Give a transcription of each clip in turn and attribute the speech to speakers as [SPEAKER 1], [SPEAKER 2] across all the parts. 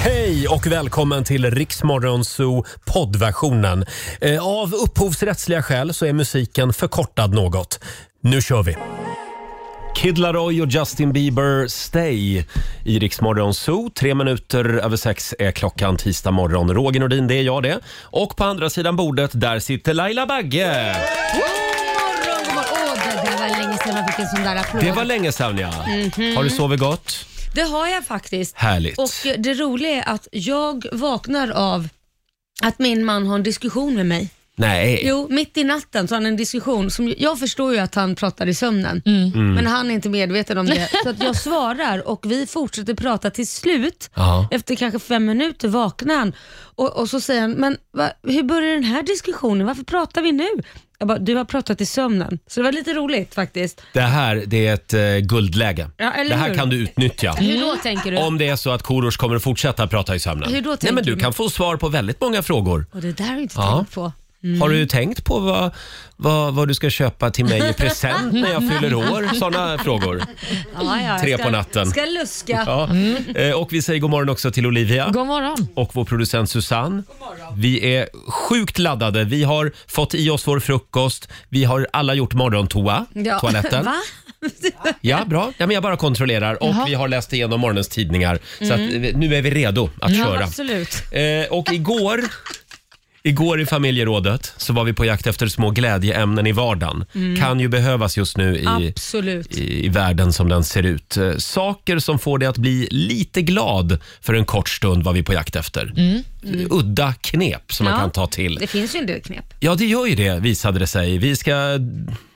[SPEAKER 1] Hej och välkommen till Riksmorgonzoo poddversionen. Eh, Av upphovsrättsliga skäl så är musiken förkortad något. Nu kör vi! Kid Laroi och Justin Bieber Stay i Riksmorgon Zoo. Tre minuter över sex är klockan tisdag morgon. Roger Nordin, det är jag det. Och på andra sidan bordet, där sitter Laila Bagge.
[SPEAKER 2] morgon, god morgon. Åh, det där var länge sedan man fick en sån där applåd.
[SPEAKER 1] Det var länge sedan ja. Har du sovit gott?
[SPEAKER 2] Det har jag faktiskt.
[SPEAKER 1] Härligt.
[SPEAKER 2] Mhm. Och det roliga är att jag vaknar av att min man har en diskussion med mig.
[SPEAKER 1] Nej.
[SPEAKER 2] Jo, mitt i natten så har han en diskussion. Som, jag förstår ju att han pratar i sömnen,
[SPEAKER 1] Mm.
[SPEAKER 2] men han är inte medveten om det. Så att jag svarar och vi fortsätter prata till slut.
[SPEAKER 1] Ja.
[SPEAKER 2] Efter kanske fem minuter vaknar han och, och så säger han, men va, hur börjar den här diskussionen? Varför pratar vi nu? Jag bara, du har pratat i sömnen. Så det var lite roligt faktiskt.
[SPEAKER 1] Det här det är ett eh, guldläge.
[SPEAKER 2] Ja, eller
[SPEAKER 1] det här
[SPEAKER 2] hur?
[SPEAKER 1] kan du utnyttja.
[SPEAKER 2] Hur då tänker du?
[SPEAKER 1] Om det är så att Korosh kommer att fortsätta prata i sömnen.
[SPEAKER 2] Hur då
[SPEAKER 1] Nej,
[SPEAKER 2] tänker
[SPEAKER 1] men du
[SPEAKER 2] du?
[SPEAKER 1] kan få svar på väldigt många frågor.
[SPEAKER 2] Och det där har jag inte
[SPEAKER 1] Ja.
[SPEAKER 2] tänkt på.
[SPEAKER 1] Har du tänkt på vad, vad, vad du ska köpa till mig i present när jag fyller år? Sådana frågor.
[SPEAKER 2] Ja, ja, jag
[SPEAKER 1] Tre
[SPEAKER 2] ska,
[SPEAKER 1] på natten.
[SPEAKER 2] Ska luska.
[SPEAKER 1] Ja.
[SPEAKER 2] Mm.
[SPEAKER 1] Eh, Och vi säger god morgon också till Olivia
[SPEAKER 3] God morgon.
[SPEAKER 1] och vår producent Susanne. Vi är sjukt laddade. Vi har fått i oss vår frukost. Vi har alla gjort morgontoa,
[SPEAKER 2] Ja.
[SPEAKER 1] toaletten.
[SPEAKER 2] Va?
[SPEAKER 1] Ja, bra. Ja, men jag bara kontrollerar och vi har läst igenom morgonens tidningar.
[SPEAKER 2] Mm.
[SPEAKER 1] Så att, eh, nu är vi redo att köra.
[SPEAKER 2] Absolut.
[SPEAKER 1] Eh, och igår, igår i familjerådet så var vi på jakt efter små glädjeämnen i vardagen. Kan ju behövas just nu i,
[SPEAKER 2] Absolut.
[SPEAKER 1] i, i världen som den ser ut. Eh, saker som får dig att bli lite glad för en kort stund var vi på jakt efter. Udda knep som man
[SPEAKER 2] Ja.
[SPEAKER 1] kan ta till.
[SPEAKER 2] Det finns ju en del knep.
[SPEAKER 1] Ja, det gör ju det visade det sig. Vi ska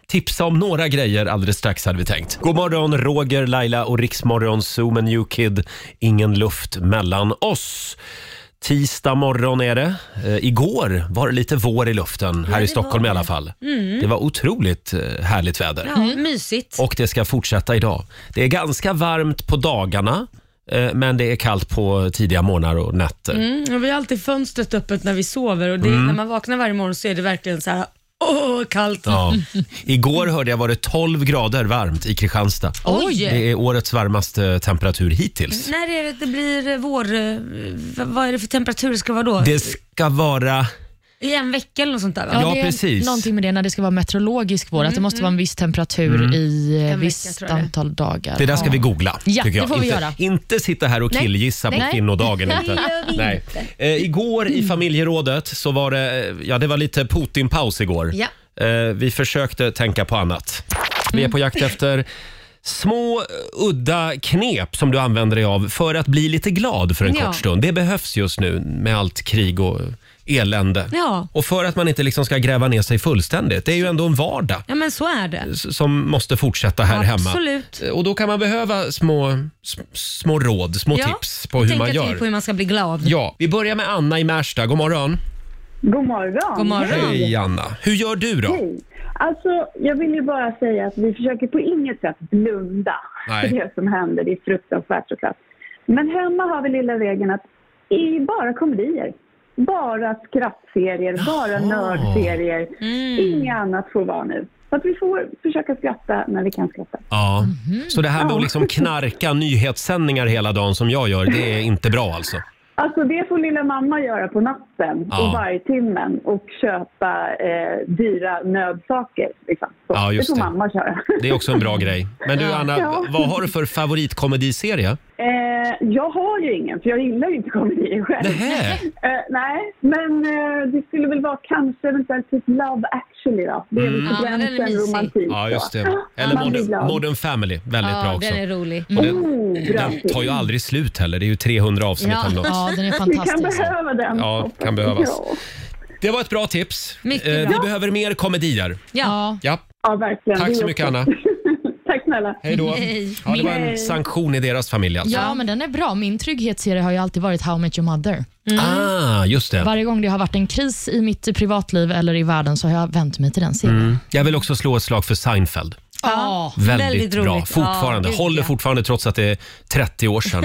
[SPEAKER 1] tipsa om några grejer alldeles strax hade vi tänkt. God morgon Roger, Laila och Riksmorgon Zoom and New Kid. Ingen luft mellan oss. Tisdag morgon är det. Eh, igår var det lite vår i luften här i Stockholm i alla fall. Det var otroligt eh, härligt väder.
[SPEAKER 2] Mm. Ja, Mysigt.
[SPEAKER 1] Och det ska fortsätta idag. Det är ganska varmt på dagarna. eh, Men det är kallt på tidiga morgnar och nätter.
[SPEAKER 2] Mm, vi har alltid fönstret öppet när vi sover och det,
[SPEAKER 1] Mm.
[SPEAKER 2] när man vaknar varje morgon så är det verkligen så här åh, kallt.
[SPEAKER 1] Ja. Igår hörde jag var det 12 grader varmt i Kristianstad.
[SPEAKER 2] Oj!
[SPEAKER 1] Det är årets varmaste temperatur hittills.
[SPEAKER 2] När är det det blir eh, vår, eh, v- vad är det för temperatur det ska vara då?
[SPEAKER 1] Det ska vara...
[SPEAKER 2] I en vecka eller något sånt där va?
[SPEAKER 1] Ja,
[SPEAKER 3] det är
[SPEAKER 1] precis.
[SPEAKER 3] Någonting med det när det ska vara meteorologisk vår, att det måste vara en viss temperatur i
[SPEAKER 2] Mm, vecka,
[SPEAKER 3] ett visst
[SPEAKER 2] tror jag det är.
[SPEAKER 3] antal dagar.
[SPEAKER 1] Mm. Det där ska vi googla.
[SPEAKER 3] Ja,
[SPEAKER 1] tycker jag.
[SPEAKER 3] det får vi
[SPEAKER 1] inte,
[SPEAKER 3] göra.
[SPEAKER 1] inte sitta här och
[SPEAKER 3] Nej.
[SPEAKER 1] killgissa på
[SPEAKER 3] Nej.
[SPEAKER 1] kvinnodagen.
[SPEAKER 2] Det
[SPEAKER 1] Inte.
[SPEAKER 2] gör vi
[SPEAKER 1] Nej.
[SPEAKER 2] inte.
[SPEAKER 1] Eh, igår i familjerådet så var det, eh, ja, det var lite Putin-paus igår.
[SPEAKER 2] Ja.
[SPEAKER 1] Eh, vi försökte tänka på annat. Vi är på
[SPEAKER 2] Mm.
[SPEAKER 1] jakt efter små eh, udda knep som du använder dig av för att bli lite glad för en
[SPEAKER 2] Ja.
[SPEAKER 1] kort stund. Det behövs just nu med allt krig och elände.
[SPEAKER 2] Ja.
[SPEAKER 1] Och för att man inte liksom ska gräva ner sig fullständigt. Det är ju ändå en vardag
[SPEAKER 2] Ja men så är det.
[SPEAKER 1] s- som måste fortsätta här hemma.
[SPEAKER 2] Absolut.
[SPEAKER 1] Och då kan man behöva små, s- små råd, små
[SPEAKER 2] Ja,
[SPEAKER 1] tips på hur
[SPEAKER 2] tänka
[SPEAKER 1] man gör.
[SPEAKER 2] till på hur man ska bli glad.
[SPEAKER 1] Ja, vi börjar med Anna i Märsta. God morgon.
[SPEAKER 4] God morgon.
[SPEAKER 2] God morgon.
[SPEAKER 1] Hej Anna. Hur gör du då?
[SPEAKER 4] Hej. Alltså, jag vill ju bara säga att vi försöker på inget sätt blunda
[SPEAKER 1] Nej.
[SPEAKER 4] för det som händer. Det är fruktansvärt såklart. Men hemma har vi lilla regeln att i bara komedier. Bara skrattserier, bara nördserier.
[SPEAKER 1] Mm.
[SPEAKER 4] Inget annat får vara nu. Så att vi får försöka skratta när vi kan skratta.
[SPEAKER 1] Ja. Så det här med att
[SPEAKER 4] Ja.
[SPEAKER 1] liksom knarka nyhetssändningar hela dagen som jag gör, det är inte bra alltså?
[SPEAKER 4] Alltså det får lilla mamma göra på natten
[SPEAKER 1] Ja.
[SPEAKER 4] och varje timmen och köpa eh, dyra nödsaker. Liksom. Så,
[SPEAKER 1] Ja, just
[SPEAKER 4] det får
[SPEAKER 1] det.
[SPEAKER 4] mamma köra.
[SPEAKER 1] Det är också en bra grej. Men du Anna,
[SPEAKER 4] Ja.
[SPEAKER 1] vad har du för favoritkomediserie?
[SPEAKER 4] Eh, jag har ju ingen, för jag gillar ju inte komedier själv.
[SPEAKER 1] Nähä.
[SPEAKER 4] Eh, nej, men eh, det skulle väl vara kanske eventuellt typ Love actually då. Det är väl
[SPEAKER 2] Ja,
[SPEAKER 4] på
[SPEAKER 2] men den är
[SPEAKER 4] gränsen
[SPEAKER 2] mysig.
[SPEAKER 4] romantik.
[SPEAKER 1] Mm. Ja, just det.
[SPEAKER 4] då.
[SPEAKER 1] Eller
[SPEAKER 4] Man blir
[SPEAKER 1] Modern,
[SPEAKER 4] glad.
[SPEAKER 1] Modern Family, väldigt bra
[SPEAKER 2] Ja,
[SPEAKER 1] också.
[SPEAKER 2] den är rolig.
[SPEAKER 1] Och den,
[SPEAKER 4] Oh, bra
[SPEAKER 1] den tar ju aldrig slut heller, det är ju 300 avsnitt
[SPEAKER 2] Ja.
[SPEAKER 1] eller något.
[SPEAKER 3] Ja, den är
[SPEAKER 4] Vi kan
[SPEAKER 3] fantastisk.
[SPEAKER 4] behöva den.
[SPEAKER 1] Ja,
[SPEAKER 4] hoppas
[SPEAKER 1] kan behövas.
[SPEAKER 4] jag.
[SPEAKER 1] Det var ett bra tips.
[SPEAKER 2] Mycket
[SPEAKER 1] Eh,
[SPEAKER 2] bra.
[SPEAKER 1] Vi behöver mer komedier.
[SPEAKER 3] Ja.
[SPEAKER 1] Ja,
[SPEAKER 4] Ja, verkligen.
[SPEAKER 1] Tack
[SPEAKER 4] Vi
[SPEAKER 1] så
[SPEAKER 4] också.
[SPEAKER 1] mycket, Anna.
[SPEAKER 4] Tack snälla.
[SPEAKER 1] hej då.
[SPEAKER 2] Hej.
[SPEAKER 1] Ja, det var en sanktion i deras familj alltså.
[SPEAKER 3] ja, men den är bra. Min trygghetsserie har ju alltid varit How I Met Your Mother.
[SPEAKER 1] Ah, just det.
[SPEAKER 3] Varje gång det har varit en kris i mitt eh, privatliv eller i världen så har jag vänt mig till den serien.
[SPEAKER 1] Jag vill också slå ett slag för Seinfeld.
[SPEAKER 3] Ja.
[SPEAKER 1] Väldigt,
[SPEAKER 2] Väldigt
[SPEAKER 1] bra.
[SPEAKER 2] roligt.
[SPEAKER 1] Fortfarande.
[SPEAKER 2] Ja, gud,
[SPEAKER 1] Håller
[SPEAKER 2] ja. Mm.
[SPEAKER 1] fortfarande trots att det är 30 år sedan.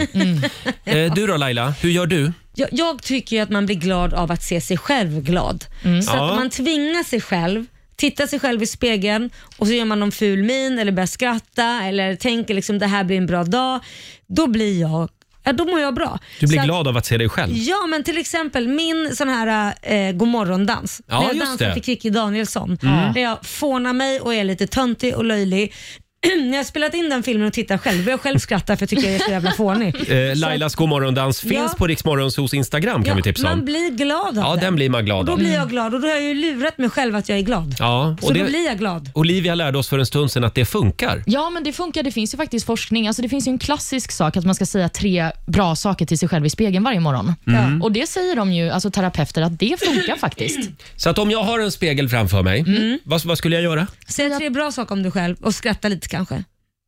[SPEAKER 1] Eh, du då Laila, hur gör du?
[SPEAKER 2] Jag, jag tycker ju att man blir glad av att se sig själv glad. Så
[SPEAKER 1] Mm. Ja.
[SPEAKER 2] att om man tvingar sig själv, tittar sig själv i spegeln och så gör man någon ful min eller börjar skratta eller tänker liksom det här blir en bra dag. Då blir jag ja, då mår jag bra.
[SPEAKER 1] Du blir
[SPEAKER 2] Så att-
[SPEAKER 1] glad av att se dig själv.
[SPEAKER 2] Ja, men till exempel min sån här eh, godmorgondans.
[SPEAKER 1] Ja,
[SPEAKER 2] när jag
[SPEAKER 1] just det. Mm.
[SPEAKER 2] dansar till Kikki Danielsson. Där jag fånar mig och är lite töntig och löjlig. när jag har spelat in den filmen och tittar själv börjar jag själv skratta för jag tycker jag är så jävla fånig.
[SPEAKER 1] Eh, Lailas Godmorgondans
[SPEAKER 2] Ja.
[SPEAKER 1] finns på Riksmorgonsos Instagram kan
[SPEAKER 2] Ja,
[SPEAKER 1] vi tipsa
[SPEAKER 2] man
[SPEAKER 1] om.
[SPEAKER 2] blir glad av
[SPEAKER 1] Ja, den blir man glad
[SPEAKER 2] Då
[SPEAKER 1] av.
[SPEAKER 2] blir jag glad och då har jag ju lurat mig själv att jag är glad.
[SPEAKER 1] Ja,
[SPEAKER 2] så
[SPEAKER 1] och
[SPEAKER 2] då
[SPEAKER 1] det,
[SPEAKER 2] blir jag glad.
[SPEAKER 1] Olivia lärde oss för en stund sedan att det funkar.
[SPEAKER 3] Ja, men det funkar. Det finns ju faktiskt forskning. Alltså, det finns ju en klassisk sak att man ska säga tre bra saker till sig själv i spegeln varje morgon.
[SPEAKER 1] Mm.
[SPEAKER 3] Och Det säger de ju, alltså terapeuter, att det funkar faktiskt.
[SPEAKER 1] Så att om jag har en spegel framför mig,
[SPEAKER 2] Mm.
[SPEAKER 1] vad, vad skulle jag göra?
[SPEAKER 2] Säg tre bra saker om dig själv och skratta lite kanske.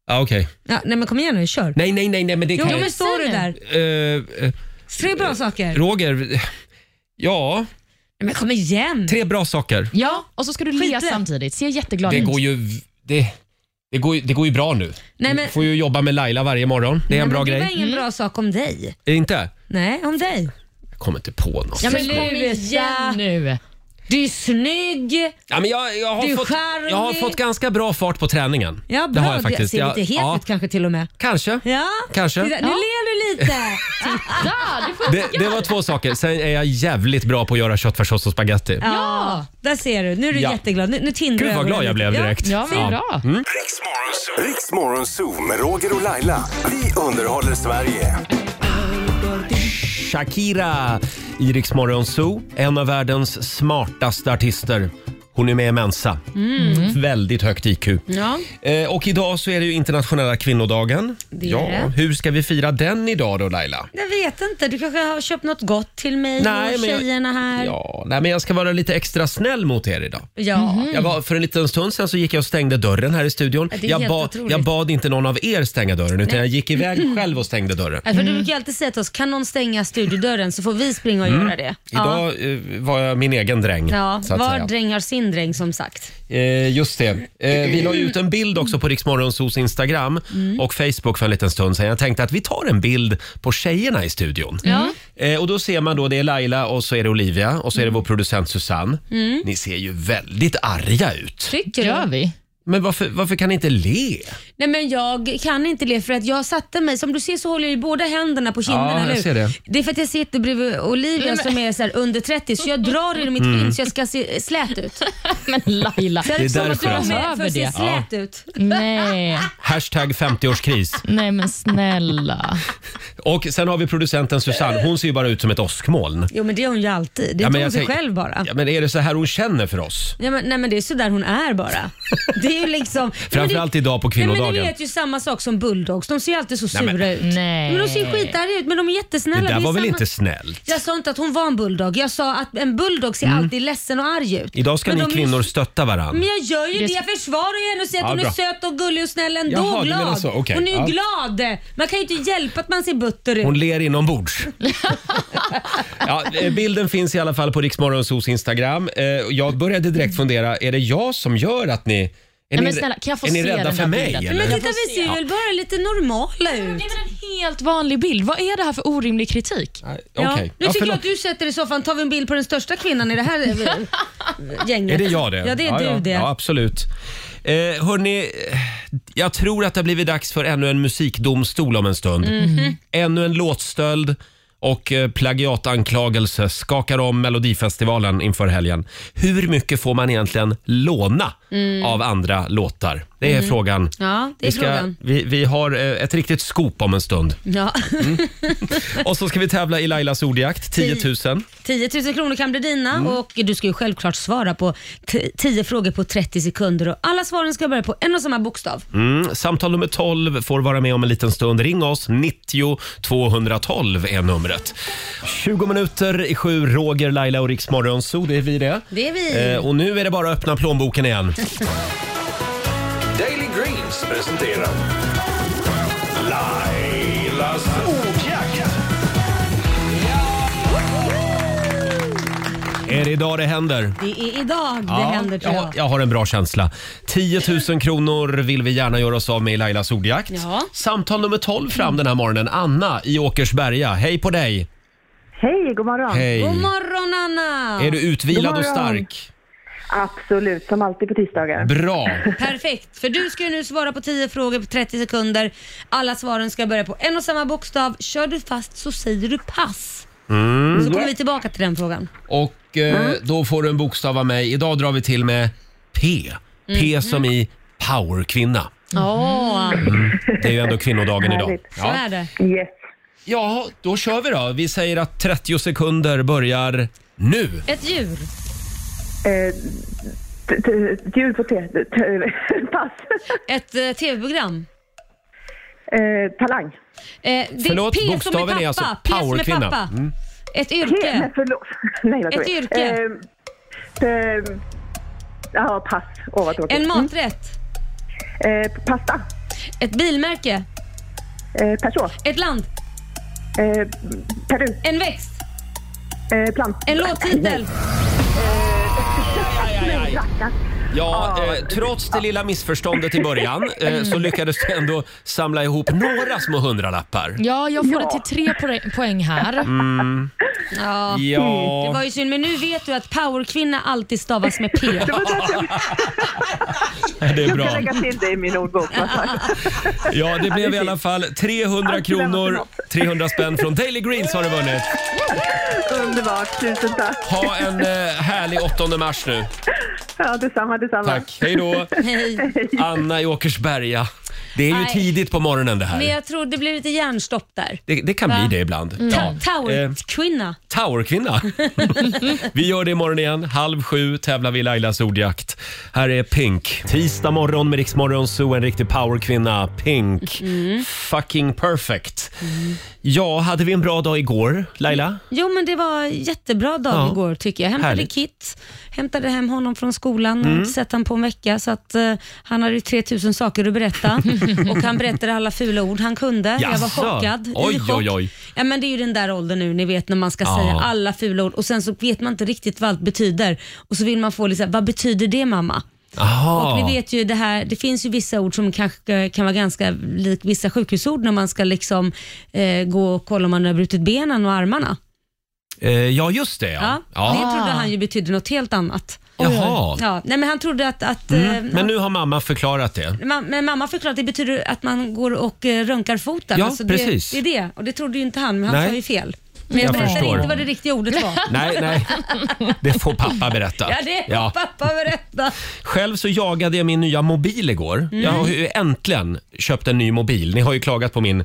[SPEAKER 1] Ja, okej.
[SPEAKER 2] Ja, nej men kom igen nu, kör.
[SPEAKER 1] Nej, nej, nej, nej, men det
[SPEAKER 2] Jo
[SPEAKER 1] kan
[SPEAKER 2] men står du
[SPEAKER 3] Säg nu.
[SPEAKER 2] där.
[SPEAKER 1] jag... Eh, eh,
[SPEAKER 2] Tre bra saker. Nej,
[SPEAKER 1] Roger, eh, ja,
[SPEAKER 2] men kom igen.
[SPEAKER 1] tre bra saker.
[SPEAKER 3] Ja, och så ska du
[SPEAKER 2] Skit i
[SPEAKER 3] le
[SPEAKER 2] det.
[SPEAKER 3] samtidigt. Se jätteglad
[SPEAKER 1] Det
[SPEAKER 3] ut.
[SPEAKER 1] går ju... v- Det, det, går, ju- det går ju bra nu.
[SPEAKER 2] Nej, men,
[SPEAKER 1] Du får ju jobba med Laila varje morgon. Det är en
[SPEAKER 2] nej,
[SPEAKER 1] bra
[SPEAKER 2] men det
[SPEAKER 1] grej.
[SPEAKER 2] var ingen bra sak om dig.
[SPEAKER 1] Inte?
[SPEAKER 2] Nej, om dig.
[SPEAKER 1] Jag kommer inte på något.
[SPEAKER 3] Ja, men
[SPEAKER 2] Sluta.
[SPEAKER 3] kom igen nu.
[SPEAKER 2] Du är snygg.
[SPEAKER 1] Ja, men jag, jag,
[SPEAKER 2] Du
[SPEAKER 1] har
[SPEAKER 2] är
[SPEAKER 1] fått,
[SPEAKER 2] charmig.
[SPEAKER 1] jag har fått ganska bra fart på träningen.
[SPEAKER 2] Ja, bra.
[SPEAKER 1] Det har jag faktiskt.
[SPEAKER 2] ser
[SPEAKER 1] Jag-
[SPEAKER 2] lite het
[SPEAKER 1] ja,
[SPEAKER 2] ut kanske till och med.
[SPEAKER 1] Kanske.
[SPEAKER 2] Ja,
[SPEAKER 1] Kanske.
[SPEAKER 2] Titta, nu
[SPEAKER 3] Ja.
[SPEAKER 2] ler du lite.
[SPEAKER 3] Ja, det
[SPEAKER 1] Det,
[SPEAKER 3] funkar.
[SPEAKER 1] det var två saker. Sen är jag jävligt bra på att göra köttfärssås och spagetti.
[SPEAKER 2] Ja, där ser du. Nu är du
[SPEAKER 1] Ja.
[SPEAKER 2] jätteglad. Nu, nu tindrar
[SPEAKER 1] Gud vad
[SPEAKER 2] ögonen
[SPEAKER 1] glad jag
[SPEAKER 2] lite.
[SPEAKER 1] blev direkt.
[SPEAKER 3] Ja, men bra. Mm.
[SPEAKER 5] Riksmorgon Zoo med Roger och Laila. Vi underhåller Sverige.
[SPEAKER 1] Shakira i Rix Morgon Zoo. En av världens smartaste artister. Hon är med i Mensa.
[SPEAKER 2] Mm.
[SPEAKER 1] Väldigt högt IQ.
[SPEAKER 2] Ja.
[SPEAKER 1] Eh, och idag så är det ju internationella kvinnodagen.
[SPEAKER 2] Det är
[SPEAKER 1] ja,
[SPEAKER 2] det.
[SPEAKER 1] Hur ska vi fira den idag då Laila?
[SPEAKER 2] Jag vet inte. Du kanske har köpt något gott till mig och
[SPEAKER 1] men jag-
[SPEAKER 2] tjejerna här.
[SPEAKER 1] Ja, nej, men jag ska vara lite extra snäll mot er idag.
[SPEAKER 2] Ja.
[SPEAKER 1] Jag var, för en liten stund sedan så gick jag och stängde dörren här i studion.
[SPEAKER 2] Mm. Ja, det är
[SPEAKER 1] Jag,
[SPEAKER 2] helt
[SPEAKER 1] ba,
[SPEAKER 2] otroligt.
[SPEAKER 1] jag bad inte någon av er stänga dörren utan jag gick iväg själv och stängde dörren.
[SPEAKER 2] Ja, För Alltså, Du brukar ju alltid säga till oss, kan någon stänga studiodörren så får vi springa och göra det.
[SPEAKER 1] Mm. Idag eh, var jag min egen dräng.
[SPEAKER 2] Ja,
[SPEAKER 1] så att
[SPEAKER 2] var
[SPEAKER 1] säga.
[SPEAKER 2] dräng har sin dräng som sagt.
[SPEAKER 1] Eh, just det. Eh, vi la ju ut en bild också på Riksmorgonsos Instagram
[SPEAKER 2] Mm.
[SPEAKER 1] och Facebook för en liten stund sedan. Jag tänkte att vi tar en bild på tjejerna i studion. Eh, och då ser man då, det är Laila och så är det Olivia och så är
[SPEAKER 2] Mm.
[SPEAKER 1] det vår producent Susanne. Ni ser ju väldigt arga ut.
[SPEAKER 2] Tycker
[SPEAKER 3] Gör vi?
[SPEAKER 1] Men varför, varför kan ni inte le?
[SPEAKER 2] Nej men jag kan inte le för att jag satte mig, som du ser så håller jag ju båda händerna på kinderna
[SPEAKER 1] Ja, jag
[SPEAKER 2] nu.
[SPEAKER 1] ser det.
[SPEAKER 2] är för att jag sitter bredvid Olivia som är så här under 30 så jag drar i mitt skinn så jag ska se slät ut.
[SPEAKER 3] Men Laila,
[SPEAKER 2] Det
[SPEAKER 1] Mm. är
[SPEAKER 2] som att
[SPEAKER 1] därför
[SPEAKER 2] du var
[SPEAKER 1] alltså.
[SPEAKER 2] med för att se
[SPEAKER 3] Över det.
[SPEAKER 2] slät ut.
[SPEAKER 3] nej.
[SPEAKER 1] Hashtag 50-årskris.
[SPEAKER 3] Nej, men snälla.
[SPEAKER 1] Och sen har vi producenten Susanne. Hon ser ju bara ut som ett åskmoln.
[SPEAKER 2] Jo men det är hon ju alltid. Det
[SPEAKER 1] Ja,
[SPEAKER 2] är
[SPEAKER 1] men
[SPEAKER 2] ja, hon
[SPEAKER 1] jag
[SPEAKER 2] sig
[SPEAKER 1] tänker-
[SPEAKER 2] själv bara.
[SPEAKER 1] Ja, men är det så här hon känner för oss?
[SPEAKER 2] Ja, men, nej men det är sådär hon är bara. Det är ju liksom...
[SPEAKER 1] Framförallt idag på
[SPEAKER 2] Nej, men
[SPEAKER 1] kvinnodagen.
[SPEAKER 2] du vet ju samma sak som bulldogs. De ser ju alltid så
[SPEAKER 1] Nej,
[SPEAKER 2] sura
[SPEAKER 1] men-
[SPEAKER 2] ut.
[SPEAKER 3] Nej.
[SPEAKER 2] Men de ser ju skitarga ut men de är jättesnälla.
[SPEAKER 1] Det där
[SPEAKER 2] är
[SPEAKER 1] var väl
[SPEAKER 2] samma-
[SPEAKER 1] inte snällt?
[SPEAKER 2] Jag sa inte att hon var en bulldog. Jag sa att en bulldog ser alltid ledsen och arg ut.
[SPEAKER 1] Mm. Idag ska
[SPEAKER 2] Men
[SPEAKER 1] ni
[SPEAKER 2] de är-
[SPEAKER 1] kvinnor stötta varandn.
[SPEAKER 2] Men jag gör ju det.
[SPEAKER 3] Det-
[SPEAKER 2] Jag försvarar ju henne och säger att
[SPEAKER 1] Ja,
[SPEAKER 2] hon
[SPEAKER 1] bra.
[SPEAKER 2] är söt och gullig och snäll ändå.
[SPEAKER 1] Jaha,
[SPEAKER 2] och
[SPEAKER 1] du menar
[SPEAKER 2] glad.
[SPEAKER 1] så. Okej,
[SPEAKER 2] Hon är ju
[SPEAKER 1] ja.
[SPEAKER 2] glad. Man kan ju inte hjälpa att man ser butter ut.
[SPEAKER 1] Hon ler inombords. ja, eh, bilden finns i alla fall på Riksmorgonsos Instagram. Eh, Jag började direkt fundera, är det jag som gör att ni... Är
[SPEAKER 3] Nej,
[SPEAKER 1] ni,
[SPEAKER 3] men snälla, kan jag få
[SPEAKER 1] är ni
[SPEAKER 3] se
[SPEAKER 1] rädda
[SPEAKER 3] den
[SPEAKER 1] för
[SPEAKER 3] där
[SPEAKER 1] mig?
[SPEAKER 3] bilden?
[SPEAKER 1] Eller?
[SPEAKER 2] Men titta vi ser väl bara lite normala ut.
[SPEAKER 3] Det är väl en helt vanlig bild. Vad är det här för orimlig kritik?
[SPEAKER 1] Nej,
[SPEAKER 2] Ja.
[SPEAKER 1] okej.
[SPEAKER 2] Nu tycker
[SPEAKER 1] Ja,
[SPEAKER 2] jag
[SPEAKER 1] förlåt.
[SPEAKER 2] att du sätter dig i soffan, tar vi en bild på den största kvinnan i det här eh, gänget.
[SPEAKER 1] Är det jag det?
[SPEAKER 2] Ja, det är
[SPEAKER 1] ja,
[SPEAKER 2] du
[SPEAKER 1] ja.
[SPEAKER 2] det.
[SPEAKER 1] Ja, absolut. Eh, hörni, eh, jag tror att det har blivit dags för ännu en musikdomstol om en stund.
[SPEAKER 2] Mhm.
[SPEAKER 1] Ännu en låtstöld och eh, plagiatanklagelse skakar om Melodifestivalen inför helgen. Hur mycket får man egentligen låna av andra låtar? Det är frågan.
[SPEAKER 2] Mm. Ja, det är
[SPEAKER 1] Vi, ska,
[SPEAKER 2] frågan.
[SPEAKER 1] vi, vi har eh, ett riktigt skop om en stund.
[SPEAKER 2] Ja.
[SPEAKER 1] Och så ska vi tävla i Lailas ordjakt, 10 000.
[SPEAKER 2] 10 000 kronor kan bli dina
[SPEAKER 1] Mm.
[SPEAKER 2] och du ska ju självklart svara på t- 10 frågor på 30 sekunder och alla svaren ska börja på en och samma bokstav.
[SPEAKER 1] Mm, samtal nummer 12 får vara med om en liten stund. Ring oss, 90 212 är numret. 20 minuter i sju, Roger, Laila och Riksmorgon så det är vi det.
[SPEAKER 2] Det är vi.
[SPEAKER 1] Eh, och nu är det bara att öppna plånboken igen.
[SPEAKER 5] Daily Greens presenterar Lailas ordjakt.
[SPEAKER 1] är det idag det händer?
[SPEAKER 2] Det är idag det händer tror
[SPEAKER 1] jag,
[SPEAKER 2] jag.
[SPEAKER 1] har- jag har en bra känsla. 10 000 kronor vill vi gärna göra oss av med i Lailas ordjakt.
[SPEAKER 2] Ja.
[SPEAKER 1] Samtal nummer 12 fram den här morgonen. Anna i Åkersberga, hej på dig!
[SPEAKER 4] Hej, god morgon.
[SPEAKER 1] Hej!
[SPEAKER 2] God morgon Anna!
[SPEAKER 1] Är du utvilad
[SPEAKER 4] God
[SPEAKER 1] och
[SPEAKER 4] morgon.
[SPEAKER 1] stark?
[SPEAKER 6] Absolut, som alltid på tisdagar.
[SPEAKER 1] Bra.
[SPEAKER 2] Perfekt, för du ska ju nu svara på 10 frågor på 30 sekunder. Alla svaren ska börja på en och samma bokstav. Kör du fast så säger du pass.
[SPEAKER 1] Mm.
[SPEAKER 2] Så kommer vi tillbaka till den frågan.
[SPEAKER 1] Och eh,
[SPEAKER 6] Mm.
[SPEAKER 1] då får du en bokstav av mig. Idag drar vi till med P.
[SPEAKER 2] Mm.
[SPEAKER 1] P som i powerkvinna.
[SPEAKER 2] Åh,
[SPEAKER 1] Mm. Det är ju ändå kvinnodagen idag.
[SPEAKER 6] Härligt.
[SPEAKER 2] så är det.
[SPEAKER 6] Yes.
[SPEAKER 1] ja, då kör vi då. Vi säger att 30 sekunder börjar nu.
[SPEAKER 2] Ett djur,
[SPEAKER 6] Eh, t- t- Djur på T. t- Pass.
[SPEAKER 2] ett eh, tv-program.
[SPEAKER 6] Eh, Talang.
[SPEAKER 2] Eh, det
[SPEAKER 1] Förlåt,
[SPEAKER 2] är P som
[SPEAKER 1] bokstaven
[SPEAKER 2] är
[SPEAKER 1] är
[SPEAKER 2] pappa.
[SPEAKER 1] alltså
[SPEAKER 2] P som är
[SPEAKER 1] powerkvinna. Mm.
[SPEAKER 2] pappa. Ett
[SPEAKER 6] T, nej
[SPEAKER 2] yrke.
[SPEAKER 6] förlåt. Nej,
[SPEAKER 2] Ett
[SPEAKER 6] vad tråkigt.
[SPEAKER 2] yrke.
[SPEAKER 6] Eh, t- Ja, pass. Åh, vad tråkigt.
[SPEAKER 2] En maträtt.
[SPEAKER 6] Eh, pasta.
[SPEAKER 2] Ett bilmärke.
[SPEAKER 6] Eh, Perså.
[SPEAKER 2] Ett land.
[SPEAKER 6] Eh, Peru.
[SPEAKER 2] En växt.
[SPEAKER 6] Eh, plant.
[SPEAKER 2] En låttitel.
[SPEAKER 1] Ja, eh, trots det lilla missförståndet i början eh, så lyckades du ändå samla ihop några små hundralappar.
[SPEAKER 3] Ja, jag får det till tre poäng- poäng här.
[SPEAKER 2] Ja. Det
[SPEAKER 1] Ja,
[SPEAKER 2] var ju synd, men nu vet du att powerkvinna alltid stavas med P.
[SPEAKER 1] det är
[SPEAKER 6] Jag
[SPEAKER 1] bra.
[SPEAKER 6] ska lägga till det i min ordbok. vad fan.
[SPEAKER 1] Ja, det blev i alla fall 300 kronor, 300 spänn från Daily Greens har du vunnit.
[SPEAKER 6] Underbart. Tusen tack.
[SPEAKER 1] Ha en eh, härlig 8 mars nu.
[SPEAKER 6] Ja, detsamma, detsamma.
[SPEAKER 1] Tack, hej då.
[SPEAKER 2] Hej.
[SPEAKER 1] Anna i Åkersberga. Det är ju
[SPEAKER 2] Nej.
[SPEAKER 1] tidigt på morgonen det
[SPEAKER 2] Men
[SPEAKER 1] här.
[SPEAKER 2] jag tror det blev lite hjärnstopp där.
[SPEAKER 1] Det, det kan
[SPEAKER 2] Va? Mm.
[SPEAKER 1] bli det ibland.
[SPEAKER 2] Ta-
[SPEAKER 1] Eh,
[SPEAKER 2] Towerkvinna.
[SPEAKER 1] Towerkvinna. vi gör det imorgon igen. Halv sju tävlar vi i Lailas ordjakt. Här är Pink. Tisdag morgon med Riksmorgon Zoo, en riktig powerkvinna. Pink.
[SPEAKER 2] Mm.
[SPEAKER 1] Fucking perfect. Ja, hade vi en bra dag igår, Laila?
[SPEAKER 2] Jo men det var jättebra dag
[SPEAKER 1] Ja.
[SPEAKER 2] igår tycker jag. Hämtade
[SPEAKER 1] Härligt. Mm.
[SPEAKER 2] Kit, hämtade hem honom från skolan och har inte sett han på en vecka så att eh, han hade ju 3000 saker att berätta och han berättade alla fula ord han kunde. Jag var
[SPEAKER 1] Jaså?
[SPEAKER 2] chockad. I
[SPEAKER 1] Oj,
[SPEAKER 2] chock.
[SPEAKER 1] oj, oj.
[SPEAKER 2] Ja, men det är ju den där åldern nu, ni vet när man ska
[SPEAKER 1] Ja.
[SPEAKER 2] säga alla fula ord och sen så vet man inte riktigt vad allt betyder och så vill man få lite så här, vad betyder det mamma?
[SPEAKER 1] Aha.
[SPEAKER 2] Och vi vet ju det här, det finns ju vissa ord som kanske kan vara ganska lik vissa sjukhusord när man ska liksom eh, gå och kolla om man har brutit benen och armarna.
[SPEAKER 1] Eh, ja, just det.
[SPEAKER 2] Ja.
[SPEAKER 1] Ja.
[SPEAKER 2] Det
[SPEAKER 1] Ja.
[SPEAKER 3] Ah.
[SPEAKER 2] trodde han ju betydde något helt annat.
[SPEAKER 1] Jaha.
[SPEAKER 2] Ja. Nej, men han trodde att... att eh,
[SPEAKER 1] Mm. Men nu har mamma förklarat det.
[SPEAKER 2] ma- men mamma förklarade att det betyder att man går och eh, röntgar foten.
[SPEAKER 1] Ja,
[SPEAKER 2] det,
[SPEAKER 1] precis.
[SPEAKER 2] det är det. Och det trodde ju inte han, men han
[SPEAKER 1] Nej.
[SPEAKER 2] sa ju fel. Men
[SPEAKER 1] Jag
[SPEAKER 2] jag berättade
[SPEAKER 1] förstår.
[SPEAKER 2] inte vad det riktiga ordet var.
[SPEAKER 1] Nej, nej. Det får pappa berätta.
[SPEAKER 2] Ja, det är
[SPEAKER 1] Ja.
[SPEAKER 2] pappa berätta.
[SPEAKER 1] Själv så jagade jag min nya mobil igår. Jag har ju äntligen köpt en ny mobil. Ni har ju klagat på min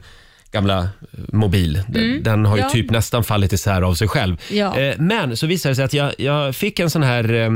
[SPEAKER 1] gamla eh, mobil. Den, den har ju
[SPEAKER 2] Mm. Ja.
[SPEAKER 1] typ nästan fallit isär av sig själv.
[SPEAKER 2] Ja.
[SPEAKER 1] Eh, Men så visade det sig att jag, jag fick en sån här eh,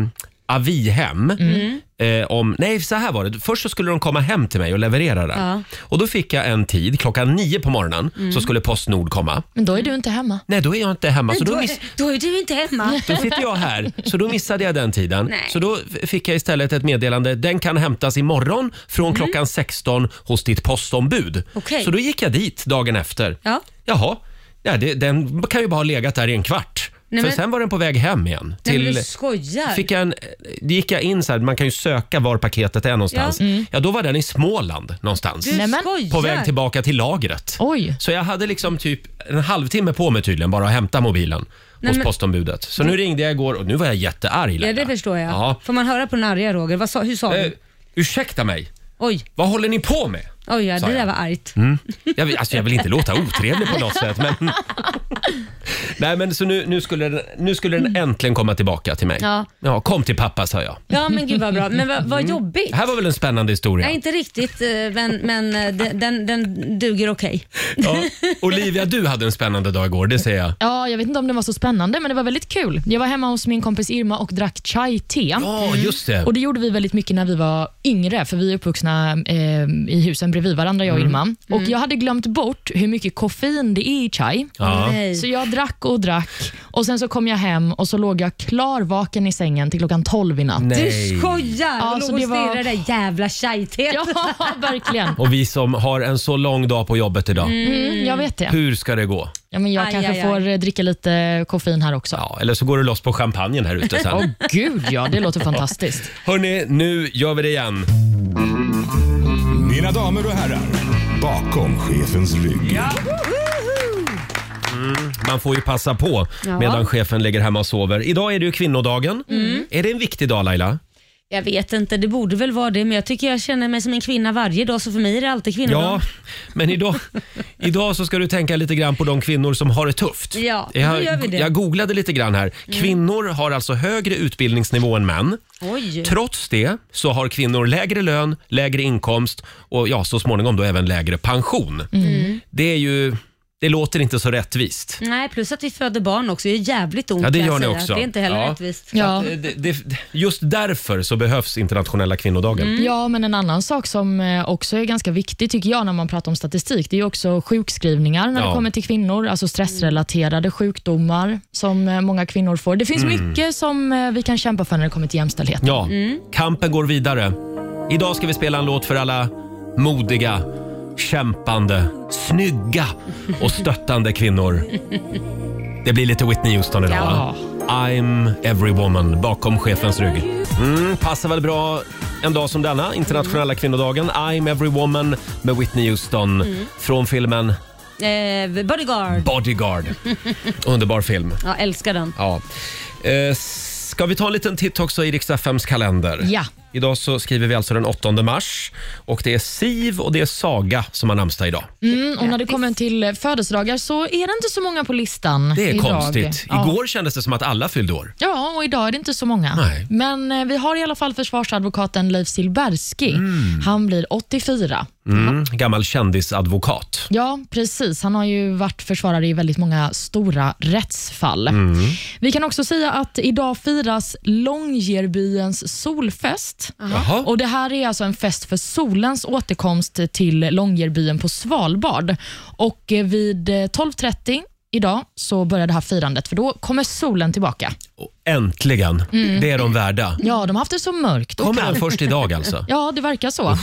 [SPEAKER 1] avihem.
[SPEAKER 2] Mm.
[SPEAKER 1] Eh, om, nej, så här var det. Först så skulle de komma hem till mig och leverera den.
[SPEAKER 2] Ja. Mm.
[SPEAKER 1] Och Då fick jag en tid, klockan nio på morgonen, så skulle Postnord komma.
[SPEAKER 3] Men då är du inte hemma.
[SPEAKER 1] Nej, då är jag inte hemma. Så
[SPEAKER 2] Då
[SPEAKER 1] då,
[SPEAKER 2] är,
[SPEAKER 1] miss,
[SPEAKER 2] då är du inte hemma.
[SPEAKER 1] då sitter jag här, så då missade jag den tiden.
[SPEAKER 2] Nej.
[SPEAKER 1] Så då f- fick jag istället ett meddelande. Den kan hämtas imorgon från klockan 16 hos ditt postombud.
[SPEAKER 2] Mm. Okej.
[SPEAKER 1] Så då gick jag dit dagen efter.
[SPEAKER 2] Ja.
[SPEAKER 1] Jaha, ja, det, den kan ju bara ha legat där i en kvart.
[SPEAKER 2] Nej,
[SPEAKER 1] För
[SPEAKER 2] men-
[SPEAKER 1] sen var den på väg hem igen.
[SPEAKER 2] Nej, men
[SPEAKER 1] till-
[SPEAKER 2] du skojar.
[SPEAKER 1] Fick jag en, det gick jag in så här, man kan ju söka var paketet är någonstans. Ja, då var den i Småland någonstans.
[SPEAKER 2] Du
[SPEAKER 3] Nej, men-
[SPEAKER 2] skojar.
[SPEAKER 1] På väg tillbaka till lagret.
[SPEAKER 3] Oj.
[SPEAKER 1] Så jag hade liksom typ en halvtimme på mig tydligen bara att hämta mobilen hos
[SPEAKER 2] men-
[SPEAKER 1] postombudet. Så nu ringde jag igår och nu var jag jättearg
[SPEAKER 2] Ja,
[SPEAKER 1] Laila.
[SPEAKER 2] det förstår jag.
[SPEAKER 1] Ja.
[SPEAKER 2] Får man höra på den arga Roger? Vad sa, hur sa
[SPEAKER 1] Eh,
[SPEAKER 2] du?
[SPEAKER 1] ursäkta mig,
[SPEAKER 2] Oj,
[SPEAKER 1] vad håller ni på med?
[SPEAKER 2] oj ja,
[SPEAKER 1] sa
[SPEAKER 2] det där
[SPEAKER 1] jag.
[SPEAKER 2] var argt.
[SPEAKER 1] Jag vill, alltså jag vill inte låta otrevlig på något sätt men... Nej men så nu, nu, skulle den, nu skulle den äntligen komma tillbaka till mig.
[SPEAKER 2] Ja.
[SPEAKER 1] ja kom till pappa sa jag.
[SPEAKER 2] Ja men gud vad bra. Men vad, vad jobbigt.
[SPEAKER 1] Det Mm. här var väl en spännande historia?
[SPEAKER 2] Nej, inte riktigt, eh, men, men eh, de- den, den duger okej.
[SPEAKER 1] Ja. Olivia, du hade en spännande dag igår, det ser jag.
[SPEAKER 3] Ja, jag vet inte om det var så spännande, men det var väldigt kul. Jag var hemma hos min kompis Irma och drack chai-te.
[SPEAKER 1] Ja, just det.
[SPEAKER 2] Mm.
[SPEAKER 3] Och Det gjorde vi väldigt mycket när vi var yngre, för vi är uppvuxna eh, i husen bredvid varandra, jag och Irma. Och Jag hade glömt bort hur mycket koffein det är i chai.
[SPEAKER 1] Ja.
[SPEAKER 2] Nej.
[SPEAKER 3] Så jag drack och drack och sen så kom jag hem och så låg jag klarvaken i sängen till klocgan 12 i natt.
[SPEAKER 2] Du skojar!
[SPEAKER 3] Ja,
[SPEAKER 2] och
[SPEAKER 3] så
[SPEAKER 2] låg och
[SPEAKER 3] det var-
[SPEAKER 2] stirrade där jävla tjejtet.
[SPEAKER 3] Ja, verkligen.
[SPEAKER 1] Och vi som har en så lång dag på jobbet idag.
[SPEAKER 3] Mm, jag vet det.
[SPEAKER 1] Hur ska det gå?
[SPEAKER 3] Ja, men jag
[SPEAKER 2] Aj,
[SPEAKER 3] kanske
[SPEAKER 2] aj, aj.
[SPEAKER 3] får eh, dricka lite koffein här också.
[SPEAKER 1] Ja, eller så går du loss på champagnen här ute
[SPEAKER 3] Åh
[SPEAKER 1] sen.
[SPEAKER 3] gud ja, det låter fantastiskt.
[SPEAKER 1] Hörni, nu gör vi det igen.
[SPEAKER 7] Mina damer och herrar, bakom chefens rygg.
[SPEAKER 1] Man får ju passa på
[SPEAKER 2] Ja.
[SPEAKER 1] medan chefen ligger hemma och sover. Idag är det ju kvinnodagen.
[SPEAKER 2] Mm.
[SPEAKER 1] Är det en viktig dag Laila?
[SPEAKER 2] Jag vet inte, det borde väl vara det, men jag tycker jag känner mig som en kvinna varje dag, så för mig är det alltid
[SPEAKER 1] Ja,
[SPEAKER 2] kvinnodag.
[SPEAKER 1] men idag, idag så ska du tänka lite grann på de kvinnor som har det tufft.
[SPEAKER 2] Ja, nu
[SPEAKER 1] jag,
[SPEAKER 2] gör vi det. Mm.
[SPEAKER 1] jag googlade lite grann här. Kvinnor har alltså högre utbildningsnivå än män.
[SPEAKER 2] Oj.
[SPEAKER 1] Trots det så har kvinnor lägre lön, lägre inkomst och ja, så småningom då även lägre pension.
[SPEAKER 2] Mm.
[SPEAKER 1] Det är ju... Det låter inte så rättvist.
[SPEAKER 2] Nej, plus att vi föder barn också. Det är jävligt ont
[SPEAKER 1] Ja, det
[SPEAKER 2] kan jag
[SPEAKER 1] gör ni
[SPEAKER 2] säga.
[SPEAKER 1] också.
[SPEAKER 2] Det är inte heller
[SPEAKER 1] Ja.
[SPEAKER 2] rättvist.
[SPEAKER 3] Ja.
[SPEAKER 1] Eh, Det, det, just därför så behövs internationella kvinnodagen.
[SPEAKER 3] Ja, men en annan sak som eh, också är ganska viktig tycker jag när man pratar om statistik, det är ju också sjukskrivningar när
[SPEAKER 1] Ja.
[SPEAKER 3] det kommer till kvinnor, alltså stressrelaterade sjukdomar som eh, många kvinnor får. Det finns
[SPEAKER 1] Mm.
[SPEAKER 3] mycket som eh, vi kan kämpa för när det kommer till jämställdhet.
[SPEAKER 1] Ja, kampen går vidare. Idag ska vi spela en låt för alla modiga, kämpande, snygga och stöttande kvinnor. Det blir lite Whitney Houston idag va? I'm every woman bakom chefens rygg. Mm, passar väl bra en dag som denna, internationella kvinnodagen. I'm every woman med Whitney Houston från filmen
[SPEAKER 2] Eh, bodyguard.
[SPEAKER 1] Bodyguard. Underbar film.
[SPEAKER 2] Ja, älskar den.
[SPEAKER 1] Ja. Eh, ska vi ta en liten titt också i Rix FMs kalender?
[SPEAKER 3] Ja.
[SPEAKER 1] Idag så skriver vi alltså den 8 mars och det är Siv och det är Saga som har namnsdag idag.
[SPEAKER 3] Mm, och när det kommer till eh, födelsedagar så är det inte så många på listan
[SPEAKER 1] Det är
[SPEAKER 3] idag.
[SPEAKER 1] konstigt.
[SPEAKER 3] Ja.
[SPEAKER 1] Igår kändes det som att alla fyllde år.
[SPEAKER 3] Ja, och idag är det inte så många.
[SPEAKER 1] Nej.
[SPEAKER 3] Men eh, vi har i alla fall försvarsadvokaten Leif Silbersky. Han blir 84.
[SPEAKER 1] Mm, gammal kändisadvokat.
[SPEAKER 3] Ja, precis. Han har ju varit försvarare i väldigt många stora rättsfall. Vi kan också säga att idag firas Långgerbyens solfest.
[SPEAKER 1] Jaha.
[SPEAKER 3] Och Det här är alltså en fest för solens återkomst till Långerbyen på Svalbard. Och eh, Vid eh, 12.30 idag så börjar det här firandet, för då kommer solen tillbaka.
[SPEAKER 1] Och äntligen,
[SPEAKER 3] Mm.
[SPEAKER 1] det är de värda.
[SPEAKER 3] Ja, de har haft det så mörkt och
[SPEAKER 1] Kommer den
[SPEAKER 3] kallt.
[SPEAKER 1] först idag alltså?
[SPEAKER 3] Ja, det verkar så.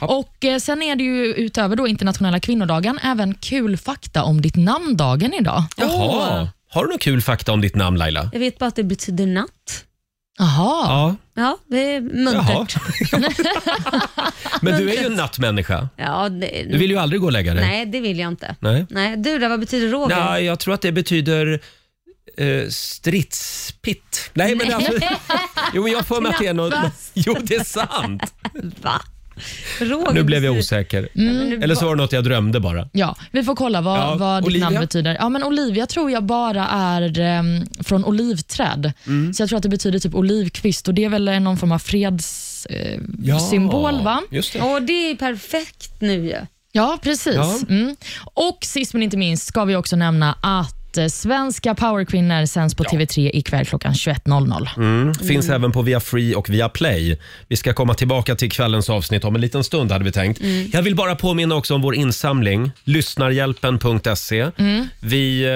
[SPEAKER 3] Och eh, Sen är det ju utöver då internationella kvinnodagen även kul fakta om ditt namndagen idag.
[SPEAKER 1] Jaha. Har du någon kul fakta om ditt namn Laila?
[SPEAKER 2] Jag vet bara att det betyder natt.
[SPEAKER 3] Jaha.
[SPEAKER 1] Ja.
[SPEAKER 2] Ja, det är muntert.
[SPEAKER 1] Men du är ju en nattmänniska.
[SPEAKER 2] Ja, det,
[SPEAKER 1] Du vill ju aldrig gå och lägga dig.
[SPEAKER 2] Nej, det vill jag inte.
[SPEAKER 1] Nej.
[SPEAKER 2] Nej, du då, vad betyder Roger?
[SPEAKER 1] Nej, jag tror att det betyder eh, stridspitt. Nej, men alltså, jo, men jag får mig att det är något...
[SPEAKER 2] Knappast.
[SPEAKER 1] Jo, det är sant.
[SPEAKER 2] Va? Roger
[SPEAKER 1] Nu blev jag
[SPEAKER 2] betyder-
[SPEAKER 1] osäker.
[SPEAKER 3] Mm.
[SPEAKER 2] Men nu-
[SPEAKER 1] Eller så var det något jag drömde bara.
[SPEAKER 3] Ja, vi får kolla vad,
[SPEAKER 1] Ja,
[SPEAKER 3] vad ditt
[SPEAKER 1] Olivia?
[SPEAKER 3] namn betyder. Ja, men Olivia tror jag bara är ehm, från olivträd.
[SPEAKER 1] Mm.
[SPEAKER 3] Så jag tror att det betyder typ olivkvist och det är väl någon form av fredssymbol eh, symbol va?
[SPEAKER 1] Just det.
[SPEAKER 2] Åh, det är ju perfekt nu ju.
[SPEAKER 3] Ja, precis.
[SPEAKER 1] Ja.
[SPEAKER 3] Mm. Och sist men inte minst ska vi också nämna att eh, Svenska powerkvinnor sänds på TV3 ikväll klockan 21.00.
[SPEAKER 1] Mm.
[SPEAKER 3] Mm.
[SPEAKER 1] Finns även på via Free och via Play. Vi ska komma tillbaka till kvällens avsnitt om en liten stund hade vi tänkt.
[SPEAKER 3] Mm.
[SPEAKER 1] Jag vill bara påminna också om vår insamling, lyssnarhjälpen.se.
[SPEAKER 3] Mm.
[SPEAKER 1] Vi, eh,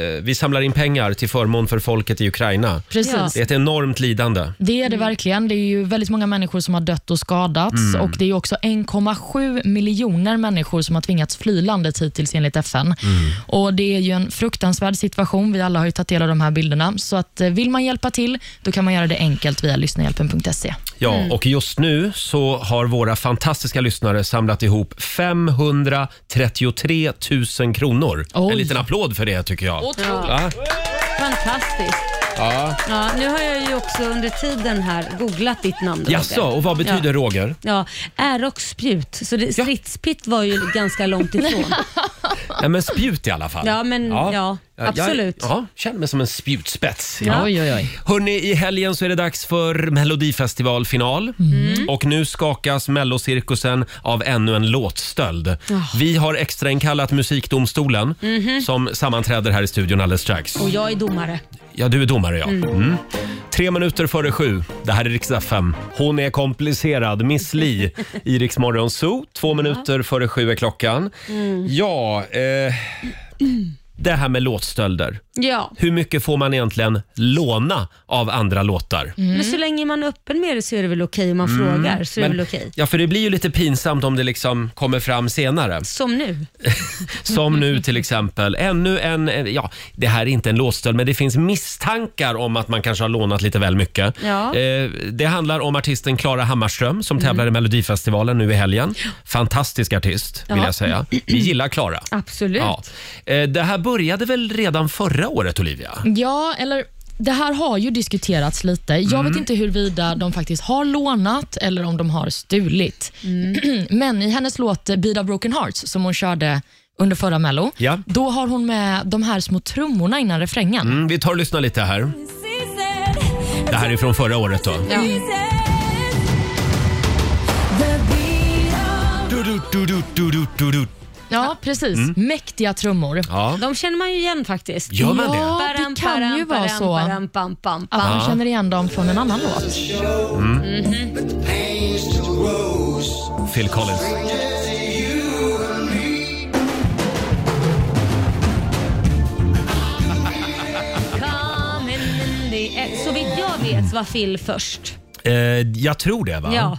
[SPEAKER 1] eh, vi samlar in pengar till förmån för folket i Ukraina.
[SPEAKER 3] Precis.
[SPEAKER 1] Det är ett enormt lidande.
[SPEAKER 3] Det är det verkligen. Det är ju väldigt många människor som har dött och skadats och det är ju också 1,7 miljoner människor som har tvingats fly landet hittills enligt FN. Och Det är ju en fruktansvärd situation. Vi alla har ju tagit del av de här bilderna. Så att eh, vill man hjälpa till, då kan man göra det enkelt via lyssnahjälpen.se.
[SPEAKER 1] Ja,
[SPEAKER 2] Mm.
[SPEAKER 1] och just nu så har våra fantastiska lyssnare samlat ihop 533 000 kronor.
[SPEAKER 3] Oj.
[SPEAKER 1] En liten applåd för det tycker jag. Ja.
[SPEAKER 2] Fantastiskt.
[SPEAKER 1] Ja.
[SPEAKER 2] Ja, nu har jag ju också under tiden här googlat ditt namn Roger.
[SPEAKER 1] Jaså, och vad betyder
[SPEAKER 2] ja.
[SPEAKER 1] Roger?
[SPEAKER 2] Ja, ära och spjut. Så det, stridspitt var ju ganska långt ifrån.
[SPEAKER 1] Ja, men spjut i alla fall.
[SPEAKER 2] Ja, men- ja, absolut.
[SPEAKER 1] Jag, ja, känner mig som en spjutspets.
[SPEAKER 2] Ja.
[SPEAKER 3] Oj, oj, oj.
[SPEAKER 1] Hörni, i helgen så är det dags för Melodifestivalfinal.
[SPEAKER 2] Mm.
[SPEAKER 1] Och nu skakas Mellocirkusen av ännu en låtstöld. Vi har extrainkallat Musikdomstolen
[SPEAKER 2] Mhm.
[SPEAKER 1] som sammanträder här i studion alldeles strax.
[SPEAKER 2] Och jag är domare.
[SPEAKER 1] Ja, du är domare ja. Mm. Tre minuter före sju. Det här är riksdag 5. Hon är komplicerad, Miss Li i Rix Morgon Zoo. Två minuter före sju är klockan. Ja, eh, det här med låtstölder.
[SPEAKER 2] Ja,
[SPEAKER 1] Hur mycket får man egentligen låna av andra låtar?
[SPEAKER 2] men så länge man är öppen med det så är det väl okej om man
[SPEAKER 1] Mm,
[SPEAKER 2] frågar. Så är det väl okej.
[SPEAKER 1] Ja, för det blir ju lite pinsamt om det liksom kommer fram senare.
[SPEAKER 2] Som nu.
[SPEAKER 1] Som nu till exempel, ännu en, en- ja det här är inte en låtstöld men det finns misstankar om att man kanske har lånat lite väl mycket.
[SPEAKER 2] Ja. Mm.
[SPEAKER 1] Eh, det handlar om artisten Klara Hammarström som tävlar i Melodifestivalen nu i helgen. Fantastisk artist vill
[SPEAKER 2] Ja.
[SPEAKER 1] jag säga. Vi gillar Klara.
[SPEAKER 2] Absolut.
[SPEAKER 1] Ja. Eh, Det här började väl redan förra året, Olivia?
[SPEAKER 3] Ja, eller det här har ju diskuterats lite. Jag
[SPEAKER 1] Mm.
[SPEAKER 3] vet inte huruvida de faktiskt har lånat eller om de har stulit.
[SPEAKER 1] Mm.
[SPEAKER 3] Men i hennes låt eh, Beat of Broken Hearts som hon körde under förra Mello,
[SPEAKER 1] Ja.
[SPEAKER 3] då har hon med de här små trummorna innan refrängen.
[SPEAKER 1] Mm, vi tar och lyssnar lite här. Det här är från förra året då. Du, du, du, du, du, du, du, du.
[SPEAKER 3] Ja, precis. Mäktiga trummor.
[SPEAKER 1] Mm. Ja.
[SPEAKER 2] De känner man ju igen faktiskt.
[SPEAKER 1] Gör man det?
[SPEAKER 3] Ja. det
[SPEAKER 2] Baram,
[SPEAKER 3] kan
[SPEAKER 2] baram,
[SPEAKER 3] ju vara
[SPEAKER 2] baram,
[SPEAKER 3] så.
[SPEAKER 2] baram, pam, pam,
[SPEAKER 3] Att
[SPEAKER 2] pam.
[SPEAKER 3] man känner igen dem från en annan låt.
[SPEAKER 1] Phil Collins.
[SPEAKER 2] Come in the air. Så vitt jag vet var Phil först.
[SPEAKER 1] Eh, jag tror det, va?
[SPEAKER 2] Ja.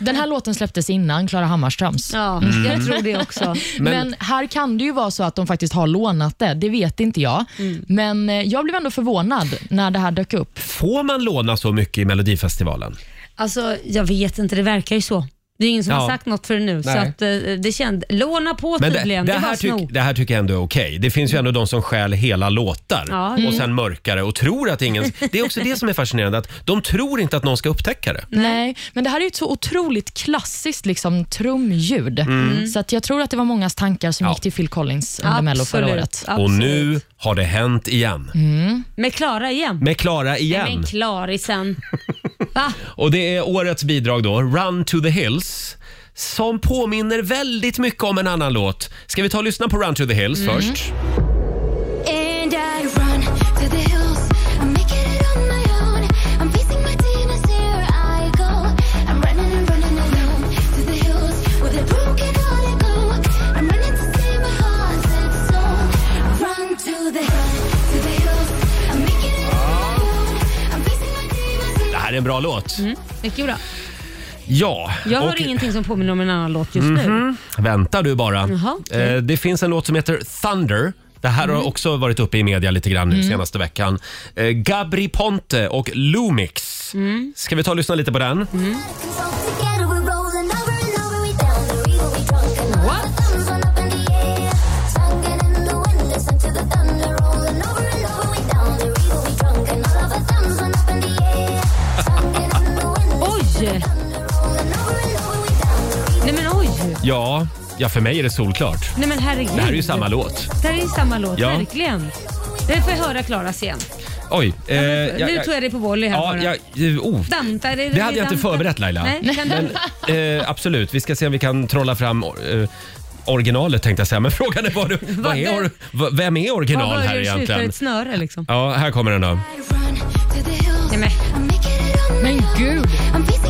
[SPEAKER 3] Den här låten släpptes innan Klara Hammarströms.
[SPEAKER 2] Ja,
[SPEAKER 1] Mm.
[SPEAKER 2] jag tror det också.
[SPEAKER 3] Men, här kan det ju vara så att de faktiskt har lånat det. Det vet inte jag.
[SPEAKER 8] Mm.
[SPEAKER 3] Men eh, jag blev ändå förvånad när det här dök upp.
[SPEAKER 1] Får man låna så mycket i Melodifestivalen?
[SPEAKER 2] Alltså, jag vet inte, det verkar ju så. Det är ingen som
[SPEAKER 1] Ja.
[SPEAKER 2] har sagt något förrän nu. Så
[SPEAKER 1] Nej.
[SPEAKER 2] att, eh, det känd, låna på
[SPEAKER 1] Men det,
[SPEAKER 2] tydligen, det,
[SPEAKER 1] det,
[SPEAKER 2] är bara
[SPEAKER 1] här
[SPEAKER 2] att sno.
[SPEAKER 1] tyck, det här tycker jag ändå är okej. Det finns ju ändå de som stjäl hela låtar
[SPEAKER 2] Ja, Mm.
[SPEAKER 1] och sen mörkar det och tror att ingen... Det är också det som är fascinerande, att de tror inte att någon ska upptäcka det.
[SPEAKER 3] Nej, men det här är ju ett så otroligt klassiskt liksom, trumljud.
[SPEAKER 8] Mm.
[SPEAKER 3] Mm. Så att jag tror att det var mångas tankar som
[SPEAKER 1] Ja.
[SPEAKER 3] gick till Phil Collins under Mello förra året.
[SPEAKER 1] Och
[SPEAKER 2] absolut.
[SPEAKER 1] nu har det hänt igen.
[SPEAKER 2] Med Klara igen.
[SPEAKER 1] Med Klara
[SPEAKER 2] Nej,
[SPEAKER 1] igen.
[SPEAKER 2] men Klarisen. Va?
[SPEAKER 1] Och det är årets bidrag då, Run to the Hills. Som påminner väldigt mycket om en annan låt. Ska vi ta och lyssna på Run to the Hills
[SPEAKER 2] Mm.
[SPEAKER 1] först?
[SPEAKER 7] And I run to the hills. I'm making it on my own. I'm facing my demons. Here I go. I'm running and running alone to the hills with a broken heart I go. I'm running to save my heart and soul. Run to the hills, to the hills. I'm making it on my own. I'm facing my demons.
[SPEAKER 1] Det här är en bra låt.
[SPEAKER 2] Mycket bra.
[SPEAKER 1] Ja.
[SPEAKER 2] Mm. Jag hör
[SPEAKER 1] och- Mhm.
[SPEAKER 2] ingenting som påminner om en annan låt just nu.
[SPEAKER 1] Vänta du bara.
[SPEAKER 2] Jaha, okej. Mm.
[SPEAKER 1] eh, det finns en låt som heter Thunder. Det här har också varit uppe i media lite grann nu senaste veckan. Eh, Gabri Ponte och Lumix.
[SPEAKER 2] Mm.
[SPEAKER 1] Ska vi ta och lyssna lite på den?
[SPEAKER 2] Oj! Nej men oj!
[SPEAKER 1] Ja, ja för mig är det solklart.
[SPEAKER 2] Nej men herregud.
[SPEAKER 1] Det här är ju samma låt.
[SPEAKER 2] Det här är ju samma låt,
[SPEAKER 1] Ja.
[SPEAKER 2] verkligen. Den får jag höra Klaras igen.
[SPEAKER 1] Oj. Eh, jag,
[SPEAKER 2] nu tog jag dig på volley här
[SPEAKER 1] ja,
[SPEAKER 2] bara.
[SPEAKER 1] jag, eh, oh.
[SPEAKER 2] Danta, det,
[SPEAKER 1] Det hade jag inte förberett Laila.
[SPEAKER 2] Nej, kan du?
[SPEAKER 1] Eh, absolut, vi ska se om vi kan trolla fram eh, originalet tänkte jag säga. Men frågan är, vad, vad är or, v- vem är
[SPEAKER 2] Var
[SPEAKER 1] original här
[SPEAKER 2] börjar och slutar
[SPEAKER 1] egentligen?
[SPEAKER 2] ett snöre liksom?
[SPEAKER 1] Ja, här kommer den då.
[SPEAKER 2] Nej, men.
[SPEAKER 3] Men gud,
[SPEAKER 2] Ja, men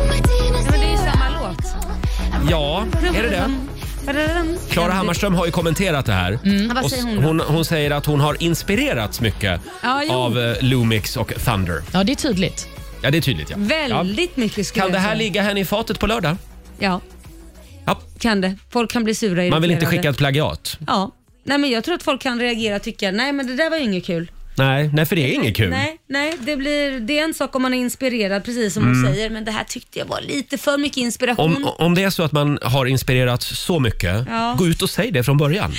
[SPEAKER 2] det är ju samma låt.
[SPEAKER 1] Ja, är det det? Klara Hammarström har ju kommenterat det här.
[SPEAKER 2] Ja, Mm. vad
[SPEAKER 1] Och
[SPEAKER 2] säger
[SPEAKER 1] s-
[SPEAKER 2] hon då?
[SPEAKER 1] hon, hon säger att hon har inspirerats mycket
[SPEAKER 2] Ja, jo.
[SPEAKER 1] av eh, Lumix och Thunder.
[SPEAKER 3] ja det är tydligt.
[SPEAKER 1] Ja, det är tydligt. Ja.
[SPEAKER 2] Väldigt mycket
[SPEAKER 1] Ja.
[SPEAKER 2] skulle
[SPEAKER 1] Kan det
[SPEAKER 2] jag
[SPEAKER 1] här
[SPEAKER 2] säga.
[SPEAKER 1] ligga henne i fatet på lördag?
[SPEAKER 2] Ja.
[SPEAKER 1] Ja.
[SPEAKER 2] Kan det. Folk kan bli sura
[SPEAKER 1] Man vill inte
[SPEAKER 2] irriterade.
[SPEAKER 1] skicka ett plagiat.
[SPEAKER 2] Ja. Nej men jag tror att folk kan reagera och tycka, nej men det där var ju inget
[SPEAKER 1] Mm.
[SPEAKER 2] kul.
[SPEAKER 1] Nej, nej för det är inget kul.
[SPEAKER 2] Nej, nej det, blir, det är en sak om man är inspirerad precis som hon säger, men det här tyckte jag var lite för mycket inspiration.
[SPEAKER 1] Mm. Om, om det är så att man har inspirerats så mycket,
[SPEAKER 2] Mm. Ja.
[SPEAKER 1] gå ut och säg det från början.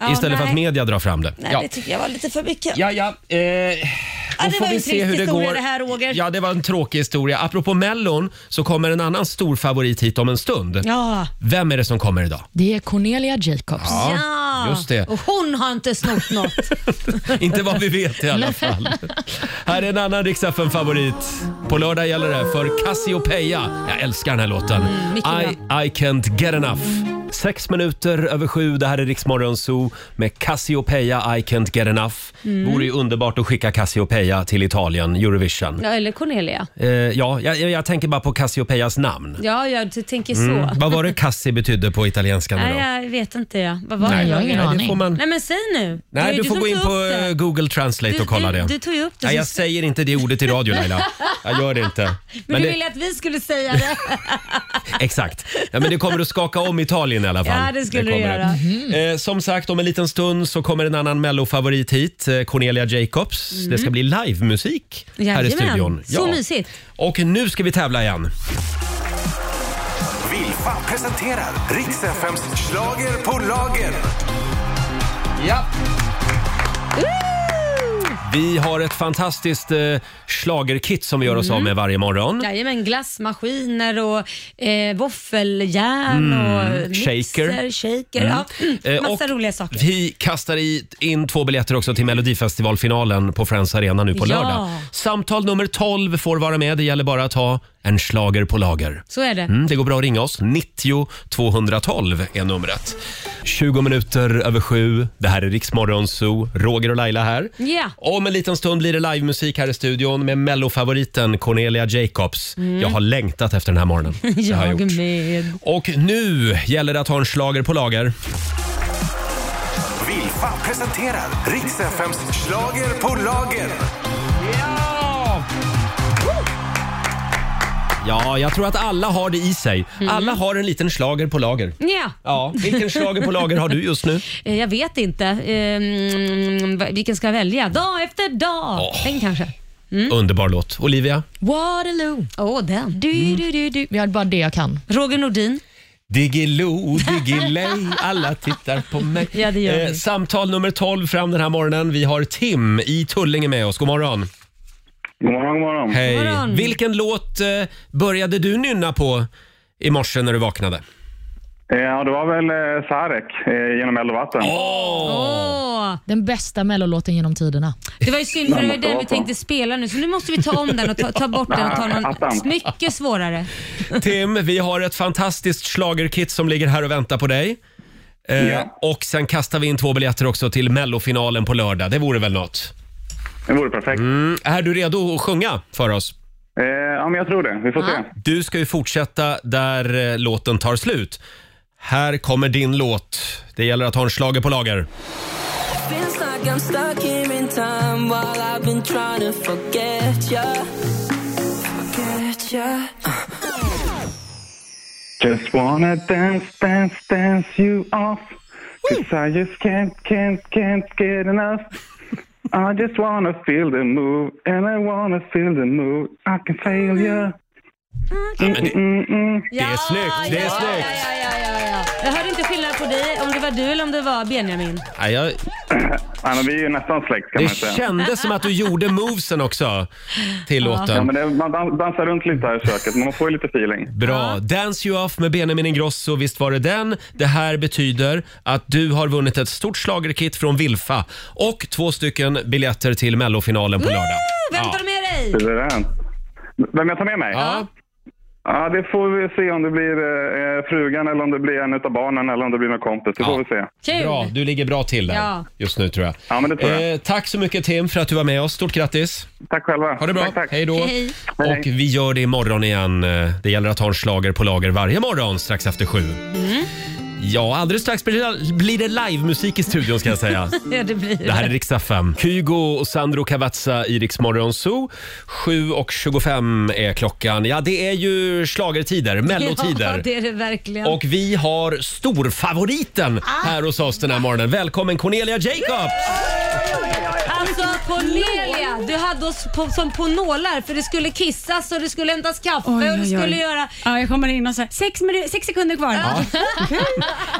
[SPEAKER 2] Ja,
[SPEAKER 1] Istället för
[SPEAKER 2] nej.
[SPEAKER 1] att media drar fram det.
[SPEAKER 2] Nej,
[SPEAKER 1] ja.
[SPEAKER 2] det tycker jag var lite för mycket.
[SPEAKER 1] Ja, ja. Eh,
[SPEAKER 2] Ja,
[SPEAKER 1] då
[SPEAKER 2] det
[SPEAKER 1] får
[SPEAKER 2] var
[SPEAKER 1] vi
[SPEAKER 2] en
[SPEAKER 1] se
[SPEAKER 2] trist
[SPEAKER 1] hur det
[SPEAKER 2] historia
[SPEAKER 1] går.
[SPEAKER 2] det här, Roger.
[SPEAKER 1] Ja, det var en tråkig historia. Apropå Mellon så kommer en annan stor favorit hit om en stund.
[SPEAKER 2] Ja.
[SPEAKER 1] Vem är det som kommer idag?
[SPEAKER 3] Det är Cornelia Jacobs.
[SPEAKER 2] Ja.
[SPEAKER 1] just det.
[SPEAKER 2] Och hon har inte snott något.
[SPEAKER 1] Inte vad vi vet i alla fall. Här är en annan Rix favorit På lördag gäller det för Cassiopeia. Jag älskar den här låten.
[SPEAKER 2] Mm, mycket
[SPEAKER 1] I, I can't get enough. Sex minuter över sju. Det här är Riksmorgon Zoo med Cassiopeia I can't get enough.
[SPEAKER 2] Mm.
[SPEAKER 1] Vore ju underbart att skicka Cassiopeia till Italien, Eurovision.
[SPEAKER 2] Ja, eller Cornelia.
[SPEAKER 1] Eh, ja, jag, jag tänker bara på Cassiopeias namn.
[SPEAKER 2] Ja, jag t- tänker så.
[SPEAKER 1] Vad var det Cassi betydde på italienskan
[SPEAKER 2] Nej,
[SPEAKER 1] idag?
[SPEAKER 2] jag vet inte. Ja. Vad var
[SPEAKER 3] Nej,
[SPEAKER 2] det?
[SPEAKER 3] jag har
[SPEAKER 2] Roger?
[SPEAKER 3] ingen
[SPEAKER 1] Nej, det
[SPEAKER 3] aning.
[SPEAKER 1] får man...
[SPEAKER 2] Nej, men säg nu. Det är
[SPEAKER 1] Nej,
[SPEAKER 2] ju
[SPEAKER 1] du får
[SPEAKER 2] som
[SPEAKER 1] gå in
[SPEAKER 2] tog
[SPEAKER 1] på
[SPEAKER 2] upp det.
[SPEAKER 1] eh, Google Translate
[SPEAKER 2] Du-
[SPEAKER 1] och kolla
[SPEAKER 2] du-
[SPEAKER 1] det.
[SPEAKER 2] du tog ju upp det
[SPEAKER 1] Nej, jag
[SPEAKER 2] sist.
[SPEAKER 1] säger inte det ordet i radio Laila. Jag gör det inte.
[SPEAKER 2] Men,
[SPEAKER 1] Men
[SPEAKER 2] du
[SPEAKER 1] det-
[SPEAKER 2] ville att vi skulle säga det.
[SPEAKER 1] Exakt. Ja, men det kommer att skaka om Italien i alla fall.
[SPEAKER 2] Ja, det skulle det
[SPEAKER 1] kommer
[SPEAKER 2] göra. Mhm.
[SPEAKER 1] Eh, som sagt, om en liten stund så kommer en annan mellofavorit hit, eh, Cornelia Jacobs. Det ska bli livemusik här i
[SPEAKER 2] Mhm. Jajamän.
[SPEAKER 1] studion.
[SPEAKER 2] Så mysigt.
[SPEAKER 1] Och nu ska vi tävla igen.
[SPEAKER 5] Vilfa presenterar Riks-FMs schlager på lager.
[SPEAKER 1] Ja. Vi har ett fantastiskt eh, schlagerkit som vi gör
[SPEAKER 2] Mhm.
[SPEAKER 1] oss av med varje morgon.
[SPEAKER 2] Jajamän, glassmaskiner och eh, våffeljärn och mixer,
[SPEAKER 1] Mm. shaker.
[SPEAKER 2] shaker.
[SPEAKER 1] Eh,
[SPEAKER 2] Ja, Mm. massa
[SPEAKER 1] och Mm.
[SPEAKER 2] roliga saker.
[SPEAKER 1] Vi kastar i- in två biljetter också till Melodifestivalfinalen på Friends Arena nu på
[SPEAKER 2] Ja.
[SPEAKER 1] lördag. Samtal nummer 12 får vara med. Det gäller bara att ha en slager på lager.
[SPEAKER 2] Så är det.
[SPEAKER 1] Mm, det går bra att ringa oss. 90 212 är numret. 20 minuter över sju. Det här är Riksmorgon Zoo. Roger och Laila här.
[SPEAKER 2] Ja.
[SPEAKER 1] Om en liten stund blir det livemusik här i studion med mellofavoriten Cornelia Jacobs. Jag har längtat efter den här morgonen. Det har
[SPEAKER 2] Mm. Jag
[SPEAKER 1] gjort.
[SPEAKER 2] med.
[SPEAKER 1] Och nu gäller det att ha en slager på lager.
[SPEAKER 5] Vilfa presenterar Riks FMs schlager på lager.
[SPEAKER 1] Ja, jag tror att alla har det i sig.
[SPEAKER 2] Mm.
[SPEAKER 1] Alla har en liten slager på lager.
[SPEAKER 2] Ja,
[SPEAKER 1] Ja, vilken slager på lager har du just nu?
[SPEAKER 2] eh, jag vet inte. Ehm, va- vilken ska jag välja? Dag efter dag.
[SPEAKER 1] Åh.
[SPEAKER 2] Den kanske. Mm.
[SPEAKER 1] Underbar låt. Olivia?
[SPEAKER 3] Waterloo.
[SPEAKER 2] Åh, den.
[SPEAKER 3] Du, du, du, du. Jag är bara det jag kan.
[SPEAKER 2] Roger Nordin.
[SPEAKER 1] Diggiloo, diggiley, alla tittar på mig. Eh,
[SPEAKER 2] Ja, det gör vi.
[SPEAKER 1] samtal nummer 12 fram den här morgonen. Vi har Tim i Tullinge med oss. God morgon.
[SPEAKER 9] God morgon, god morgon.
[SPEAKER 1] Hej.
[SPEAKER 2] God morgon.
[SPEAKER 1] Vilken låt eh, började du nynna på i morse när du vaknade?
[SPEAKER 9] Eh, Ja, det var väl eh, Sarek eh, genom eld och vatten.
[SPEAKER 2] Åh.
[SPEAKER 3] Den bästa mellolåten genom tiderna.
[SPEAKER 2] Det var ju synd för det var
[SPEAKER 9] måste
[SPEAKER 2] den
[SPEAKER 9] vara
[SPEAKER 2] vi
[SPEAKER 9] på.
[SPEAKER 2] tänkte spela nu, så nu måste vi ta om den och ta, ta bort den och ta någon
[SPEAKER 9] Attan.
[SPEAKER 2] mycket svårare.
[SPEAKER 1] Tim, vi har ett fantastiskt schlagerkit som ligger här och väntar på dig. Eh,
[SPEAKER 9] Ja.
[SPEAKER 1] Och sen kastar vi in två biljetter också till mellofinalen på lördag. Det vore väl något.
[SPEAKER 9] Det vore perfekt.
[SPEAKER 1] Mm, är du redo att sjunga för oss?
[SPEAKER 9] Eh, ja, men jag tror det. Vi får se.
[SPEAKER 1] Du ska ju fortsätta där eh, låten tar slut. Här kommer din låt. Det gäller att ha en slager på lager.
[SPEAKER 10] Feels like I'm stuck here in time while I've been trying to forget ya. Forget ya.
[SPEAKER 9] Just wanna dance, dance, dance you off Cause I just can't, can't, can't get enough I just wanna feel the move And I wanna feel the move I can feel Mm, you
[SPEAKER 1] Mm.
[SPEAKER 9] mm.
[SPEAKER 1] Det är snyggt, det är
[SPEAKER 2] ja,
[SPEAKER 1] snyggt.
[SPEAKER 2] Ja, ja, ja, ja, ja. Jag hörde inte skillnad på dig, om det var du eller om det var Benjamin.
[SPEAKER 1] Ja, jag,
[SPEAKER 9] ja, men Vi är ju nästan släkt kan
[SPEAKER 1] det
[SPEAKER 9] man säga.
[SPEAKER 1] kändes som att du gjorde movesen också till
[SPEAKER 9] Ja,
[SPEAKER 1] låten.
[SPEAKER 9] men det, man dan- dansar runt lite här i köket, men man får ju lite feeling.
[SPEAKER 1] Bra. Dance You Off med Benjamin Ingrosso, visst var det den? Det här betyder att du har vunnit ett stort schlagerkit från Vilfa och två stycken biljetter till mellofinalen på lördag.
[SPEAKER 2] Vem
[SPEAKER 1] Ja.
[SPEAKER 2] tar med dig?
[SPEAKER 9] Det är det. Vem jag tar med mig?
[SPEAKER 1] Ja.
[SPEAKER 9] Ja, det får vi se om det blir eh, frugan eller om det blir en utav barnen eller om det blir någon kompis. Det får vi se.
[SPEAKER 2] Kul.
[SPEAKER 1] Bra, du ligger bra till där
[SPEAKER 2] Ja.
[SPEAKER 1] just nu tror jag.
[SPEAKER 9] Ja, men det tror jag.
[SPEAKER 1] Eh, tack så mycket Tim för att du var med oss. Stort grattis!
[SPEAKER 9] Tack själva.
[SPEAKER 1] Ha det bra.
[SPEAKER 9] Tack, tack.
[SPEAKER 1] Hej då.
[SPEAKER 2] Hej.
[SPEAKER 1] Och
[SPEAKER 9] Hej.
[SPEAKER 1] vi gör det imorgon igen. Eh, Det gäller att ha en slager på lager varje morgon strax efter sju.
[SPEAKER 2] Mm.
[SPEAKER 1] Ja, alldeles strax blir det, blir det livemusik i studion ska jag säga.
[SPEAKER 2] Ja, det blir
[SPEAKER 1] Det här är Rix FM. Kygo och Sandro Cavazza i Rix Morgon Zoo. 7.25 är klockan. Ja, det är ju schlagertider,
[SPEAKER 2] Ja,
[SPEAKER 1] mellotider.
[SPEAKER 2] det är det verkligen.
[SPEAKER 1] Och vi har storfavoriten här hos oss den här morgonen. Välkommen Cornelia Jacobs!
[SPEAKER 2] Alltså Cornelia, du hade oss på, som på nålar för det skulle kissas och det skulle hämtas kaffe
[SPEAKER 8] Oj,
[SPEAKER 2] och det
[SPEAKER 8] oj,
[SPEAKER 2] skulle
[SPEAKER 8] oj.
[SPEAKER 2] göra...
[SPEAKER 8] Ja, jag kommer in och säger sex, minu- sex sekunder kvar. Ja,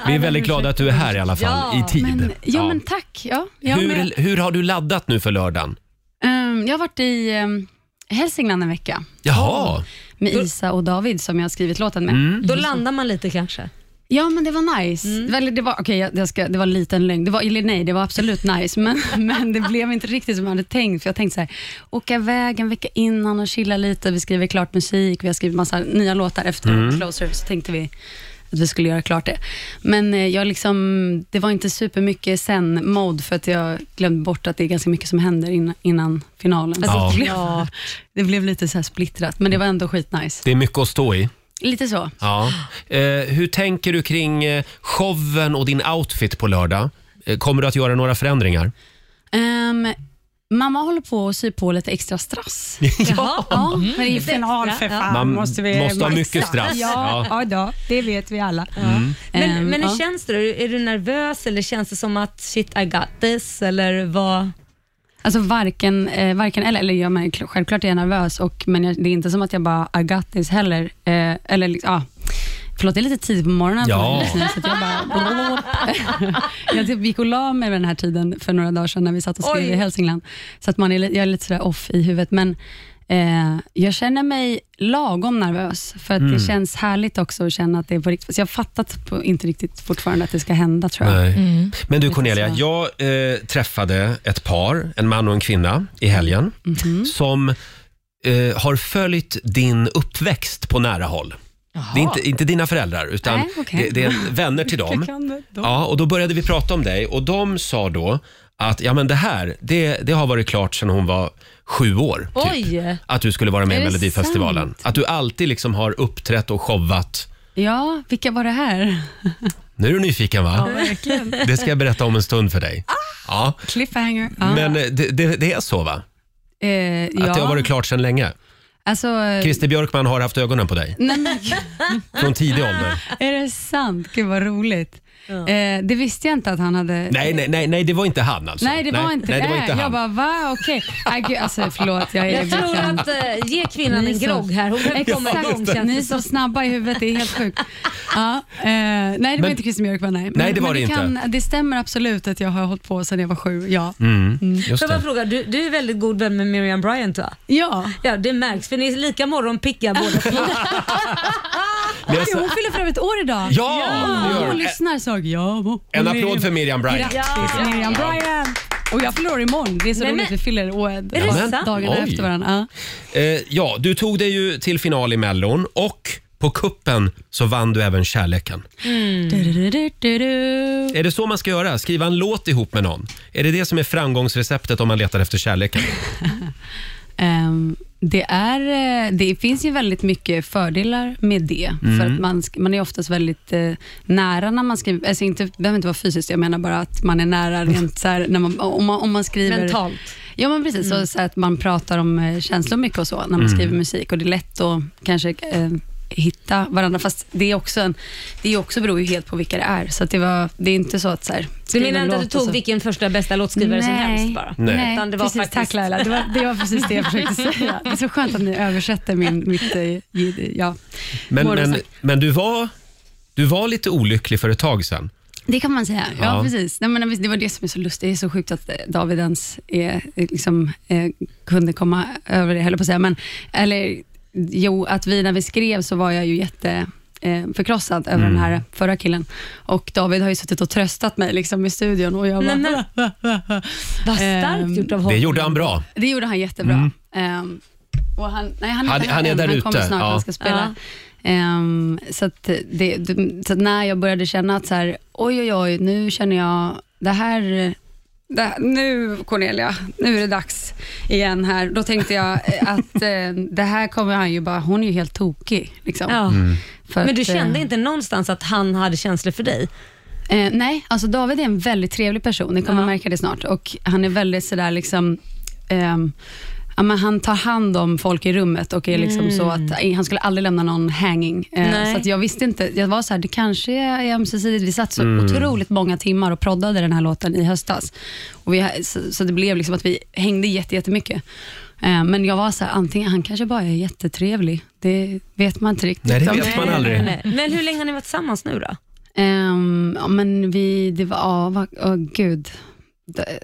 [SPEAKER 1] Vi är väldigt glada att du är här i alla fall,
[SPEAKER 2] Ja,
[SPEAKER 1] i tid.
[SPEAKER 8] men, ja,
[SPEAKER 1] Ja.
[SPEAKER 8] men tack. Ja, jag, har med,
[SPEAKER 1] Hur, hur har du laddat nu för lördagen?
[SPEAKER 8] Ehm, jag har varit i ehm, Hälsingland en vecka
[SPEAKER 1] Jaha,
[SPEAKER 8] med Isa och David som jag har skrivit låten med.
[SPEAKER 2] Då landar man lite kanske.
[SPEAKER 8] Ja, men det var nice.
[SPEAKER 3] Mm.
[SPEAKER 8] Väl, det, var, okej, jag, jag ska, det var en liten lögn. Det var, eller nej, det var absolut nice, men, men det blev inte riktigt som jag hade tänkt. För jag tänkte så här, åka iväg en vecka innan och chilla lite. Vi skriver klart musik, vi har skrivit massa nya låtar efter
[SPEAKER 1] Mm.
[SPEAKER 8] Closer, så tänkte vi att vi skulle göra klart det. Men eh, jag liksom, det var inte supermycket sen-mode, för att jag glömde bort att det är ganska mycket som händer innan, innan finalen.
[SPEAKER 1] Alltså, Ja.
[SPEAKER 8] det, blev, det blev lite så här splittrat, men det var ändå skitnice.
[SPEAKER 1] det är mycket att stå i.
[SPEAKER 8] Lite så.
[SPEAKER 1] Ja. Eh, hur tänker du kring eh, showen och din outfit på lördag? Eh, Kommer du att göra några förändringar?
[SPEAKER 8] Ehm, mamma håller på att sy på lite extra strass.
[SPEAKER 2] Jaha.
[SPEAKER 8] Ja, Mm. men det är ju
[SPEAKER 2] final för fan,
[SPEAKER 1] Man måste, ha mycket strass. Ja.
[SPEAKER 8] då, det vet vi alla.
[SPEAKER 2] Men,
[SPEAKER 8] Ehm,
[SPEAKER 2] men hur
[SPEAKER 8] ja.
[SPEAKER 2] känns det då? Är du nervös eller känns det som att shit I got this eller vad?
[SPEAKER 8] Alltså varken, eh, varken eller, eller jag märker, "Ah, självklart är jag nervös, och, men jag, det är inte som att jag bara I got this heller. Eh, eller, liksom- ja. Förlåt, det är lite tidigt på morgonen.
[SPEAKER 7] Ja.
[SPEAKER 8] för mig just nu, Så att jag, bara, jag typ gick och la mig vid den här tiden för några dagar sedan när vi satt och skrev
[SPEAKER 7] Oj.
[SPEAKER 8] i Hälsingland. Så att man är, li- jag är lite sådär off i huvudet. Men eh, jag känner mig lagom nervös för att
[SPEAKER 7] Mm.
[SPEAKER 8] det känns härligt också att känna att det är på riktigt. Så jag fattar typ inte riktigt fortfarande att det ska hända tror jag.
[SPEAKER 1] Nej. Men du Cornelia, jag eh, träffade ett par, en man och en kvinna, i helgen
[SPEAKER 8] Mhm.
[SPEAKER 1] som eh, har följt din uppväxt på nära håll. Det är inte, inte dina föräldrar, utan
[SPEAKER 7] Nej, okej.
[SPEAKER 1] det, det är vänner till dem.
[SPEAKER 7] Vilka kan det då?
[SPEAKER 1] Ja, och då började vi prata om dig och de sa då att ja, men det här det, det har varit klart sedan hon var sju år. Typ,
[SPEAKER 8] Oj!
[SPEAKER 1] att du skulle vara med
[SPEAKER 8] Är
[SPEAKER 1] i
[SPEAKER 8] det
[SPEAKER 1] Melodifestivalen.
[SPEAKER 8] sant?
[SPEAKER 1] Att du alltid liksom har uppträtt och showat.
[SPEAKER 8] Ja, vilka var det här?
[SPEAKER 1] Nu är du nyfiken va?
[SPEAKER 8] verkligen.
[SPEAKER 1] Det ska jag berätta om en stund för dig. Ja.
[SPEAKER 8] Cliffhanger. Ja.
[SPEAKER 1] Men eh, det, det, det är så va?
[SPEAKER 8] eh, Ah.
[SPEAKER 1] Att
[SPEAKER 8] ja.
[SPEAKER 1] det har varit klart sedan länge?
[SPEAKER 8] Alltså, eh,
[SPEAKER 1] Christer Björkman har haft ögonen på dig
[SPEAKER 8] nej, men,
[SPEAKER 1] från tidig
[SPEAKER 8] Ah.
[SPEAKER 1] ålder.
[SPEAKER 8] är det sant? Gud vad roligt. Eh, det visste jag inte att han hade.
[SPEAKER 1] Nej, nej, nej, nej det var inte han alltså.
[SPEAKER 8] Nej, det var inte
[SPEAKER 1] nej, det. Var inte han.
[SPEAKER 8] Jag bara, va? Okej. Nej, gud, alltså, förlåt. Jag, är
[SPEAKER 2] Jag tror
[SPEAKER 8] verkligen-
[SPEAKER 2] att, eh, ge kvinnan
[SPEAKER 8] Ni
[SPEAKER 2] en
[SPEAKER 8] är så-
[SPEAKER 2] grogg här. Hon kan komma
[SPEAKER 8] Exakt.
[SPEAKER 2] igång, känns det
[SPEAKER 8] Ni är så snabba i huvudet, det är helt sjukt. Ja, eh, nej, det
[SPEAKER 1] Men-
[SPEAKER 8] var inte Christer Björkman. Nej,
[SPEAKER 1] Nej, det var det
[SPEAKER 8] men
[SPEAKER 1] inte.
[SPEAKER 8] Kan, det stämmer absolut att jag har hållit på sedan jag var sju, ja.
[SPEAKER 1] Mm, just
[SPEAKER 2] Får jag bara
[SPEAKER 1] det.
[SPEAKER 2] fråga, du, du är väldigt god vän med Miriam Bryant va?
[SPEAKER 8] Ja.
[SPEAKER 2] Ja, det märks för ni är lika morgonpigga båda två.
[SPEAKER 1] Men jag-
[SPEAKER 8] Oj, hon fyller för övrigt år idag.
[SPEAKER 1] Ja, det gör hon.
[SPEAKER 8] Hon lyssnar så jag må-
[SPEAKER 1] En applåd för Miriam Bryant.
[SPEAKER 8] Grattis Miriam Bryan! Och jag fyller år imorgon. Det är så
[SPEAKER 2] Nej,
[SPEAKER 8] roligt,
[SPEAKER 2] men-
[SPEAKER 8] vi fyller år
[SPEAKER 1] det sant?
[SPEAKER 8] dagarna
[SPEAKER 1] Oj.
[SPEAKER 8] efter varandra.
[SPEAKER 1] Eh, ja, du tog dig ju till final i Mellon och på kuppen så vann du även kärleken.
[SPEAKER 8] Ja. Du-du-du-du-du.
[SPEAKER 1] Är det så man ska göra? Skriva en låt ihop med någon? Är det det som är framgångsreceptet om man letar efter kärleken?
[SPEAKER 8] Ehm, det, är, eh, det finns ju väldigt mycket fördelar med det.
[SPEAKER 1] Mm.
[SPEAKER 8] För att man, sk- man är oftast väldigt eh, nära när man skriver. Alltså inte, det behöver inte vara fysiskt, jag menar bara att man är nära rent så här, när man, om, man, om man skriver...
[SPEAKER 2] Mentalt.
[SPEAKER 8] Ja, men precis. Så, så att man pratar om eh, känslor mycket och så när man
[SPEAKER 2] Mm.
[SPEAKER 8] skriver musik. Och det är lätt att kanske eh, hitta varandra. Fast det, är också en, det är också beror ju helt på vilka det är. Så att det, var, det är inte så att... Så här,
[SPEAKER 2] Du
[SPEAKER 8] skriva
[SPEAKER 2] menar
[SPEAKER 8] en
[SPEAKER 2] inte att du
[SPEAKER 8] låt och
[SPEAKER 2] tog
[SPEAKER 8] så-
[SPEAKER 2] vilken första bästa låtskrivare som helst bara?
[SPEAKER 8] Nej,
[SPEAKER 2] Utan det var
[SPEAKER 8] precis.
[SPEAKER 2] faktiskt...
[SPEAKER 8] Tack Laila. Det var, det var precis det jag försökte säga. Det är så skönt att ni översätter min, mitt... eh, ljud- Ja.
[SPEAKER 1] Men,
[SPEAKER 8] Vår
[SPEAKER 1] men,
[SPEAKER 8] sak.
[SPEAKER 1] men du, var, du var lite olycklig för ett tag sedan.
[SPEAKER 8] Det kan man säga. Ja,
[SPEAKER 1] Ja.
[SPEAKER 8] precis. Nej, men det var det som är så lustigt. Det är så sjukt att eh, David ens är, liksom, eh, kunde komma över det, höll på att säga. Men, eller, jo, att vi när vi skrev så var jag ju jätte eh, förkrossad över
[SPEAKER 7] Mm.
[SPEAKER 8] den här förra killen. Och David har ju suttit och tröstat mig liksom, i studion och
[SPEAKER 1] Mm.
[SPEAKER 8] jag bara...
[SPEAKER 7] Nej,
[SPEAKER 8] Vad
[SPEAKER 2] Ehm,
[SPEAKER 7] starkt gjort av
[SPEAKER 1] Det gjorde han bra.
[SPEAKER 8] Det gjorde han jättebra.
[SPEAKER 1] Mm.
[SPEAKER 8] Ehm, och han, nej, han,
[SPEAKER 1] Han-
[SPEAKER 8] inte
[SPEAKER 1] han är
[SPEAKER 8] än.
[SPEAKER 1] där
[SPEAKER 8] han
[SPEAKER 1] ute,
[SPEAKER 8] kommer snart,
[SPEAKER 1] ja.
[SPEAKER 8] han ska spela. Ehm, så att det, det- så att när jag började känna att så här, oj, oj, oj, nu känner jag det här, det här nu Cornelia, nu är det dags igen här. Då tänkte jag eh, att eh, det här kommer han ju bara, hon är ju helt tokig. Liksom.
[SPEAKER 2] Ja.
[SPEAKER 1] Mm.
[SPEAKER 8] För
[SPEAKER 2] Men du
[SPEAKER 8] att, eh,
[SPEAKER 2] kände inte någonstans att han hade känslor för dig?
[SPEAKER 8] Eh, nej, alltså David är en väldigt trevlig person. Ni kommer märka det snart. Och Han är väldigt sådär liksom... ehm, ja, men han tar hand om folk i rummet och är liksom
[SPEAKER 2] Mm.
[SPEAKER 8] så att eh, han skulle aldrig lämna någon hanging. Eh,
[SPEAKER 2] Nej.
[SPEAKER 8] så att jag visste inte. Jag var så här, det kanske är ömsesidigt. Vi satt så
[SPEAKER 7] Mm.
[SPEAKER 8] otroligt många timmar och proddade den här låten i höstas. Och vi, så, så det blev liksom att vi hängde jätte- jättemycket. Eh, men jag var så här, antingen han kanske bara är jättetrevlig. Det vet man inte riktigt.
[SPEAKER 1] Nej, det
[SPEAKER 8] om-
[SPEAKER 1] vet man aldrig.
[SPEAKER 2] Nej. Men hur länge har ni varit tillsammans nu då?
[SPEAKER 8] Ehm, ja, men vi, det var, ja, vad, åh gud. Det-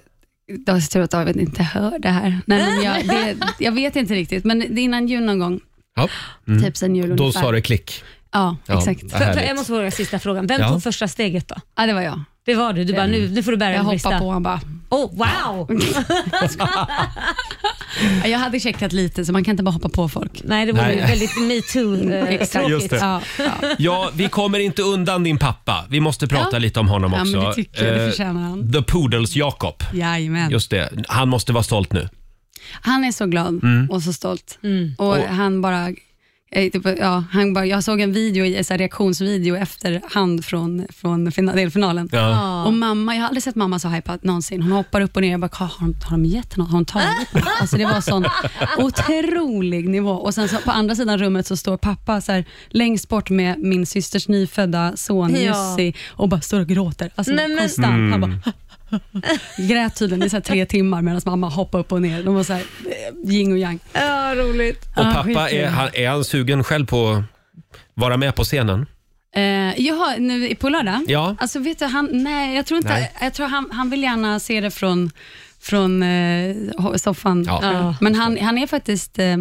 [SPEAKER 8] Det var så tur att David inte hör det här. Nej, men jag, det, jag vet inte riktigt, men det är innan jul någon gång.
[SPEAKER 1] Ja.
[SPEAKER 8] Typ sen jul
[SPEAKER 1] Mm. Då
[SPEAKER 8] ungefär.
[SPEAKER 1] sa det klick.
[SPEAKER 8] Ja,
[SPEAKER 1] Ja,
[SPEAKER 8] exakt.
[SPEAKER 1] vad
[SPEAKER 2] För, för
[SPEAKER 1] härligt.
[SPEAKER 2] jag måste fråga sista frågan. Vem
[SPEAKER 1] Ja.
[SPEAKER 2] tog första steget då?
[SPEAKER 8] Ja, det var jag.
[SPEAKER 2] Det var du. Du bara, nu, nu får du bära
[SPEAKER 8] Mm. Jag
[SPEAKER 2] den
[SPEAKER 8] hoppade
[SPEAKER 2] brista.
[SPEAKER 8] på, Mm. han bara...
[SPEAKER 2] Oh, wow!
[SPEAKER 8] Ja, Jag hade checkat lite, så man kan inte bara hoppa på folk.
[SPEAKER 2] Nej, det
[SPEAKER 1] vore Nej. ju väldigt
[SPEAKER 8] metoo-tråkigt.
[SPEAKER 1] Just det.
[SPEAKER 8] Ja.
[SPEAKER 1] Ja, vi kommer inte undan din pappa. Vi måste prata
[SPEAKER 8] Ja.
[SPEAKER 1] lite om honom
[SPEAKER 8] Ja,
[SPEAKER 1] också.
[SPEAKER 8] men det tycker jag. Det
[SPEAKER 1] Eh,
[SPEAKER 8] förtjänar han.
[SPEAKER 1] The Poodles Jakob.
[SPEAKER 8] Jajamän.
[SPEAKER 1] Just det. Han måste vara stolt nu.
[SPEAKER 8] Han är så glad
[SPEAKER 1] Mm.
[SPEAKER 8] och så stolt. Och,
[SPEAKER 1] Och-
[SPEAKER 8] han bara... eh, typ, Ja, han bara, jag såg en video, i- en så här reaktionsvideo efterhand från, från final, delfinalen.
[SPEAKER 7] Ja.
[SPEAKER 8] Och mamma, jag har aldrig sett mamma så hypad någonsin. Hon hoppar upp och ner. Jag bara, "Ka, har de, har de gett något? Har de tagit något? Alltså Det var sån otrolig nivå. Och sen så, på andra sidan rummet så står pappa så här, längst bort med min systers nyfödda son
[SPEAKER 7] Ja.
[SPEAKER 8] Jussi och bara står och gråter. Alltså,
[SPEAKER 7] Nej, men-
[SPEAKER 8] konstant. Han bara,
[SPEAKER 7] Mm.
[SPEAKER 8] grät tydligen i så här tre timmar medan mamma hoppade upp och ner. De var så här, eh, yin och yang.
[SPEAKER 2] Ja, roligt.
[SPEAKER 1] Och pappa, är han, är han sugen själv på att vara med på scenen?
[SPEAKER 8] Eh, jaha, nu på lördag?
[SPEAKER 1] Ja.
[SPEAKER 8] Alltså vet du, han, nej, jag tror inte,
[SPEAKER 1] Nej.
[SPEAKER 8] jag tror han, han vill gärna se det från, från eh, ho- soffan.
[SPEAKER 1] Ja. Ja.
[SPEAKER 8] Men han, han är faktiskt eh,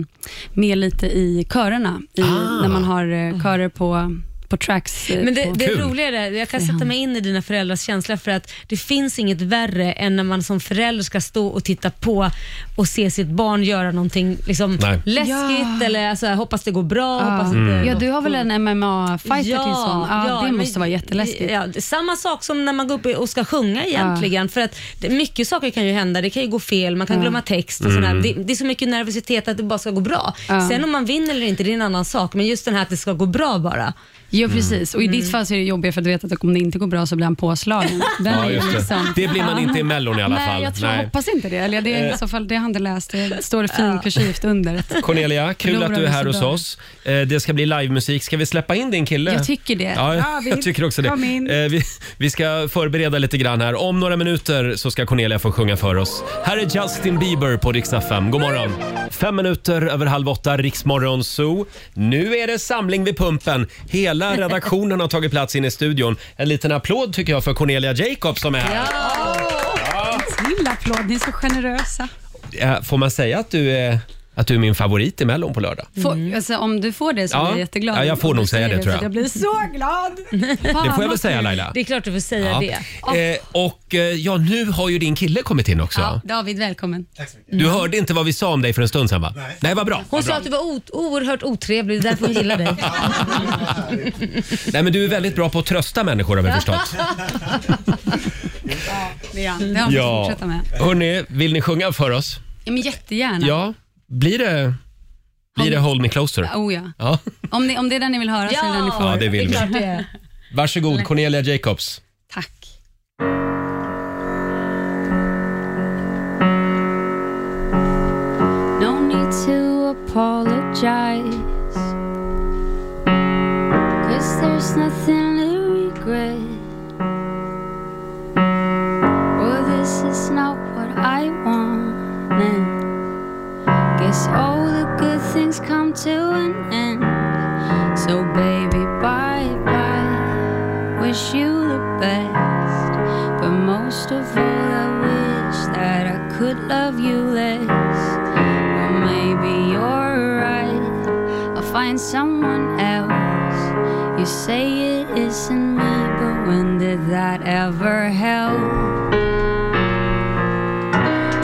[SPEAKER 8] med lite i körerna, i,
[SPEAKER 1] Ah.
[SPEAKER 8] när man har eh, körer på, på tracks. eh,
[SPEAKER 2] Men det,
[SPEAKER 8] på.
[SPEAKER 2] det roliga är det, jag kan sätta mig in i dina föräldrars känsla för att det finns inget värre än när man som förälder ska stå och titta på och se sitt barn göra någonting liksom
[SPEAKER 8] Nej.
[SPEAKER 2] läskigt
[SPEAKER 8] Ja.
[SPEAKER 2] eller alltså, hoppas det går bra.
[SPEAKER 8] Ja.
[SPEAKER 2] Hoppas att
[SPEAKER 8] Mm.
[SPEAKER 2] det,
[SPEAKER 8] Ja, du har väl en MMA-fighter till son? Ja, det måste vara jätteläskigt.
[SPEAKER 2] Ja, det- samma sak som när man går upp och ska sjunga egentligen. För att det, mycket saker kan ju hända. Det kan ju gå fel, man kan
[SPEAKER 8] Ja.
[SPEAKER 2] glömma text och
[SPEAKER 8] Mm.
[SPEAKER 2] sådär. Det, det är så mycket nervositet att det bara ska gå bra.
[SPEAKER 8] Ja.
[SPEAKER 2] Sen om man vinner eller inte, det är en annan sak. Men just den här att det ska gå bra bara.
[SPEAKER 8] Ja,
[SPEAKER 1] Mm.
[SPEAKER 8] precis. Och i ditt fall så är det jobbigt för att du vet att om det inte går bra så blir han påslagen. Den är
[SPEAKER 1] Ja,
[SPEAKER 8] ju
[SPEAKER 1] just det.
[SPEAKER 8] liksom-
[SPEAKER 1] det blir man inte i Mellon i alla
[SPEAKER 8] Nej,
[SPEAKER 1] fall.
[SPEAKER 8] jag tror,
[SPEAKER 1] Nej.
[SPEAKER 8] hoppas inte det. Eller det är
[SPEAKER 1] Eh.
[SPEAKER 8] i så fall, det har jag inte läst. Det står i fin kursiv under.
[SPEAKER 1] Cornelia, kul
[SPEAKER 8] Förlorar
[SPEAKER 1] att du är här
[SPEAKER 8] vi
[SPEAKER 1] hos
[SPEAKER 8] så bra.
[SPEAKER 1] oss. Eh, Det ska bli livemusik. Ska vi släppa in din kille?
[SPEAKER 8] Jag tycker det.
[SPEAKER 1] Ja,
[SPEAKER 8] Ja,
[SPEAKER 1] jag
[SPEAKER 8] visst.
[SPEAKER 1] tycker också det.
[SPEAKER 8] Kom in.
[SPEAKER 1] Eh, Vi, vi ska förbereda lite grann här. Om några minuter så ska Cornelia få sjunga för oss. Här är Justin Bieber på riksdag 5. God morgon! Fem minuter över halv åtta, Riksmorgon Zoo. Nu är det samling vid pumpen. Hela redaktionen har tagit plats in i studion. En liten applåd tycker jag för Cornelia Jacob som är här.
[SPEAKER 8] En till applåd, ni är så generösa.
[SPEAKER 1] Eh, Får man säga att du är, att du är min favorit i Mellon på lördag?
[SPEAKER 8] Får, alltså, om du får det så
[SPEAKER 1] Mm. Ja.
[SPEAKER 8] blir jag jätteglad.
[SPEAKER 1] Ja, jag får
[SPEAKER 8] Om
[SPEAKER 1] nog
[SPEAKER 8] du
[SPEAKER 1] säga
[SPEAKER 8] säger
[SPEAKER 1] det, tror
[SPEAKER 8] för
[SPEAKER 1] jag.
[SPEAKER 8] Jag blir så glad.
[SPEAKER 1] Det får jag väl säga Laila?
[SPEAKER 2] Det är klart du får säga
[SPEAKER 1] Ja.
[SPEAKER 2] det.
[SPEAKER 1] Eh, och eh, ja, nu har ju din kille kommit in också.
[SPEAKER 8] Ja, David, välkommen. Tack så
[SPEAKER 1] Du hörde inte vad vi sa om dig för en stund sedan va? Nej, Nej vad bra.
[SPEAKER 2] Hon
[SPEAKER 1] Vad
[SPEAKER 2] sa
[SPEAKER 1] bra.
[SPEAKER 2] att du var o- oerhört otrevlig, det är därför hon gillar dig.
[SPEAKER 1] Nej, men du är väldigt bra på att trösta människor har vi förstått.
[SPEAKER 8] Det, är han. det har vi ja. fortsätta med.
[SPEAKER 1] Hörni, vill ni sjunga för oss?
[SPEAKER 8] Ja, men jättegärna.
[SPEAKER 1] Ja. Blir det, blir det Hold Me Closer?
[SPEAKER 8] Oh, ja.
[SPEAKER 1] Ja.
[SPEAKER 8] Om, ni, om det är den ni vill höra så är det den ni får.
[SPEAKER 1] Ja, det vill vi. Varsågod Cornelia Jacobs.
[SPEAKER 10] No need to apologize. Cause there's nothing to regret. Well, this is not what I wanted. Guess all the good things come to an end. So, baby, bye bye. Wish you the best. But most of all, I wish that I could love you less. Well, maybe you're right. I'll find someone else. You say it isn't me, but when did that ever help?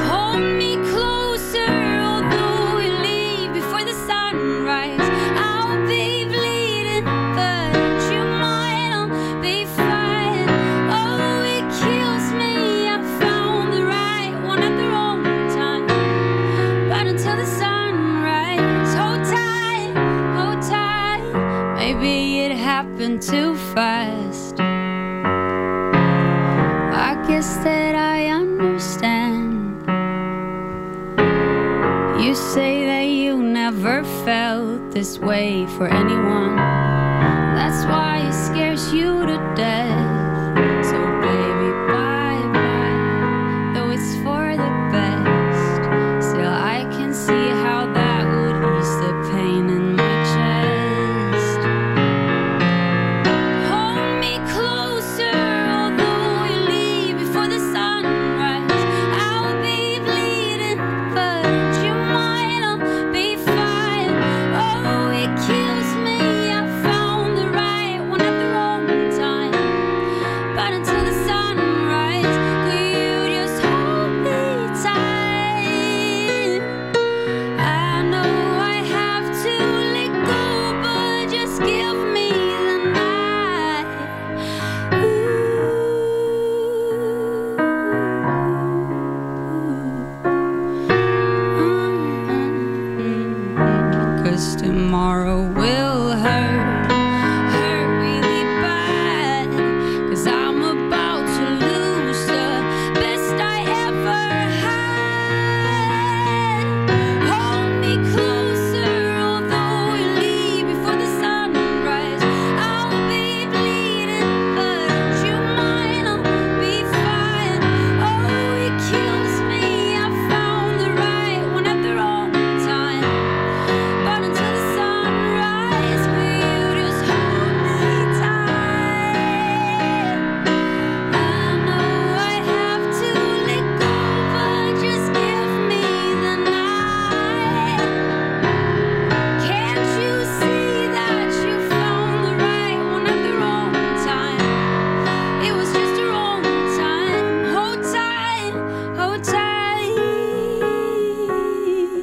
[SPEAKER 10] Hold me closer, although we leave before the sunrise. I'll be bleeding, but you might not be fine. Oh, it kills me. I found the right one at the wrong time. But until the sunrise, hold tight, hold tight. Maybe it happened too fast. I guess that I understand. You say that you never felt this way for anyone. That's why it scares you to death. So, baby, bye bye. Though it's for the best, still I can see how that would ease the pain in my chest. Hold me closer, although we leave before the sunrise. I'll be bleeding, but you might not be fine. Oh, it kills me. I found the right one at the wrong time.
[SPEAKER 7] Oh,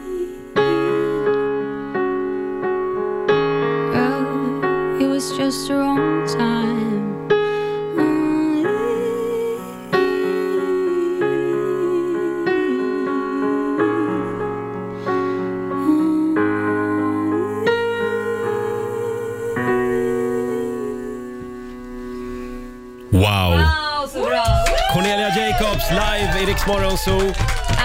[SPEAKER 8] Oh,
[SPEAKER 2] Ah.
[SPEAKER 1] Olivia Jacobs live i Rix Morgon Zoo.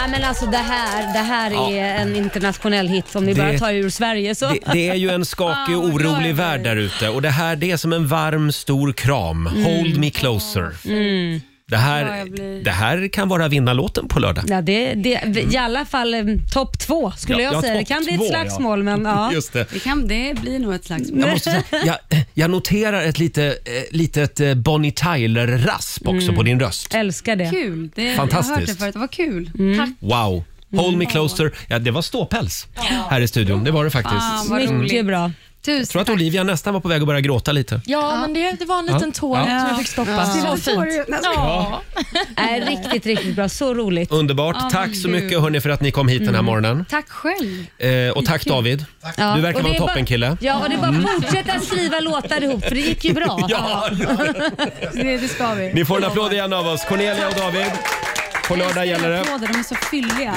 [SPEAKER 2] Nej men alltså det här, det här
[SPEAKER 1] Ja.
[SPEAKER 2] är en internationell hit som ni
[SPEAKER 1] Det-
[SPEAKER 2] bara tar ur Sverige så.
[SPEAKER 1] Det, det är ju en skakig och orolig värld där ute och det här det är som en varm stor kram.
[SPEAKER 2] Mm.
[SPEAKER 1] Hold me closer.
[SPEAKER 2] Mm.
[SPEAKER 1] Det
[SPEAKER 2] Ja,
[SPEAKER 1] här,
[SPEAKER 2] jag blir-
[SPEAKER 1] det här kan vara vinnarlåten på lördag.
[SPEAKER 2] Ja, det, det, I alla fall eh, topp två skulle
[SPEAKER 1] Ja, ja,
[SPEAKER 2] jag säga. Det
[SPEAKER 1] topp
[SPEAKER 2] kan bli
[SPEAKER 1] två,
[SPEAKER 2] ett
[SPEAKER 1] ja.
[SPEAKER 2] slagsmål men ja.
[SPEAKER 1] Just det.
[SPEAKER 8] Det, kan, det blir nog ett slagsmål.
[SPEAKER 1] Jag, måste säga, jag, jag noterar ett lite, eh, litet eh, Bonnie Tyler-rasp också
[SPEAKER 8] Mm.
[SPEAKER 1] på din röst.
[SPEAKER 2] Älskar det.
[SPEAKER 8] Kul. Det, Jag har hört det
[SPEAKER 1] Fantastiskt. Mm.
[SPEAKER 8] förut. Vad kul. Tack.
[SPEAKER 1] Wow. Hold me closer. Ja, det var ståpäls här i studion. Det var det faktiskt.
[SPEAKER 8] Ah, vad
[SPEAKER 1] Mm.
[SPEAKER 8] roligt.
[SPEAKER 2] bra.
[SPEAKER 8] Tusen
[SPEAKER 1] Jag tror att Olivia nästan var på väg att börja gråta lite.
[SPEAKER 3] Ja, men det, det var en liten
[SPEAKER 1] Ja.
[SPEAKER 3] tår
[SPEAKER 1] Ja.
[SPEAKER 3] som jag fick stoppa.
[SPEAKER 2] Ja.
[SPEAKER 3] Så
[SPEAKER 2] Sorry.
[SPEAKER 3] fint.
[SPEAKER 2] Nej, jag
[SPEAKER 3] Ja.
[SPEAKER 2] Nej, riktigt, riktigt bra. Så roligt.
[SPEAKER 1] Underbart.
[SPEAKER 2] Ja,
[SPEAKER 1] tack så
[SPEAKER 2] kul.
[SPEAKER 1] mycket hörni för att ni kom hit den här
[SPEAKER 2] Mm.
[SPEAKER 1] morgonen.
[SPEAKER 8] Tack själv.
[SPEAKER 1] Eh, och tack David.
[SPEAKER 2] Ja,
[SPEAKER 1] Du verkar
[SPEAKER 2] och
[SPEAKER 1] vara
[SPEAKER 2] det
[SPEAKER 1] en
[SPEAKER 2] är bara-
[SPEAKER 1] toppenkille.
[SPEAKER 2] Ja, och det är bara
[SPEAKER 1] Mm.
[SPEAKER 2] att fortsätta skriva låtar ihop för det gick ju bra.
[SPEAKER 1] Ja,
[SPEAKER 8] Det, det ska vi.
[SPEAKER 1] Ni får en applåd igen av oss. Cornelia och David. På lördag gäller det.
[SPEAKER 8] Applåder, de är så fylliga.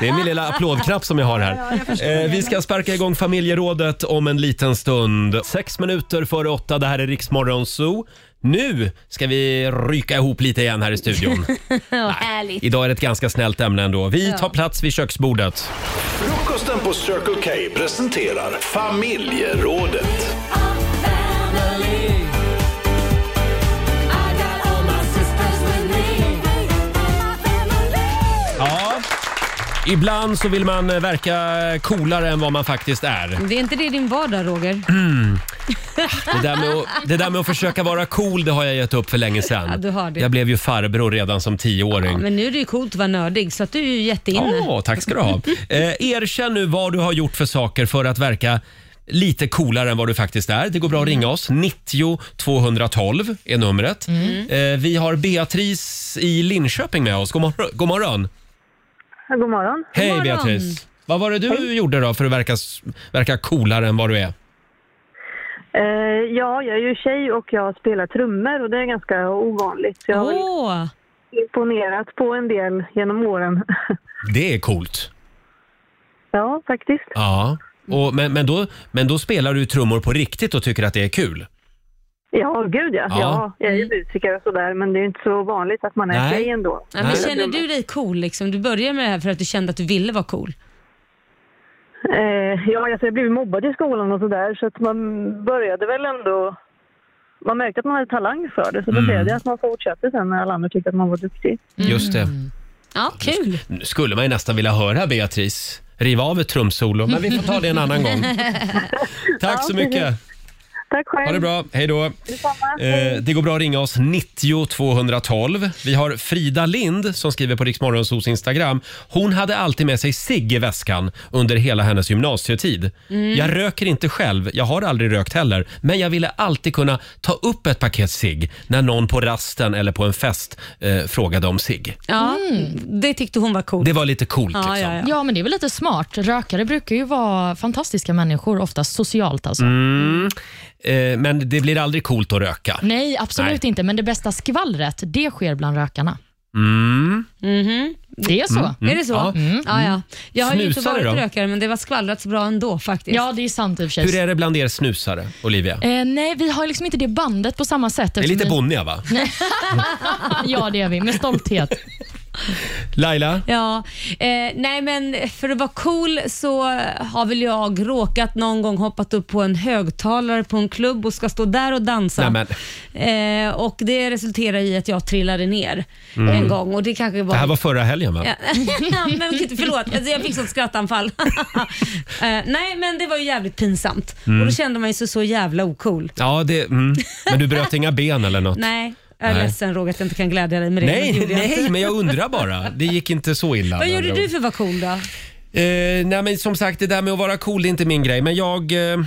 [SPEAKER 1] Det är min lilla applådknapp som jag har här. eh, vi ska sparka igång familjerådet om en liten stund. Sex minuter före åtta, det här är Riksmorgon Zoo. Nu ska vi ryka ihop lite igen här i studion.
[SPEAKER 2] Ja, härligt.
[SPEAKER 1] Idag är det ett ganska snällt ämne ändå. Vi tar plats vid köksbordet.
[SPEAKER 11] Frukosten på Circle K presenterar familjerådet.
[SPEAKER 1] Ja. Ibland så vill man eh, verka coolare än vad man faktiskt är.
[SPEAKER 2] Det är inte det i din vardag, Roger?
[SPEAKER 1] Mm. Det, där med att, det där med att försöka vara cool det har jag gett upp för länge sedan.
[SPEAKER 2] Ja, du har det.
[SPEAKER 1] Jag blev ju farbror redan som
[SPEAKER 2] Ja,
[SPEAKER 1] tioåring.
[SPEAKER 2] men nu är det ju coolt att vara nördig så att du är ju jätteinne.
[SPEAKER 1] Ja, tack ska du ha. Eh, erkänn nu vad du har gjort för saker för att verka lite coolare än vad du faktiskt är. Det går bra att ringa oss. 90 212 är numret.
[SPEAKER 7] Mm.
[SPEAKER 1] Eh, vi har Beatrice i Linköping med oss. God, mor- god morgon.
[SPEAKER 12] God morgon.
[SPEAKER 1] Hej Beatrice. Vad var det du gjorde då för att verka, s- verka coolare än vad du är?
[SPEAKER 12] Eh, ja, jag är ju tjej och jag spelar trummor och det är ganska ovanligt. Så jag har väl imponerat på en del genom åren.
[SPEAKER 1] Det är coolt.
[SPEAKER 12] ja, faktiskt.
[SPEAKER 1] Ja. Och, men, men, då, men då spelar du trummor på riktigt och tycker att det är kul?
[SPEAKER 12] Ja, gud ja.
[SPEAKER 1] Ja.
[SPEAKER 12] ja. jag är ju
[SPEAKER 2] Mm.
[SPEAKER 12] musiker och sådär, men det är ju inte så vanligt att man är
[SPEAKER 1] Nej.
[SPEAKER 12] tjej ändå.
[SPEAKER 2] Ja, men känner du dig cool? Liksom? Du började med det här för att du kände att du ville vara cool.
[SPEAKER 12] Eh, ja, alltså jag blev mobbad i skolan och sådär, så att man började väl ändå... Man märkte att man hade talang för det, så då
[SPEAKER 1] Mm.
[SPEAKER 12] blev det att man fortsatte sen när alla andra tyckte att man var duktig.
[SPEAKER 1] Just det.
[SPEAKER 2] Ja, kul.
[SPEAKER 1] Nu skulle man ju nästan vilja höra Beatrice riva av ett trumsolo, men vi får ta det en annan gång. Tack så mycket.
[SPEAKER 12] Tack själv.
[SPEAKER 1] Ha det bra. Hej då. Eh, det går bra att ringa oss 90 212. Vi har Frida Lind som skriver på Riksmorgonsos Instagram. Hon hade alltid med sig cigg i väskan under hela hennes gymnasietid.
[SPEAKER 7] Mm.
[SPEAKER 1] Jag röker inte själv, jag har aldrig rökt heller, men jag ville alltid kunna ta upp ett paket cigg när någon på rasten eller på en fest eh, frågade om cigg.
[SPEAKER 2] Ja,
[SPEAKER 8] Mm.
[SPEAKER 2] Det tyckte hon var coolt.
[SPEAKER 1] Det var lite coolt liksom.
[SPEAKER 3] Ja, ja, ja. men det är väl lite smart. Rökare brukar ju vara fantastiska människor, oftast socialt alltså.
[SPEAKER 1] Mm. Eh, men det blir aldrig coolt att röka.
[SPEAKER 3] Nej, absolut
[SPEAKER 1] Nej.
[SPEAKER 3] inte. Men det bästa skvallret, det sker bland rökarna.
[SPEAKER 1] Mm.
[SPEAKER 3] Det är så.
[SPEAKER 1] Mm, mm,
[SPEAKER 2] Är det så?
[SPEAKER 1] ja. Mm.
[SPEAKER 2] Ja, ja. Jag har ju inte
[SPEAKER 1] Snusare
[SPEAKER 2] varit
[SPEAKER 1] då?
[SPEAKER 2] rökare men det var skvallrat så bra ändå faktiskt.
[SPEAKER 3] Ja, det är sant i och för
[SPEAKER 1] Hur är det bland er snusare, Olivia?
[SPEAKER 3] Eh, nej, vi har liksom inte det bandet på samma sätt.
[SPEAKER 1] Det är
[SPEAKER 3] eftersom
[SPEAKER 1] lite
[SPEAKER 3] vi-
[SPEAKER 1] bonniga va?
[SPEAKER 3] Nej. ja, det är vi. Med stolthet.
[SPEAKER 1] Laila?
[SPEAKER 2] Ja, eh, nej men för att vara cool så har väl jag råkat någon gång hoppat upp på en högtalare på en klubb och ska stå där och dansa.
[SPEAKER 1] Nej,
[SPEAKER 2] Eh, och det resulterar i att jag trillade ner
[SPEAKER 1] Mm.
[SPEAKER 2] en gång och det kanske var...
[SPEAKER 1] Det här var förra helgen va?
[SPEAKER 2] Ja, men gud, förlåt, alltså, jag fick sånt skrattanfall. eh, nej, men det var ju jävligt pinsamt.
[SPEAKER 1] Mm.
[SPEAKER 2] Och då kände man ju sig så jävla ocool.
[SPEAKER 1] Ja, det, mm. Men du bröt inga ben eller något?
[SPEAKER 2] Nej, jag är
[SPEAKER 1] Nej.
[SPEAKER 2] ledsen Roger att jag inte kan glädja dig med det. men det
[SPEAKER 1] nej,
[SPEAKER 2] gjorde jag
[SPEAKER 1] nej,
[SPEAKER 2] inte.
[SPEAKER 1] men jag undrar bara. Det gick inte så illa.
[SPEAKER 2] Vad
[SPEAKER 1] med
[SPEAKER 2] gjorde
[SPEAKER 1] andra
[SPEAKER 2] du
[SPEAKER 1] ord.
[SPEAKER 2] för att vara cool då?
[SPEAKER 1] Eh, nej, men som sagt, det där med att vara cool det är inte min grej. Men jag... Eh,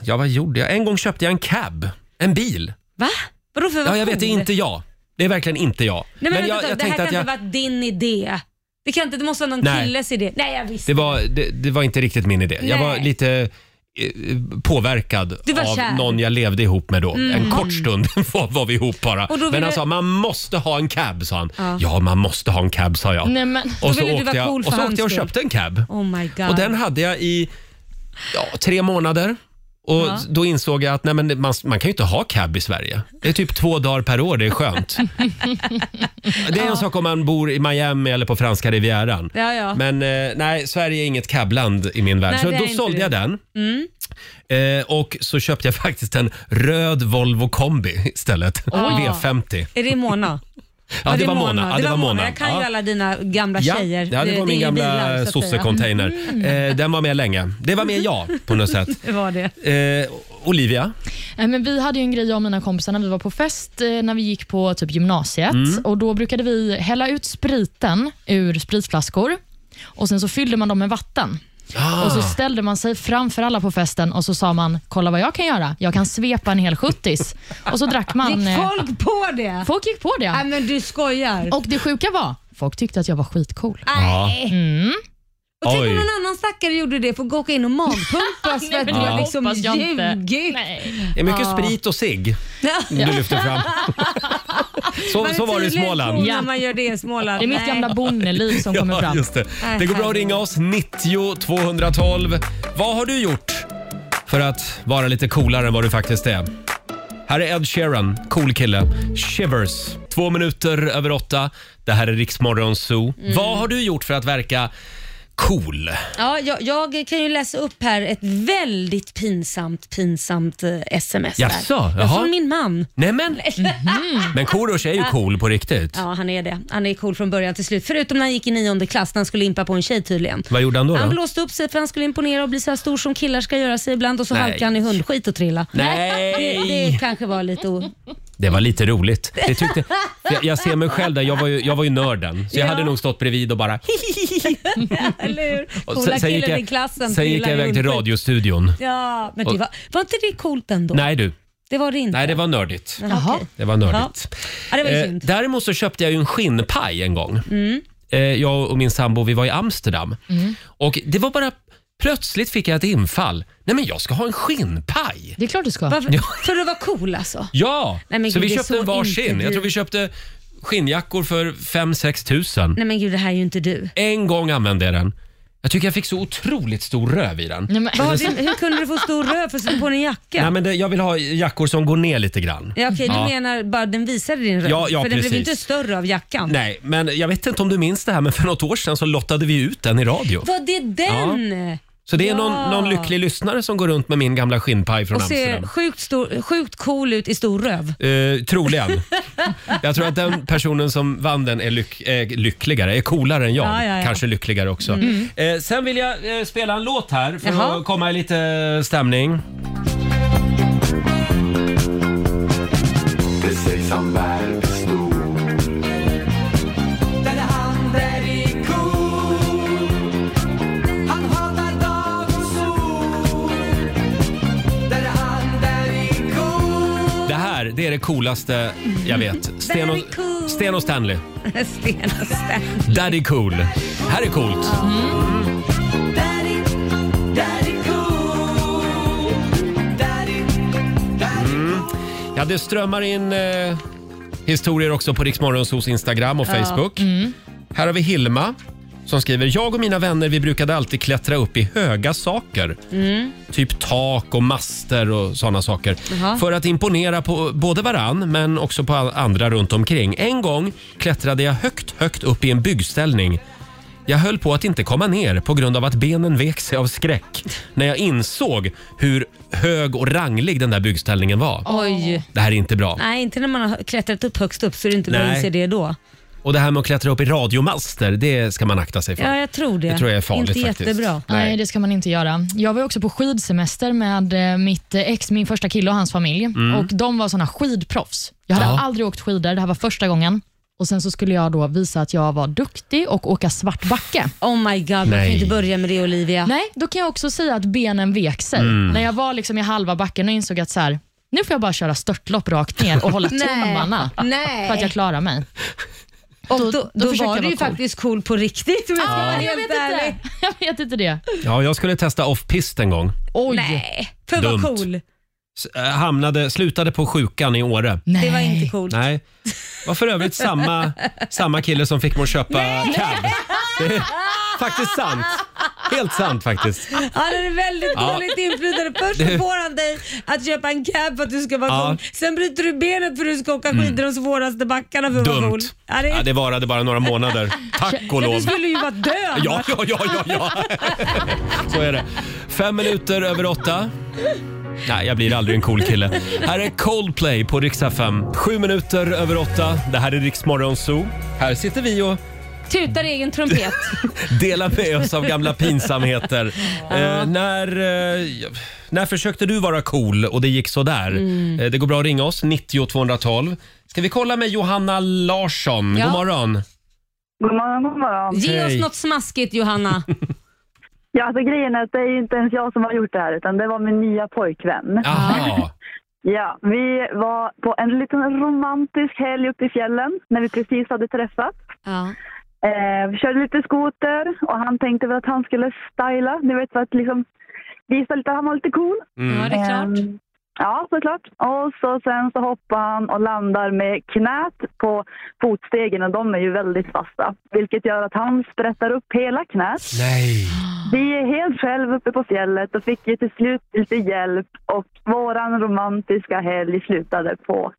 [SPEAKER 1] ja, vad gjorde jag? En gång köpte jag en cab. En bil.
[SPEAKER 2] Va? Vadå för att
[SPEAKER 1] Ja,
[SPEAKER 2] vara
[SPEAKER 1] jag vet, det är
[SPEAKER 2] cool?
[SPEAKER 1] inte jag. Det är verkligen inte jag.
[SPEAKER 2] Nej, men vänta,
[SPEAKER 1] jag,
[SPEAKER 2] vänta,
[SPEAKER 1] jag
[SPEAKER 2] det här kan inte
[SPEAKER 1] jag...
[SPEAKER 2] ha varit din idé. Det, kan inte, det måste vara någon
[SPEAKER 1] Nej.
[SPEAKER 2] killes idé. Nej, jag visste.
[SPEAKER 1] Det var, det, det var inte riktigt min idé. Jag
[SPEAKER 2] Nej.
[SPEAKER 1] var lite eh, påverkad
[SPEAKER 2] Du var
[SPEAKER 1] av
[SPEAKER 2] kär.
[SPEAKER 1] någon jag levde ihop med då.
[SPEAKER 2] Mm.
[SPEAKER 1] En kort stund var, var vi ihop bara.
[SPEAKER 2] Och då
[SPEAKER 1] Men
[SPEAKER 2] ville-
[SPEAKER 1] han sa, man måste ha en cab, sa han. Ja,
[SPEAKER 2] Ja.
[SPEAKER 1] man måste ha en cab, sa jag.
[SPEAKER 2] Nej, men- Då
[SPEAKER 1] och så
[SPEAKER 2] ville du
[SPEAKER 1] åkte
[SPEAKER 2] vara
[SPEAKER 1] jag,
[SPEAKER 2] cool för
[SPEAKER 1] och, så åkte
[SPEAKER 2] hans
[SPEAKER 1] jag och
[SPEAKER 2] skull.
[SPEAKER 1] köpte en cab.
[SPEAKER 2] Oh my god.
[SPEAKER 1] Och den hade jag i ja, tre månader. Och
[SPEAKER 2] Ja.
[SPEAKER 1] då insåg jag att nej, men man, man kan ju inte ha cab i Sverige. Det är typ två dagar per år, det är skönt. Det är en sak om man bor i Miami eller på franska rivieran.
[SPEAKER 2] Ja, ja.
[SPEAKER 1] Men eh, nej, Sverige är inget cabland i min värld.
[SPEAKER 2] Nej,
[SPEAKER 1] så
[SPEAKER 2] det är
[SPEAKER 1] då
[SPEAKER 2] inte
[SPEAKER 1] sålde
[SPEAKER 2] det.
[SPEAKER 1] jag den.
[SPEAKER 2] Mm.
[SPEAKER 1] Eh, och så köpte jag faktiskt en röd Volvo kombi istället. V50.
[SPEAKER 2] Är det Mona?
[SPEAKER 1] Ja, det, var Mona. Ja,
[SPEAKER 2] Det, var Mona. Jag kan ju alla dina gamla tjejer.
[SPEAKER 1] Ja, det var
[SPEAKER 2] eh,
[SPEAKER 1] min
[SPEAKER 2] i bilar, så
[SPEAKER 1] gamla
[SPEAKER 2] att säga. Mm.
[SPEAKER 1] sossecontainer. Eh, den var med länge. Det var med jag på något sätt.
[SPEAKER 3] Det var det.
[SPEAKER 1] Eh, Olivia?
[SPEAKER 3] Nej, eh, men vi hade ju en grej, jag och mina kompisar, när vi var på fest eh, när vi gick på typ gymnasiet.
[SPEAKER 1] Mm.
[SPEAKER 3] Och Då brukade vi hälla ut spriten ur spritflaskor och sen så fyllde man dem med vatten.
[SPEAKER 1] Ah.
[SPEAKER 3] Och så ställde man sig framför alla på festen och så sa man, kolla vad jag kan göra. Jag kan svepa en hel 70 Och så drack man.
[SPEAKER 2] Gick
[SPEAKER 3] eh,
[SPEAKER 2] folk på det?
[SPEAKER 3] Folk gick på det.
[SPEAKER 2] Nej, men du skojar.
[SPEAKER 3] Och det sjuka var, folk tyckte att jag var skitcool.
[SPEAKER 2] Nej.
[SPEAKER 3] Mm.
[SPEAKER 2] Och tänk
[SPEAKER 3] Oj.
[SPEAKER 2] om någon annan stackare gjorde det, får gå åka in och magpumpas för att
[SPEAKER 3] men
[SPEAKER 2] du
[SPEAKER 1] det
[SPEAKER 2] har liksom
[SPEAKER 3] hoppas jag inte.
[SPEAKER 2] ljugit.
[SPEAKER 1] Det är mycket
[SPEAKER 2] Ja.
[SPEAKER 1] sprit och cigg du
[SPEAKER 2] Ja.
[SPEAKER 1] lyfter fram. Så,
[SPEAKER 2] Man är
[SPEAKER 1] så var det i
[SPEAKER 2] tydligen
[SPEAKER 1] Småland.
[SPEAKER 2] cool när man gör det i Småland.
[SPEAKER 3] Det är mitt
[SPEAKER 2] Nej.
[SPEAKER 3] gamla bonneliv som kommer fram.
[SPEAKER 1] Just det.
[SPEAKER 2] Äh,
[SPEAKER 1] det går bra att ringa oss, 90 212. Vad har du gjort för att vara lite coolare än vad du faktiskt är? Här är Ed Sheeran, cool kille. Shivers. Två minuter över åtta. Det här är Riksmorgon Zoo.
[SPEAKER 2] Mm.
[SPEAKER 1] Vad har du gjort för att verka cool?
[SPEAKER 2] Ja, jag, jag kan ju läsa upp här ett väldigt pinsamt, pinsamt eh, sms.
[SPEAKER 1] Jaså,
[SPEAKER 2] här.
[SPEAKER 1] jaha. Mhm.
[SPEAKER 2] Ja, Från min man.
[SPEAKER 1] Nämen! Men Korosh är ju
[SPEAKER 2] Ja.
[SPEAKER 1] cool på riktigt.
[SPEAKER 2] Ja, han är det. Han är cool från början till slut. Förutom när han gick i nionde klass när han skulle impa på en tjej tydligen.
[SPEAKER 1] Vad gjorde han då?
[SPEAKER 2] Han
[SPEAKER 1] då?
[SPEAKER 2] blåste upp sig för han skulle imponera och bli så här stor som killar ska göra sig ibland och så
[SPEAKER 1] Nej.
[SPEAKER 2] halkade han i hundskit och trillade.
[SPEAKER 1] Nej.
[SPEAKER 2] Det, det kanske var lite o...
[SPEAKER 1] Det var lite roligt. Det tyckte, jag, jag ser mig själv där, jag var ju, jag var ju nörden. Så jag
[SPEAKER 2] Ja.
[SPEAKER 1] hade nog stått bredvid och bara...
[SPEAKER 2] Eller hur?
[SPEAKER 1] Och
[SPEAKER 2] Coola killen i klassen
[SPEAKER 1] sen gick
[SPEAKER 2] trillar
[SPEAKER 1] jag
[SPEAKER 2] i
[SPEAKER 1] iväg till
[SPEAKER 2] hundskit.
[SPEAKER 1] radiostudion.
[SPEAKER 2] Ja, men det
[SPEAKER 1] Och-
[SPEAKER 2] var, var inte det coolt ändå?
[SPEAKER 1] Nej du,
[SPEAKER 2] Det var det inte.
[SPEAKER 1] nej det var nördigt.
[SPEAKER 2] Jaha.
[SPEAKER 1] Det var nördigt.
[SPEAKER 2] Ja, det var ju
[SPEAKER 1] Eh,
[SPEAKER 2] synd.
[SPEAKER 1] däremot så köpte jag ju en skinnpaj en gång.
[SPEAKER 2] Mm.
[SPEAKER 1] Eh, jag och min sambo vi var i Amsterdam.
[SPEAKER 3] Mm.
[SPEAKER 1] Och det var bara Plötsligt fick jag ett infall. Nej men jag ska ha en skinnpaj!
[SPEAKER 3] Det är klart du ska.
[SPEAKER 2] Varför?
[SPEAKER 1] Ja.
[SPEAKER 2] För att vara cool alltså?
[SPEAKER 1] Ja!
[SPEAKER 2] Nej, men
[SPEAKER 1] så
[SPEAKER 2] gud,
[SPEAKER 1] vi
[SPEAKER 2] det är
[SPEAKER 1] köpte
[SPEAKER 2] så
[SPEAKER 1] en varsin.
[SPEAKER 2] inte
[SPEAKER 1] Jag
[SPEAKER 2] du.
[SPEAKER 1] tror vi köpte skinnjackor för 5-6 tusen.
[SPEAKER 2] Nej men gud, det här är ju inte du.
[SPEAKER 1] En gång använde jag den. Jag tycker jag fick så otroligt stor röv i den.
[SPEAKER 2] Vad har du, hur kunde du få stor röv för att sätta på dig en jacka?
[SPEAKER 1] Nej, men det, jag vill ha jackor som går ner lite grann.
[SPEAKER 2] Ja, okej,
[SPEAKER 1] Ja.
[SPEAKER 2] du menar bara den visade din röv?
[SPEAKER 1] Ja, ja,
[SPEAKER 2] för den blev ju
[SPEAKER 1] precis.
[SPEAKER 2] inte större av jackan.
[SPEAKER 1] Nej, men jag vet inte om du minns det här, men för något år sedan så lottade vi ut den i radio.
[SPEAKER 2] Var det den?
[SPEAKER 1] Så det är någon,
[SPEAKER 2] Ja.
[SPEAKER 1] någon lycklig lyssnare som går runt med min gamla skinnpaj från
[SPEAKER 2] Och ser
[SPEAKER 1] Amsterdam.
[SPEAKER 2] sjukt, stor, sjukt cool ut i stor röv.
[SPEAKER 1] Eh, troligen. Jag tror att den personen som vann den är, lyck, är lyckligare, är coolare än jag.
[SPEAKER 2] Ja, ja, ja.
[SPEAKER 1] Kanske lyckligare också.
[SPEAKER 2] Mm.
[SPEAKER 1] Eh, sen vill jag eh, spela en låt här för
[SPEAKER 2] Jaha.
[SPEAKER 1] att komma i lite stämning.
[SPEAKER 13] Precis som världsstor. Den han är i cool. Han hatar dag och sol. Den han är i cool.
[SPEAKER 1] Det här, det är det coolaste jag vet.
[SPEAKER 2] Mm.
[SPEAKER 1] Sten och,
[SPEAKER 13] Very cool.
[SPEAKER 1] Sten och Stanley.
[SPEAKER 2] Sten och Sten.
[SPEAKER 1] Daddy cool. Här är coolt.
[SPEAKER 13] Daddy, daddy cool. Daddy, daddy
[SPEAKER 1] Mm. Ja, det strömmar in eh, historier också på Riksmorgonsos Instagram och
[SPEAKER 13] Ja.
[SPEAKER 1] Facebook.
[SPEAKER 13] Mm.
[SPEAKER 1] Här har vi Hilma som skriver “Jag och mina vänner vi brukade alltid klättra upp i höga saker.
[SPEAKER 13] Mm.
[SPEAKER 1] Typ tak och master och sådana saker.
[SPEAKER 13] Jaha.
[SPEAKER 1] För att imponera på både varann men också på all- andra runt omkring. En gång klättrade jag högt, högt upp i en byggställning. Jag höll på att inte komma ner på grund av att benen vek sig av skräck när jag insåg hur hög och ranglig den där byggställningen var.
[SPEAKER 2] Oj.
[SPEAKER 1] Det här är inte bra.
[SPEAKER 2] Nej, inte när man har klättrat upp högst upp så är det inte bra
[SPEAKER 1] Nej.
[SPEAKER 2] att se det då.
[SPEAKER 1] Och det här med att klättra upp i radiomaster, det ska man akta sig för.
[SPEAKER 2] Ja, jag tror det.
[SPEAKER 1] Det tror jag är farligt
[SPEAKER 2] inte
[SPEAKER 1] faktiskt.
[SPEAKER 2] Jättebra.
[SPEAKER 1] Nej.
[SPEAKER 3] Nej. det ska man inte göra. Jag var ju också på skidsemester med eh, mitt eh, ex, min första kille och hans familj.
[SPEAKER 2] Mm.
[SPEAKER 3] Och De var såna skidproffs. Jag hade
[SPEAKER 2] Ja.
[SPEAKER 3] aldrig åkt skidor, det här var första gången. Och Sen så skulle jag då visa att jag var duktig och åka svartbacke.
[SPEAKER 2] Oh my god, man kan ju
[SPEAKER 3] Nej.
[SPEAKER 2] inte börja med det Olivia.
[SPEAKER 3] Nej, då kan jag också säga att benen vek sig.
[SPEAKER 2] Mm.
[SPEAKER 3] När jag var liksom i halva backen och insåg att så här, nu får jag bara köra störtlopp rakt ner och hålla
[SPEAKER 2] Nej.
[SPEAKER 3] tummarna
[SPEAKER 2] Nej.
[SPEAKER 3] för att jag klarar mig.
[SPEAKER 2] Och då, då,
[SPEAKER 3] försökte
[SPEAKER 2] var
[SPEAKER 3] jag
[SPEAKER 2] du ju
[SPEAKER 3] vara cool.
[SPEAKER 2] faktiskt cool på riktigt om jag ska
[SPEAKER 3] Ja,
[SPEAKER 2] vara
[SPEAKER 3] jag
[SPEAKER 2] helt
[SPEAKER 3] vet
[SPEAKER 2] ärlig.
[SPEAKER 3] inte. Jag vet inte det.
[SPEAKER 1] Ja, jag skulle testa off-pist en gång.
[SPEAKER 3] Oj.
[SPEAKER 2] Nej, för att vara
[SPEAKER 1] Dumt.
[SPEAKER 2] cool.
[SPEAKER 1] S- eh, Hamnade, slutade på sjukan i Åre.
[SPEAKER 2] Det var inte coolt.
[SPEAKER 1] Nej. Var för övrigt samma, samma kille som fick mig att köpa cab. Det är faktiskt sant. Helt sant faktiskt.
[SPEAKER 14] Han är väldigt
[SPEAKER 1] Ja.
[SPEAKER 14] dåligt inflytande. Först
[SPEAKER 1] Det-
[SPEAKER 14] så får han dig att köpa en cab för att du ska vara
[SPEAKER 1] Ja.
[SPEAKER 14] cool. Sen bryter du benet för att du ska åka
[SPEAKER 1] Mm.
[SPEAKER 14] skidor de svåraste backarna för att vara
[SPEAKER 1] Dumt.
[SPEAKER 14] cool. Ja, det är-
[SPEAKER 1] Ja, det varade bara några månader. Tack och
[SPEAKER 14] Men
[SPEAKER 1] lov.
[SPEAKER 14] du skulle ju vara död.
[SPEAKER 1] Ja, ja, ja, ja, ja. Så är det. Fem minuter över åtta. Nej, jag blir aldrig en cool kille. Här är Coldplay på riksdag 5. Sju minuter över åtta. Det här är Riksmorgon Zoo. Här sitter vi och
[SPEAKER 2] Tutar egen trumpet.
[SPEAKER 1] delar med oss av gamla pinsamheter. Eh, när, eh, när försökte du vara cool och det gick sådär?
[SPEAKER 2] Mm.
[SPEAKER 1] Eh, det går bra att ringa oss, 90 212. Ska vi kolla med Johanna Larsson?
[SPEAKER 2] Ja.
[SPEAKER 1] God morgon.
[SPEAKER 2] God morgon, god morgon. Ge
[SPEAKER 1] Hej.
[SPEAKER 2] oss något smaskigt Johanna.
[SPEAKER 6] Ja, alltså grejen är att det är ju inte ens jag som har gjort det här utan det var min nya pojkvän.
[SPEAKER 1] Aha.
[SPEAKER 6] Ja, vi var på en liten romantisk helg uppe i fjällen när vi precis hade träffat. Eh, vi körde lite skoter och han tänkte väl att han skulle styla, du vet för att liksom visa lite att han var lite cool.
[SPEAKER 2] Mm. Ja, det är klart.
[SPEAKER 6] Ehm, ja, såklart. Och så sen så hoppar han och landar med knät på fotstegen och de är ju väldigt fasta. Vilket gör att han sprättar upp hela knät.
[SPEAKER 1] Nej.
[SPEAKER 6] Vi är helt själv uppe på fjället och fick ju till slut lite hjälp och våran romantiska helg slutade på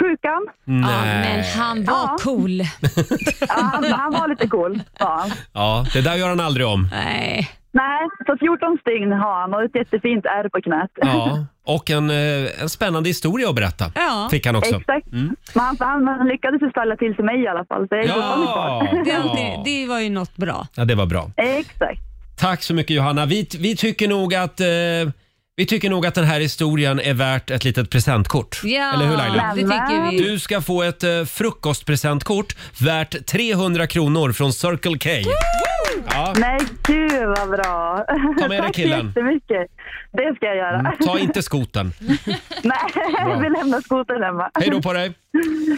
[SPEAKER 6] sjukan.
[SPEAKER 1] Nej.
[SPEAKER 2] Men han var cool.
[SPEAKER 6] Ja, han, han var lite cool. Ja.
[SPEAKER 1] Ja, det där gör han aldrig om.
[SPEAKER 2] Nej.
[SPEAKER 6] Nej, så 14 stygn har han och ett jättefint ärr på knät.
[SPEAKER 1] Ja, och en, eh, en spännande historia att berätta fick han också.
[SPEAKER 6] Exakt.
[SPEAKER 1] Mm.
[SPEAKER 6] Men han, han, han lyckades ju ställa till till mig i alla fall. Så jag är
[SPEAKER 1] Ja.
[SPEAKER 6] fortfarande kvar.
[SPEAKER 1] Det är alltid-
[SPEAKER 14] det var ju något bra.
[SPEAKER 1] Ja, det var bra.
[SPEAKER 6] Exakt.
[SPEAKER 1] Tack så mycket Johanna. Vi, vi, tycker nog att, eh, vi tycker nog att den här historien är värt ett litet presentkort.
[SPEAKER 2] Ja,
[SPEAKER 1] Eller hur Laila?
[SPEAKER 2] det tycker vi.
[SPEAKER 1] Du ska få ett eh, frukostpresentkort värt 300 kronor från Circle K. Ja.
[SPEAKER 6] Nej, gud vad bra.
[SPEAKER 1] Ta med dig
[SPEAKER 6] Tack
[SPEAKER 1] killen. Mm,
[SPEAKER 6] så jättemycket. Det ska jag göra.
[SPEAKER 1] Ta inte skoten. Bra.
[SPEAKER 6] Nej, vi lämnar skotern hemma.
[SPEAKER 1] Hej då på dig.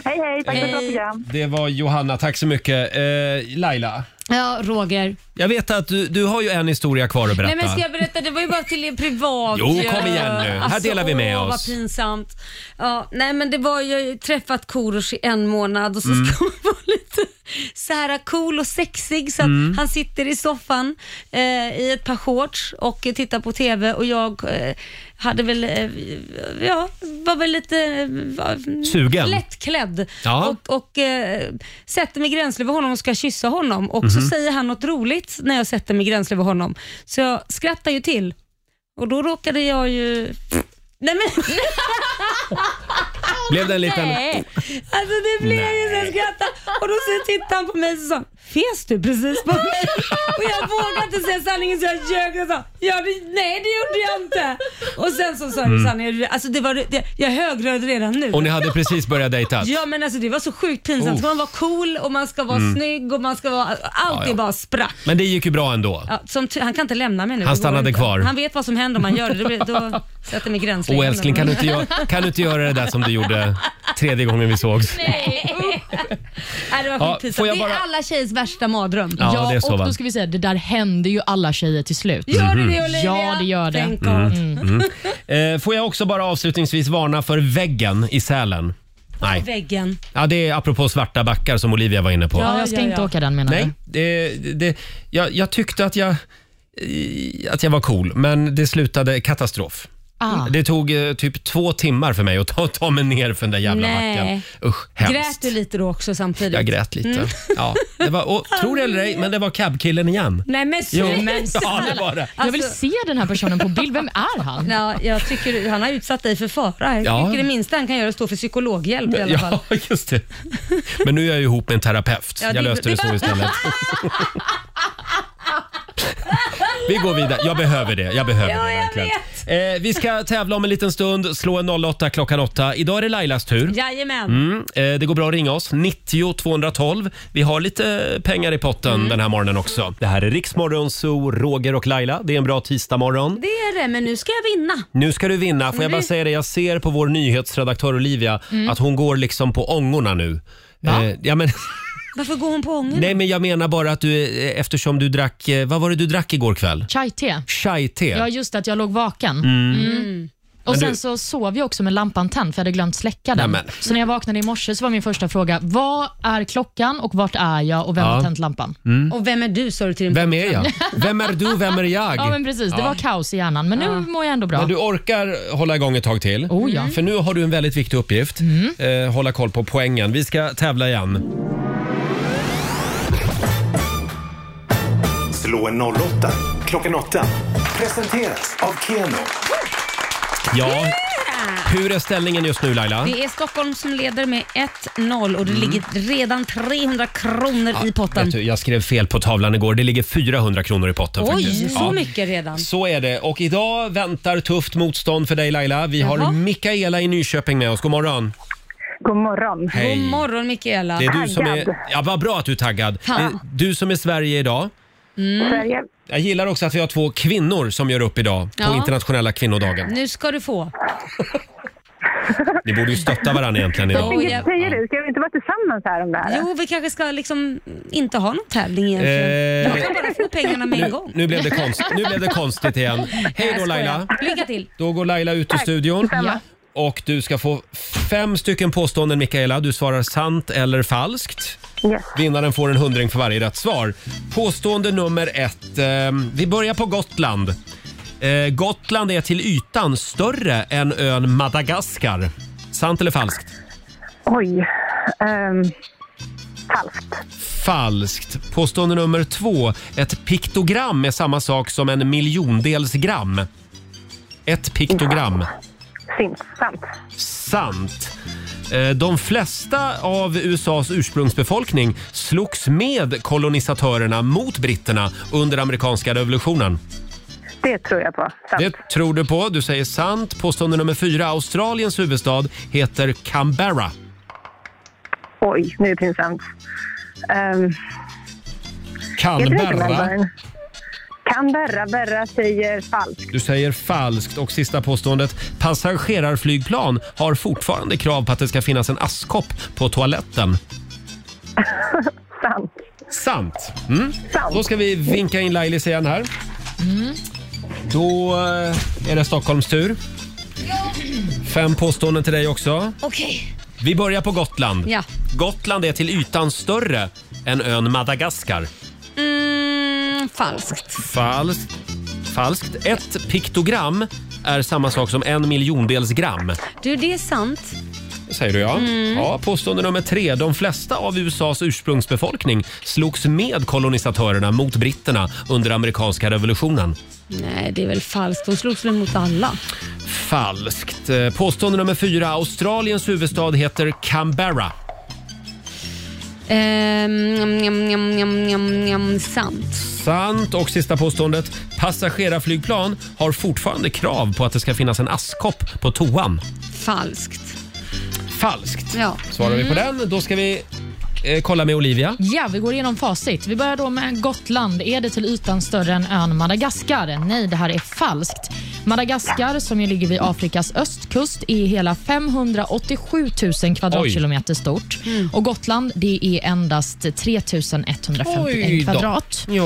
[SPEAKER 6] Hej, hej. Tack för ett bra program.
[SPEAKER 1] Det var Johanna, tack så mycket. Eh, Laila,
[SPEAKER 2] Ja, Roger.
[SPEAKER 1] jag vet att du, du har ju en historia kvar att
[SPEAKER 2] Nej
[SPEAKER 1] berätta.
[SPEAKER 2] men ska jag berätta? Det var ju bara till er privat
[SPEAKER 1] Jo,
[SPEAKER 2] ju.
[SPEAKER 1] kom igen nu. Här delar vi med
[SPEAKER 2] åh,
[SPEAKER 1] oss.
[SPEAKER 2] vad pinsamt. Ja, nej men det var ju, jag har ju träffat Korosh i en månad och så
[SPEAKER 1] Mm.
[SPEAKER 2] ska man vara lite så här cool och sexig så att
[SPEAKER 14] Mm.
[SPEAKER 2] han sitter i soffan eh, i ett par shorts och eh, tittar på TV och jag eh, hade väl, eh, ja, var väl lite eh, var,
[SPEAKER 1] Sugen.
[SPEAKER 2] lättklädd
[SPEAKER 1] Ja.
[SPEAKER 2] och, och eh, sätter mig gränsle vid honom och ska kyssa honom och så
[SPEAKER 14] Mhm.
[SPEAKER 2] säger han något roligt när jag sätter mig gränsle vid honom. Så jag skrattar ju till och då råkade jag ju... Nej men...
[SPEAKER 1] Blev det en liten...
[SPEAKER 2] Nej. Alltså det blev ju så jag skrattade och då så tittade han på mig och sa Fes du precis på mig? Och jag vågade inte säga sanningen så jag ljög och sa ja, det, nej det gjorde jag inte. Och sen så sa
[SPEAKER 1] Mm.
[SPEAKER 2] mm. sanningen, alltså det var, det, jag är högröd redan nu.
[SPEAKER 1] Och ni hade precis börjat dejta?
[SPEAKER 2] Ja men alltså det var så sjukt
[SPEAKER 1] Oh.
[SPEAKER 2] pinsamt. Man var cool och man ska vara
[SPEAKER 1] Mm.
[SPEAKER 2] snygg och man ska vara... Allt
[SPEAKER 1] ja.
[SPEAKER 2] det bara sprack.
[SPEAKER 1] Men det gick ju bra ändå.
[SPEAKER 2] Ja, som ty- han kan inte lämna mig nu.
[SPEAKER 1] Han
[SPEAKER 2] Det går
[SPEAKER 1] stannade
[SPEAKER 2] inte.
[SPEAKER 1] kvar.
[SPEAKER 2] Han vet vad som händer om han gör det. Då, blir, då sätter mig gränser.
[SPEAKER 1] Åh älskling, kan du, inte göra, kan du inte göra det där som du gjorde tredje gången vi sågs?
[SPEAKER 2] Nej.
[SPEAKER 14] Nej, det var
[SPEAKER 1] Ja,
[SPEAKER 14] skitpinsamt.
[SPEAKER 1] får jag
[SPEAKER 14] Det är
[SPEAKER 1] bara-
[SPEAKER 14] alla tjejers värsta mardröm.
[SPEAKER 1] Ja, det är så,
[SPEAKER 3] och
[SPEAKER 1] va?
[SPEAKER 3] då ska vi säga, det där händer ju alla tjejer till slut.
[SPEAKER 1] Gör det det, Olivia?
[SPEAKER 3] Ja, det gör det.
[SPEAKER 1] Mhm. Mm, mm. Eh, Får jag också bara avslutningsvis varna för väggen i Sälen? Nej.
[SPEAKER 2] Väggen.
[SPEAKER 1] Ja, det är apropå svarta backar som Olivia var inne på.
[SPEAKER 3] Ja, jag ska inte åka den menar
[SPEAKER 1] Nej,
[SPEAKER 3] du?
[SPEAKER 1] det, det, jag, jag tyckte att jag, eh, att jag var cool, men det slutade katastrof.
[SPEAKER 2] Ah.
[SPEAKER 1] Det tog eh, typ två timmar för mig att ta, ta mig ner för den där jävla backen.
[SPEAKER 2] Nej.
[SPEAKER 1] Usch, hemskt.
[SPEAKER 2] Grät du lite då också samtidigt?
[SPEAKER 1] Jag grät lite.
[SPEAKER 2] Mm.
[SPEAKER 1] Ja, det var, och, tro det eller ej, men det var cabkillen igen.
[SPEAKER 2] Nej men
[SPEAKER 1] Jo,
[SPEAKER 2] sluta. Alltså,
[SPEAKER 1] men ja, det var det.
[SPEAKER 3] Jag vill se den här personen på bild. Vem är han?
[SPEAKER 2] Ja, jag tycker han har utsatt dig för fara. Jag
[SPEAKER 1] Ja.
[SPEAKER 2] tycker det minsta han kan göra är att stå för psykologhjälp i alla fall.
[SPEAKER 1] Ja, just det. Men nu är jag ju ihop med en terapeut.
[SPEAKER 2] Ja, det-
[SPEAKER 1] jag löste det,
[SPEAKER 2] det-
[SPEAKER 1] så istället. Vi går vidare. Jag behöver det. Jag behöver
[SPEAKER 2] Ja,
[SPEAKER 1] det
[SPEAKER 2] jag
[SPEAKER 1] verkligen. Eh, vi ska tävla om en liten stund. Slå en 08 klockan 8. Idag är det Lailas tur.
[SPEAKER 2] Jajamän.
[SPEAKER 1] Mm, eh, det går bra att ringa oss. 90 212. Vi har lite pengar i potten
[SPEAKER 2] Mm.
[SPEAKER 1] den här morgonen också. Det här är Riksmorgon Zoo, Roger och Laila. Det är en bra tisdagmorgon.
[SPEAKER 2] Det är det, men nu ska jag vinna.
[SPEAKER 1] Nu ska du vinna. Får
[SPEAKER 2] Nu
[SPEAKER 1] jag bara
[SPEAKER 2] blir-
[SPEAKER 1] säga det, jag ser på vår nyhetsredaktör Olivia
[SPEAKER 2] Mm.
[SPEAKER 1] att hon går liksom på ångorna nu. Eh, ja, men,
[SPEAKER 2] Varför går hon på ången?
[SPEAKER 1] nej men jag menar bara att du, eh, eftersom du drack, eh, vad var det du drack igår kväll?
[SPEAKER 3] Chai-te.
[SPEAKER 1] Chai-te.
[SPEAKER 3] Ja, just det, att jag låg vaken.
[SPEAKER 1] Mm.
[SPEAKER 3] Mm. Och
[SPEAKER 1] Men
[SPEAKER 3] sen
[SPEAKER 1] du-
[SPEAKER 3] så sov jag också med lampan tänd för jag hade glömt släcka den.
[SPEAKER 1] Nämen.
[SPEAKER 3] Så när jag vaknade i morse så var min första fråga, vad är klockan och vart är jag och vem
[SPEAKER 1] Ja.
[SPEAKER 3] har tänt lampan?
[SPEAKER 1] Mm.
[SPEAKER 3] Och vem är du sa du till din
[SPEAKER 1] Vem är jag? Vem är du? Vem är jag?
[SPEAKER 3] Ja men precis, det
[SPEAKER 1] Ja.
[SPEAKER 3] var kaos i hjärnan men nu mår jag ändå bra.
[SPEAKER 1] Men du orkar hålla igång ett tag till.
[SPEAKER 3] Oh, ja.
[SPEAKER 1] För nu har du en väldigt viktig uppgift.
[SPEAKER 2] Mm.
[SPEAKER 1] Eh, hålla koll på poängen. Vi ska tävla igen.
[SPEAKER 5] Slå en 08 klockan 8. Presenteras av Keno.
[SPEAKER 1] Ja. Hur är ställningen just nu Laila?
[SPEAKER 2] Det är Stockholm som leder med 1-0 och det ligger redan 300 kronor i potten.
[SPEAKER 1] Vet du, Mm. jag skrev fel på tavlan igår. Det ligger 400 kronor i potten faktiskt.
[SPEAKER 2] Oj, så
[SPEAKER 1] Ja.
[SPEAKER 2] mycket redan.
[SPEAKER 1] Så är det. Och idag väntar tufft motstånd för dig Laila. Vi har
[SPEAKER 2] Jaha.
[SPEAKER 1] Mikaela i Nyköping med oss. God morgon.
[SPEAKER 2] God morgon.
[SPEAKER 1] Hej.
[SPEAKER 2] God morgon Mikaela.
[SPEAKER 1] Det är du som är... Ja, vad bra att du är taggad. Det
[SPEAKER 2] Ja.
[SPEAKER 1] är du som är Sverige idag.
[SPEAKER 2] Mm.
[SPEAKER 1] Sverige. Jag gillar också att vi har två kvinnor som gör upp idag på
[SPEAKER 2] Ja.
[SPEAKER 1] internationella kvinnodagen.
[SPEAKER 2] Nu ska du få.
[SPEAKER 1] Ni borde ju stötta varandra egentligen
[SPEAKER 2] Jag
[SPEAKER 1] idag.
[SPEAKER 2] tänker- Ja.
[SPEAKER 4] Säger du, ska vi inte vara tillsammans här om det här?
[SPEAKER 2] Jo, vi kanske ska liksom inte ha någon tävling egentligen.
[SPEAKER 1] Eh,
[SPEAKER 2] Jag kan bara få pengarna med en gång.
[SPEAKER 1] Nu blev, det konst, nu blev det konstigt igen. Hej då
[SPEAKER 2] Jag skojar.
[SPEAKER 1] Laila.
[SPEAKER 2] Lycka till.
[SPEAKER 1] Då går Laila ut ur studion.
[SPEAKER 2] detsamma.
[SPEAKER 1] Och du ska få fem stycken påståenden Mikaela. Du svarar sant eller falskt. Vinnaren får en hundring för varje rätt svar. Påstående nummer ett. Eh, vi börjar på Gotland. Eh, Gotland är till ytan större än ön Madagaskar. Sant eller falskt?
[SPEAKER 4] Oj. ehm, falskt.
[SPEAKER 1] Falskt. Påstående nummer två. Ett piktogram är samma sak som en miljondels gram. Ett piktogram.
[SPEAKER 4] Sint. Sant.
[SPEAKER 1] Sant. Eh, De flesta av USAs ursprungsbefolkning slogs med kolonisatörerna mot britterna under amerikanska revolutionen.
[SPEAKER 4] Det tror jag på. Sant.
[SPEAKER 1] Det tror du på. Du säger sant. Påstående nummer fyra. Australiens huvudstad heter Canberra.
[SPEAKER 4] Oj, nu är det pinsamt. Um,
[SPEAKER 1] Canberra.
[SPEAKER 4] Kan berra, berra säger falskt.
[SPEAKER 1] Du säger falskt. Och sista påståendet. Passagerarflygplan har fortfarande krav på att det ska finnas en askkopp på toaletten.
[SPEAKER 4] Sant.
[SPEAKER 1] Sant. Mm. Då ska vi vinka in Lailis igen här. Då eh, är det Stockholms tur. Fem påståenden till dig också.
[SPEAKER 2] Okej.
[SPEAKER 1] Vi börjar på Gotland.
[SPEAKER 2] Ja.
[SPEAKER 1] Gotland är till ytan större än ön Madagaskar.
[SPEAKER 2] Mm, falskt.
[SPEAKER 1] Falskt. Falskt. Ett piktogram är samma sak som en miljondels gram.
[SPEAKER 2] Du, det är sant.
[SPEAKER 1] Säger du ja.
[SPEAKER 2] Mm.
[SPEAKER 1] ja. Påstående nummer tre. De flesta av USAs ursprungsbefolkning slogs med kolonisatörerna mot britterna under amerikanska revolutionen.
[SPEAKER 2] Nej, det är väl falskt. De slogs väl mot alla?
[SPEAKER 1] Falskt. Eh, Påstående nummer fyra. Australiens huvudstad heter Canberra.
[SPEAKER 2] Ehm, njam, njam, njam, njam, njam, sant.
[SPEAKER 1] Sant. Och sista påståendet. Passagerarflygplan har fortfarande krav på att det ska finnas en askkopp på toan.
[SPEAKER 2] Falskt.
[SPEAKER 1] Falskt.
[SPEAKER 2] Ja.
[SPEAKER 1] Svarar vi
[SPEAKER 2] Mm.
[SPEAKER 1] på den, då ska vi eh, kolla med Olivia.
[SPEAKER 3] Ja, vi går igenom facit. Vi börjar då med Gotland. Är det till ytan större än ön Madagaskar? Nej, det här är falskt. Madagaskar, som ju ligger vid Afrikas östkust, är hela 587 000 kvadratkilometer stort. Och Gotland, det är endast 3 151 kvadrat.
[SPEAKER 1] Ja.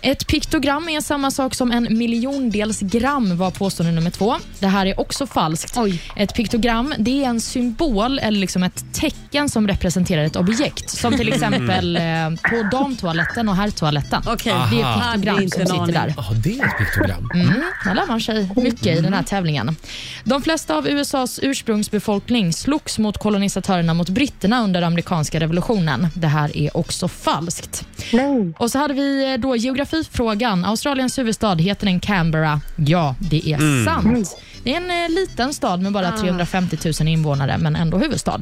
[SPEAKER 3] Ett piktogram är samma sak som en miljondels gram var påstående nummer två. Det här är också falskt. Ett piktogram det är en symbol eller liksom ett tecken som representerar ett objekt. Som till exempel eh, på damtoaletten och herrtoaletten.
[SPEAKER 2] Okej,
[SPEAKER 3] Det är
[SPEAKER 1] Aha.
[SPEAKER 3] ett piktogram som sitter där.
[SPEAKER 1] Ja, det är ett piktogram.
[SPEAKER 3] Mm, där lär man sig mycket i den här tävlingen. De flesta av USAs ursprungsbefolkning slogs mot kolonisatörerna mot britterna under amerikanska revolutionen. Det här är också falskt. Och så hade vi eh, då geografifrågan. Australiens huvudstad, heter den Canberra? Ja, det är
[SPEAKER 13] Mm.
[SPEAKER 3] sant. Det är en eh, liten stad med bara
[SPEAKER 13] Ah. Hmm.
[SPEAKER 3] 350 000 invånare, men ändå huvudstad.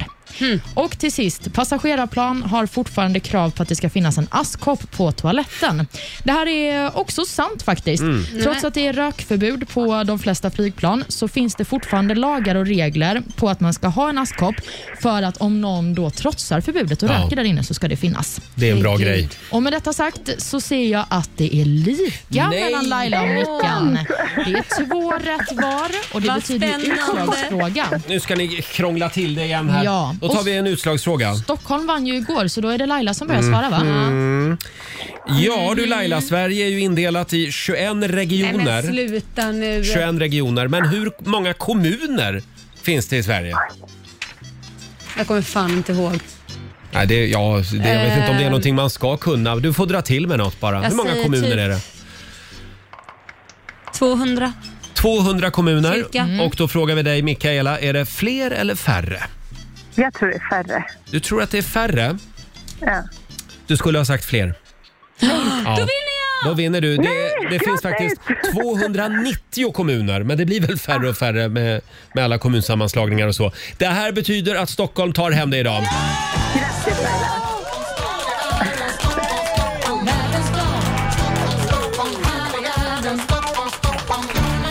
[SPEAKER 3] Och till sist, passagerarplan har fortfarande krav på att det ska finnas en askkopp på toaletten. Det här är också sant faktiskt.
[SPEAKER 13] Mm.
[SPEAKER 3] Trots
[SPEAKER 13] Nej.
[SPEAKER 3] att det är rökförbud på de flesta flygplan så finns det fortfarande lagar och regler på att man ska ha en askkopp för att om någon då trotsar förbudet och
[SPEAKER 1] Ja.
[SPEAKER 3] röker där inne så ska det finnas.
[SPEAKER 1] Det är en bra grej.
[SPEAKER 3] Och med detta sagt så ser jag att det är lika
[SPEAKER 13] Nej.
[SPEAKER 3] mellan Laila och Mickan. Det är två rätt var och det
[SPEAKER 13] Vad
[SPEAKER 3] betyder ju
[SPEAKER 13] spännande.
[SPEAKER 3] utslagsfråga.
[SPEAKER 1] Nu ska ni krångla till det igen här.
[SPEAKER 3] Ja.
[SPEAKER 1] Då tar
[SPEAKER 3] Och-
[SPEAKER 1] vi en utslagsfråga.
[SPEAKER 3] Stockholm vann ju igår så då är det Laila som börjar svara va?
[SPEAKER 1] Mm. Ja du Laila, Sverige är ju indelat i 21
[SPEAKER 2] Nej, men
[SPEAKER 1] regioner.
[SPEAKER 2] sluta nu.
[SPEAKER 1] 21 regioner, men hur många kommuner finns det i Sverige?
[SPEAKER 2] Jag kommer fan inte ihåg.
[SPEAKER 1] Nej, det, ja, det, jag vet inte om det är
[SPEAKER 2] Ehm.
[SPEAKER 1] någonting man ska kunna. Du får dra till med något bara.
[SPEAKER 2] Jag
[SPEAKER 1] Hur många
[SPEAKER 2] säger
[SPEAKER 1] kommuner
[SPEAKER 2] typ
[SPEAKER 1] är det?
[SPEAKER 2] 200.
[SPEAKER 1] 200 kommuner.
[SPEAKER 2] Cirka. Mm.
[SPEAKER 1] Och då frågar vi dig Mikaela, är det fler eller färre?
[SPEAKER 4] Jag tror det är färre.
[SPEAKER 1] Du tror att det är färre?
[SPEAKER 4] Ja.
[SPEAKER 1] Du skulle ha sagt fler. Ja.
[SPEAKER 4] Då
[SPEAKER 1] Då vinner du. Det,
[SPEAKER 4] Nej,
[SPEAKER 1] det finns
[SPEAKER 4] grattis!
[SPEAKER 1] faktiskt 290 kommuner, men det blir väl färre och färre med, med alla kommunsammanslagningar och så. Det här betyder att Stockholm tar hem det idag.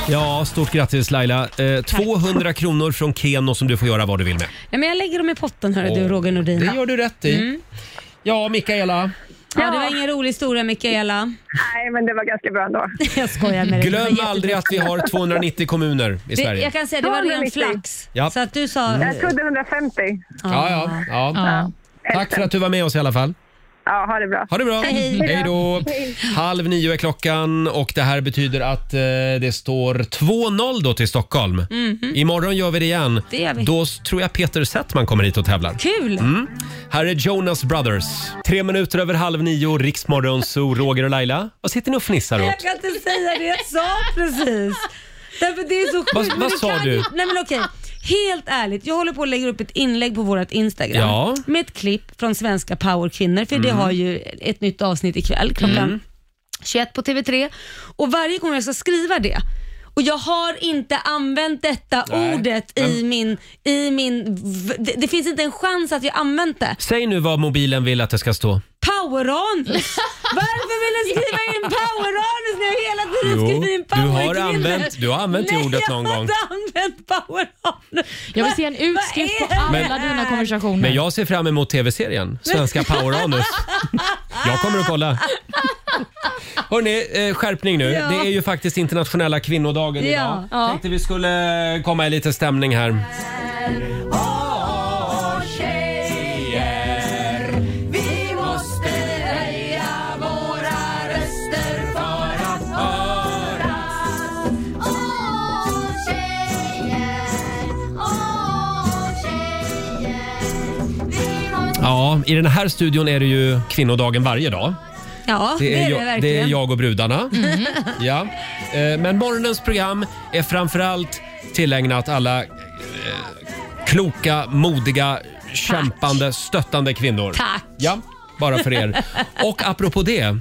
[SPEAKER 1] Ja, stort grattis Laila. Eh, 200 kronor från Keno som du får göra vad du vill med.
[SPEAKER 2] Ja, men jag lägger dem i potten hörru du
[SPEAKER 1] Åh,
[SPEAKER 2] Roger Nordin. Mm.
[SPEAKER 1] det gör du rätt i. Ja, Mikaela.
[SPEAKER 2] Ja, det var ingen rolig historia Mikaela.
[SPEAKER 4] Nej, men det var ganska bra ändå.
[SPEAKER 2] jag skojar med dig. Det var
[SPEAKER 1] Glöm
[SPEAKER 2] jätte-
[SPEAKER 1] aldrig att vi har 290 kommuner i
[SPEAKER 2] det,
[SPEAKER 1] Sverige.
[SPEAKER 2] Jag kan säga det var ren
[SPEAKER 4] 290.
[SPEAKER 2] flax.
[SPEAKER 1] Ja.
[SPEAKER 2] Så att du sa...
[SPEAKER 1] Jag trodde
[SPEAKER 4] 150.
[SPEAKER 1] Ja, ja, ja. Tack för att du var med oss i alla fall.
[SPEAKER 4] Ja, ha det bra.
[SPEAKER 1] Ha det bra.
[SPEAKER 4] Hej.
[SPEAKER 1] Hej då.
[SPEAKER 4] Hej.
[SPEAKER 1] Halv nio är klockan och det här betyder att eh, det står 2-0 då till Stockholm.
[SPEAKER 14] Mhm.
[SPEAKER 1] Imorgon gör vi det igen.
[SPEAKER 14] Det gör vi.
[SPEAKER 1] Då s- tror jag Peter Settman kommer hit och tävlar.
[SPEAKER 2] Kul!
[SPEAKER 1] Mm. Här är Jonas Brothers. Tre minuter över halv nio, Riksmorgon, så Roger och Laila. Vad sitter ni och fnissar åt?
[SPEAKER 2] Jag kan inte säga det jag sa precis. Därför det är så sjukt.
[SPEAKER 1] Vad-
[SPEAKER 2] men
[SPEAKER 1] vad
[SPEAKER 2] det
[SPEAKER 1] sa
[SPEAKER 2] kan
[SPEAKER 1] du?
[SPEAKER 2] ju- Nej men okej. Helt ärligt, jag håller på att lägga upp ett inlägg på vårt Instagram
[SPEAKER 14] Ja.
[SPEAKER 2] med ett klipp från svenska powerkvinnor för det
[SPEAKER 14] Mm.
[SPEAKER 2] har ju ett nytt avsnitt ikväll klockan
[SPEAKER 14] Mm.
[SPEAKER 2] 21 på TV3 och varje gång jag ska skriva det och jag har inte använt detta
[SPEAKER 1] Nej,
[SPEAKER 2] ordet i
[SPEAKER 1] men-
[SPEAKER 2] min... I min v- det, det finns inte en chans att jag använt det.
[SPEAKER 1] Säg nu vad mobilen vill att det ska stå.
[SPEAKER 2] Poweranus! Varför vill du skriva in poweranus när jag hela tiden
[SPEAKER 1] Jo,
[SPEAKER 2] skriver in
[SPEAKER 1] du har
[SPEAKER 2] powerkvinna?
[SPEAKER 1] använt- du har använt det
[SPEAKER 2] Nej,
[SPEAKER 1] ordet någon
[SPEAKER 2] jag har
[SPEAKER 1] gång.
[SPEAKER 2] inte använt poweranus.
[SPEAKER 3] Jag vill se en utskrift på alla dina konversationer.
[SPEAKER 1] Men jag ser fram emot tv-serien Svenska Poweranus. Jag kommer att kolla. Hörni, eh, skärpning nu.
[SPEAKER 14] Ja.
[SPEAKER 1] Det är ju faktiskt internationella kvinnodagen
[SPEAKER 14] Ja.
[SPEAKER 1] idag.
[SPEAKER 14] Ja.
[SPEAKER 1] Tänkte vi skulle komma i lite stämning här.
[SPEAKER 14] Vi måste höja våra röster för att höras. Åh, tjejer, åh, tjejer. Vi måste...
[SPEAKER 1] Ja, i den här studion är det ju kvinnodagen varje dag.
[SPEAKER 2] Ja, det är det,
[SPEAKER 1] jag,
[SPEAKER 2] verkligen. Mm.
[SPEAKER 1] det är jag och brudarna. Ja. Eh, Men morgonens program är framförallt tillägnat alla eh, kloka, modiga, kämpande, stöttande kvinnor.
[SPEAKER 14] Tack.
[SPEAKER 1] Ja, bara för er. Och apropå det,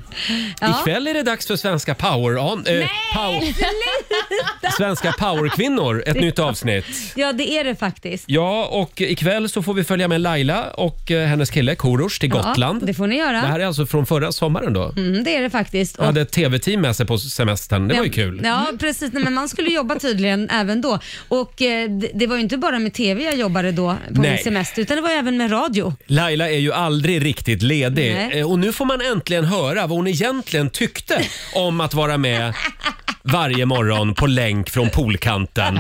[SPEAKER 14] Ja.
[SPEAKER 1] ikväll är det dags för Svenska Power... On, eh, power
[SPEAKER 2] Sluta!
[SPEAKER 1] Svenska Powerkvinnor, ett nytt avsnitt.
[SPEAKER 2] Ja, det är det faktiskt.
[SPEAKER 1] Ja, och ikväll så får vi följa med Laila och eh, hennes kille Korosh till
[SPEAKER 2] Ja,
[SPEAKER 1] Gotland.
[SPEAKER 2] det får ni göra.
[SPEAKER 1] Det här är alltså från förra sommaren då.
[SPEAKER 2] Mm, det är det faktiskt.
[SPEAKER 1] Jag hade ett tv-team med sig på semestern. Det var ju kul. Mm.
[SPEAKER 2] Ja, precis. Nej, men man skulle jobba tydligen även då. Och eh, det, det var ju inte bara med TV jag jobbade då på
[SPEAKER 1] Nej.
[SPEAKER 2] min semester, utan det var ju även med radio.
[SPEAKER 1] Laila är ju aldrig riktigt ledig
[SPEAKER 2] Nej.
[SPEAKER 1] Eh, och nu får man äntligen höra vad hon egentligen tyckte om att vara med varje morgon på länk från poolkanten.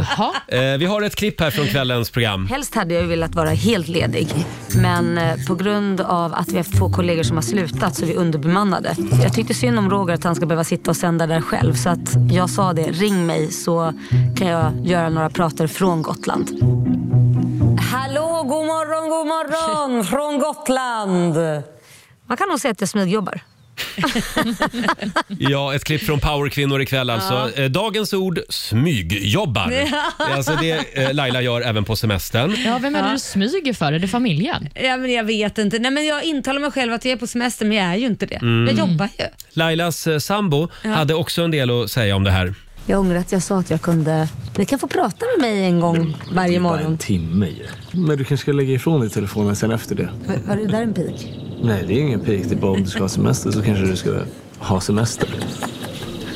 [SPEAKER 1] Eh, Vi har ett klipp här från kvällens program.
[SPEAKER 15] Helst hade jag ju velat vara helt ledig, men eh, på grund av att vi har två kollegor som har slutat så är vi underbemannade. Jag tyckte synd om Roger att han ska behöva sitta och sända där själv så att jag sa det, ring mig så kan jag göra några prater från Gotland. Hallå, god morgon, god morgon från Gotland! Man kan nog säga att jag smygjobbar.
[SPEAKER 1] Ja, ett klipp från Powerkvinnor ikväll alltså. Eh, Dagens ord, smygjobbar.
[SPEAKER 3] Ja.
[SPEAKER 1] Det är alltså det eh, Laila gör även på semestern.
[SPEAKER 3] Ja, vem är det du smyger för? Är det familjen?
[SPEAKER 2] Ja, men jag vet inte. Nej, men jag intalar mig själv att jag är på semester, men jag är ju inte det.
[SPEAKER 1] Mm.
[SPEAKER 2] Jag jobbar ju.
[SPEAKER 1] Lailas eh, sambo
[SPEAKER 15] Ja.
[SPEAKER 1] hade också en del att säga om det här.
[SPEAKER 15] Jag ångrar att jag sa att jag kunde... Ni kan få prata med mig en gång
[SPEAKER 16] typ
[SPEAKER 15] varje morgon.
[SPEAKER 16] timme ju. Men du kanske ska lägga ifrån dig telefonen sen efter det?
[SPEAKER 15] Var, var det där en pik?
[SPEAKER 16] Nej, det är ingen pik. Det är bara om du ska ha semester så kanske du ska ha semester.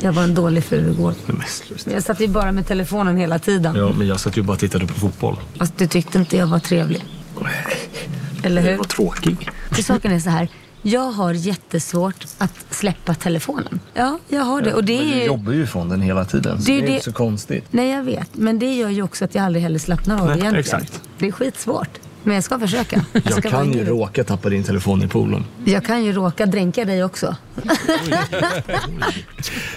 [SPEAKER 15] Jag var en dålig fru igår.
[SPEAKER 16] Nej, men sluta.
[SPEAKER 15] Jag satt ju bara med telefonen hela tiden.
[SPEAKER 16] Ja, men jag satt ju bara och tittade på fotboll.
[SPEAKER 15] Fast du tyckte inte jag var trevlig. Eller hur?
[SPEAKER 16] Vad tråkig.
[SPEAKER 15] För saken är så här. Jag har jättesvårt att släppa telefonen. Ja, jag har det. Och det
[SPEAKER 16] Men
[SPEAKER 15] är
[SPEAKER 16] Du
[SPEAKER 15] ju...
[SPEAKER 16] jobbar ju från den hela tiden, så
[SPEAKER 15] Det
[SPEAKER 16] det
[SPEAKER 15] är
[SPEAKER 16] är,
[SPEAKER 15] det-
[SPEAKER 16] inte så konstigt.
[SPEAKER 15] Nej, jag vet. Men det gör ju också att jag aldrig heller slappnar av
[SPEAKER 16] Nej,
[SPEAKER 15] egentligen.
[SPEAKER 16] exakt.
[SPEAKER 15] Det är skitsvårt. Men jag ska försöka.
[SPEAKER 16] Jag
[SPEAKER 15] ska vara
[SPEAKER 16] kan ju
[SPEAKER 15] ivrig.
[SPEAKER 16] råka tappa din telefon i poolen.
[SPEAKER 15] Jag kan ju råka dränka dig också.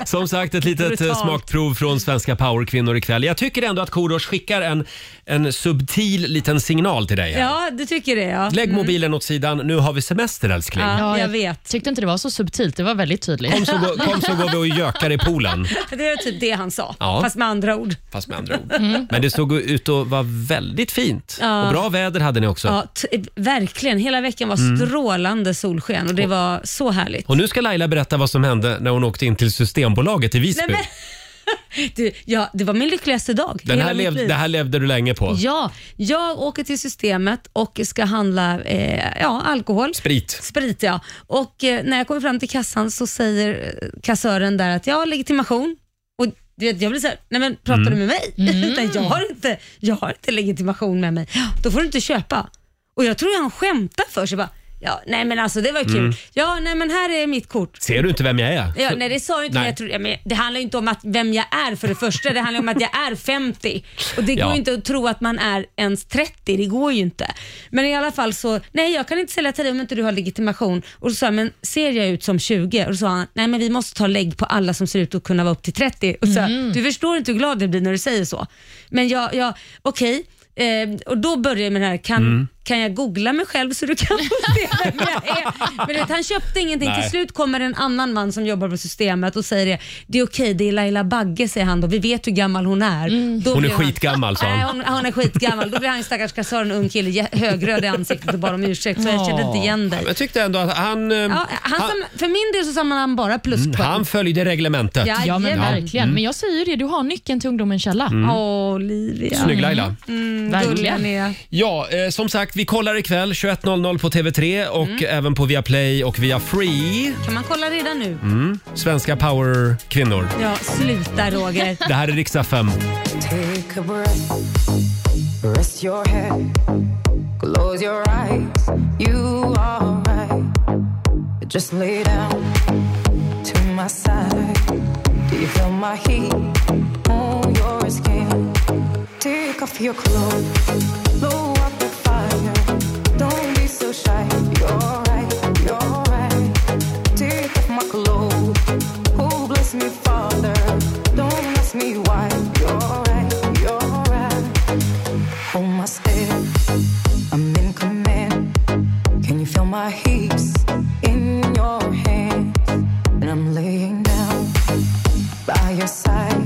[SPEAKER 1] Som sagt, ett litet eh,
[SPEAKER 13] Brutalt.
[SPEAKER 1] smakprov från svenska powerkvinnor ikväll. Jag tycker ändå att Korosh skickar en, en subtil liten signal till dig. här.
[SPEAKER 2] Ja, du tycker det ja.
[SPEAKER 1] Lägg
[SPEAKER 2] Mm.
[SPEAKER 1] mobilen åt sidan, nu har vi semester älskling.
[SPEAKER 2] Ja, jag
[SPEAKER 3] vet. tyckte inte det var så subtilt. Det var väldigt tydligt.
[SPEAKER 1] Kom, så går, kom så går vi och gökar i poolen.
[SPEAKER 2] Det är typ det han sa,
[SPEAKER 1] Ja.
[SPEAKER 2] fast med andra ord.
[SPEAKER 1] Fast med andra ord.
[SPEAKER 2] Mm.
[SPEAKER 1] Men det såg ut att vara väldigt fint.
[SPEAKER 2] Ja.
[SPEAKER 1] Och bra väder hade ni också.
[SPEAKER 2] Ja, t- verkligen. Hela veckan var
[SPEAKER 1] Mm.
[SPEAKER 2] strålande solsken och det var så härligt.
[SPEAKER 1] Och nu ska Laila berätta vad som hände när hon åkte in till Systembolaget i Visby.
[SPEAKER 2] Nej, men, du, ja, det var min lyckligaste dag. i
[SPEAKER 1] Den
[SPEAKER 2] hela
[SPEAKER 1] här
[SPEAKER 2] mitt
[SPEAKER 1] lev,
[SPEAKER 2] liv.
[SPEAKER 1] det här levde du länge på.
[SPEAKER 2] Ja, jag åker till systemet och ska handla eh, ja, alkohol.
[SPEAKER 1] Sprit.
[SPEAKER 2] Sprit ja. Och eh, när jag kommer fram till kassan så säger eh, kassören där att jag har legitimation. Och du vet, jag blir såhär, nej men pratar
[SPEAKER 13] Mm.
[SPEAKER 2] du med mig?
[SPEAKER 13] Mm.
[SPEAKER 2] Nej, jag, har inte, jag har inte legitimation med mig. Då får du inte köpa. Och jag tror han skämtar för sig. Bara, ja, nej men alltså det var kul.
[SPEAKER 1] Mm.
[SPEAKER 2] Ja, nej men här är mitt kort.
[SPEAKER 1] Ser du inte vem jag är?
[SPEAKER 2] Ja, nej det sa jag inte. men Jag tror, ja, men det handlar ju inte om att vem jag är för det första. Det handlar om att jag är 50. Och det går
[SPEAKER 1] Ja.
[SPEAKER 2] ju inte att tro att man är ens 30. Det går ju inte. Men i alla fall så, nej jag kan inte sälja till dig om inte du har legitimation. Och så sa jag, men ser jag ut som 20? Och då sa han, nej men vi måste ta lägg på alla som ser ut att kunna vara upp till 30. Och så,
[SPEAKER 13] Mm.
[SPEAKER 2] Du förstår inte hur glad jag blir när du säger så. Men jag, jag okej. Eh, och då börjar jag med det här, kan,
[SPEAKER 13] Mm.
[SPEAKER 2] kan jag googla mig själv så du kan få se vem jag är? Men du vet, han köpte ingenting.
[SPEAKER 13] Nej.
[SPEAKER 2] Till slut kommer en annan man som jobbar på systemet och säger det. Det är okej, det är Laila Bagge säger han då. Vi vet hur gammal hon är. Då
[SPEAKER 1] Hon är
[SPEAKER 2] blir han-
[SPEAKER 1] skitgammal, sa han.
[SPEAKER 2] Nej, hon, hon är skitgammal. Då blir han stackars kassören, ung kille, jä- högröd i ansiktet och bara om ursäkt. Så jag kände inte igen
[SPEAKER 1] Ja,
[SPEAKER 2] dig.
[SPEAKER 1] men jag tyckte ändå att han... eh,
[SPEAKER 2] Ja, han
[SPEAKER 1] han,
[SPEAKER 2] sam- för min del så samlar han bara pluspoäng.
[SPEAKER 1] mm, han följde reglementet.
[SPEAKER 3] Ja, men verkligen.
[SPEAKER 1] Mm.
[SPEAKER 3] Men jag säger ju det, du har nyckeln till ungdomen Källa.
[SPEAKER 1] Mm.
[SPEAKER 2] Åh, Olivia.
[SPEAKER 1] Snygg Laila.
[SPEAKER 2] Mm,
[SPEAKER 3] Verkligen.
[SPEAKER 2] verkligen.
[SPEAKER 1] Ja, eh, som sagt, vi kollar ikväll 21.00 på TV3 och även på Viaplay och via Free.
[SPEAKER 2] Kan man kolla redan nu?
[SPEAKER 1] Mm. Svenska powerkvinnor.
[SPEAKER 2] Ja, sluta Roger.
[SPEAKER 1] Det här är Riksa 5.
[SPEAKER 13] Take a breath, rest your head, close your eyes, you are right. Just lay down to my side. Do you feel my heat on your skin? Take off your clothes, blow up the fire. Don't be so shy, you're right, you're right. Take off my clothes, oh bless me, Father. Don't ask me why, you're right, you're right. Hold my step, I'm in command. Can you feel my heat in your hands? And I'm laying down by your side.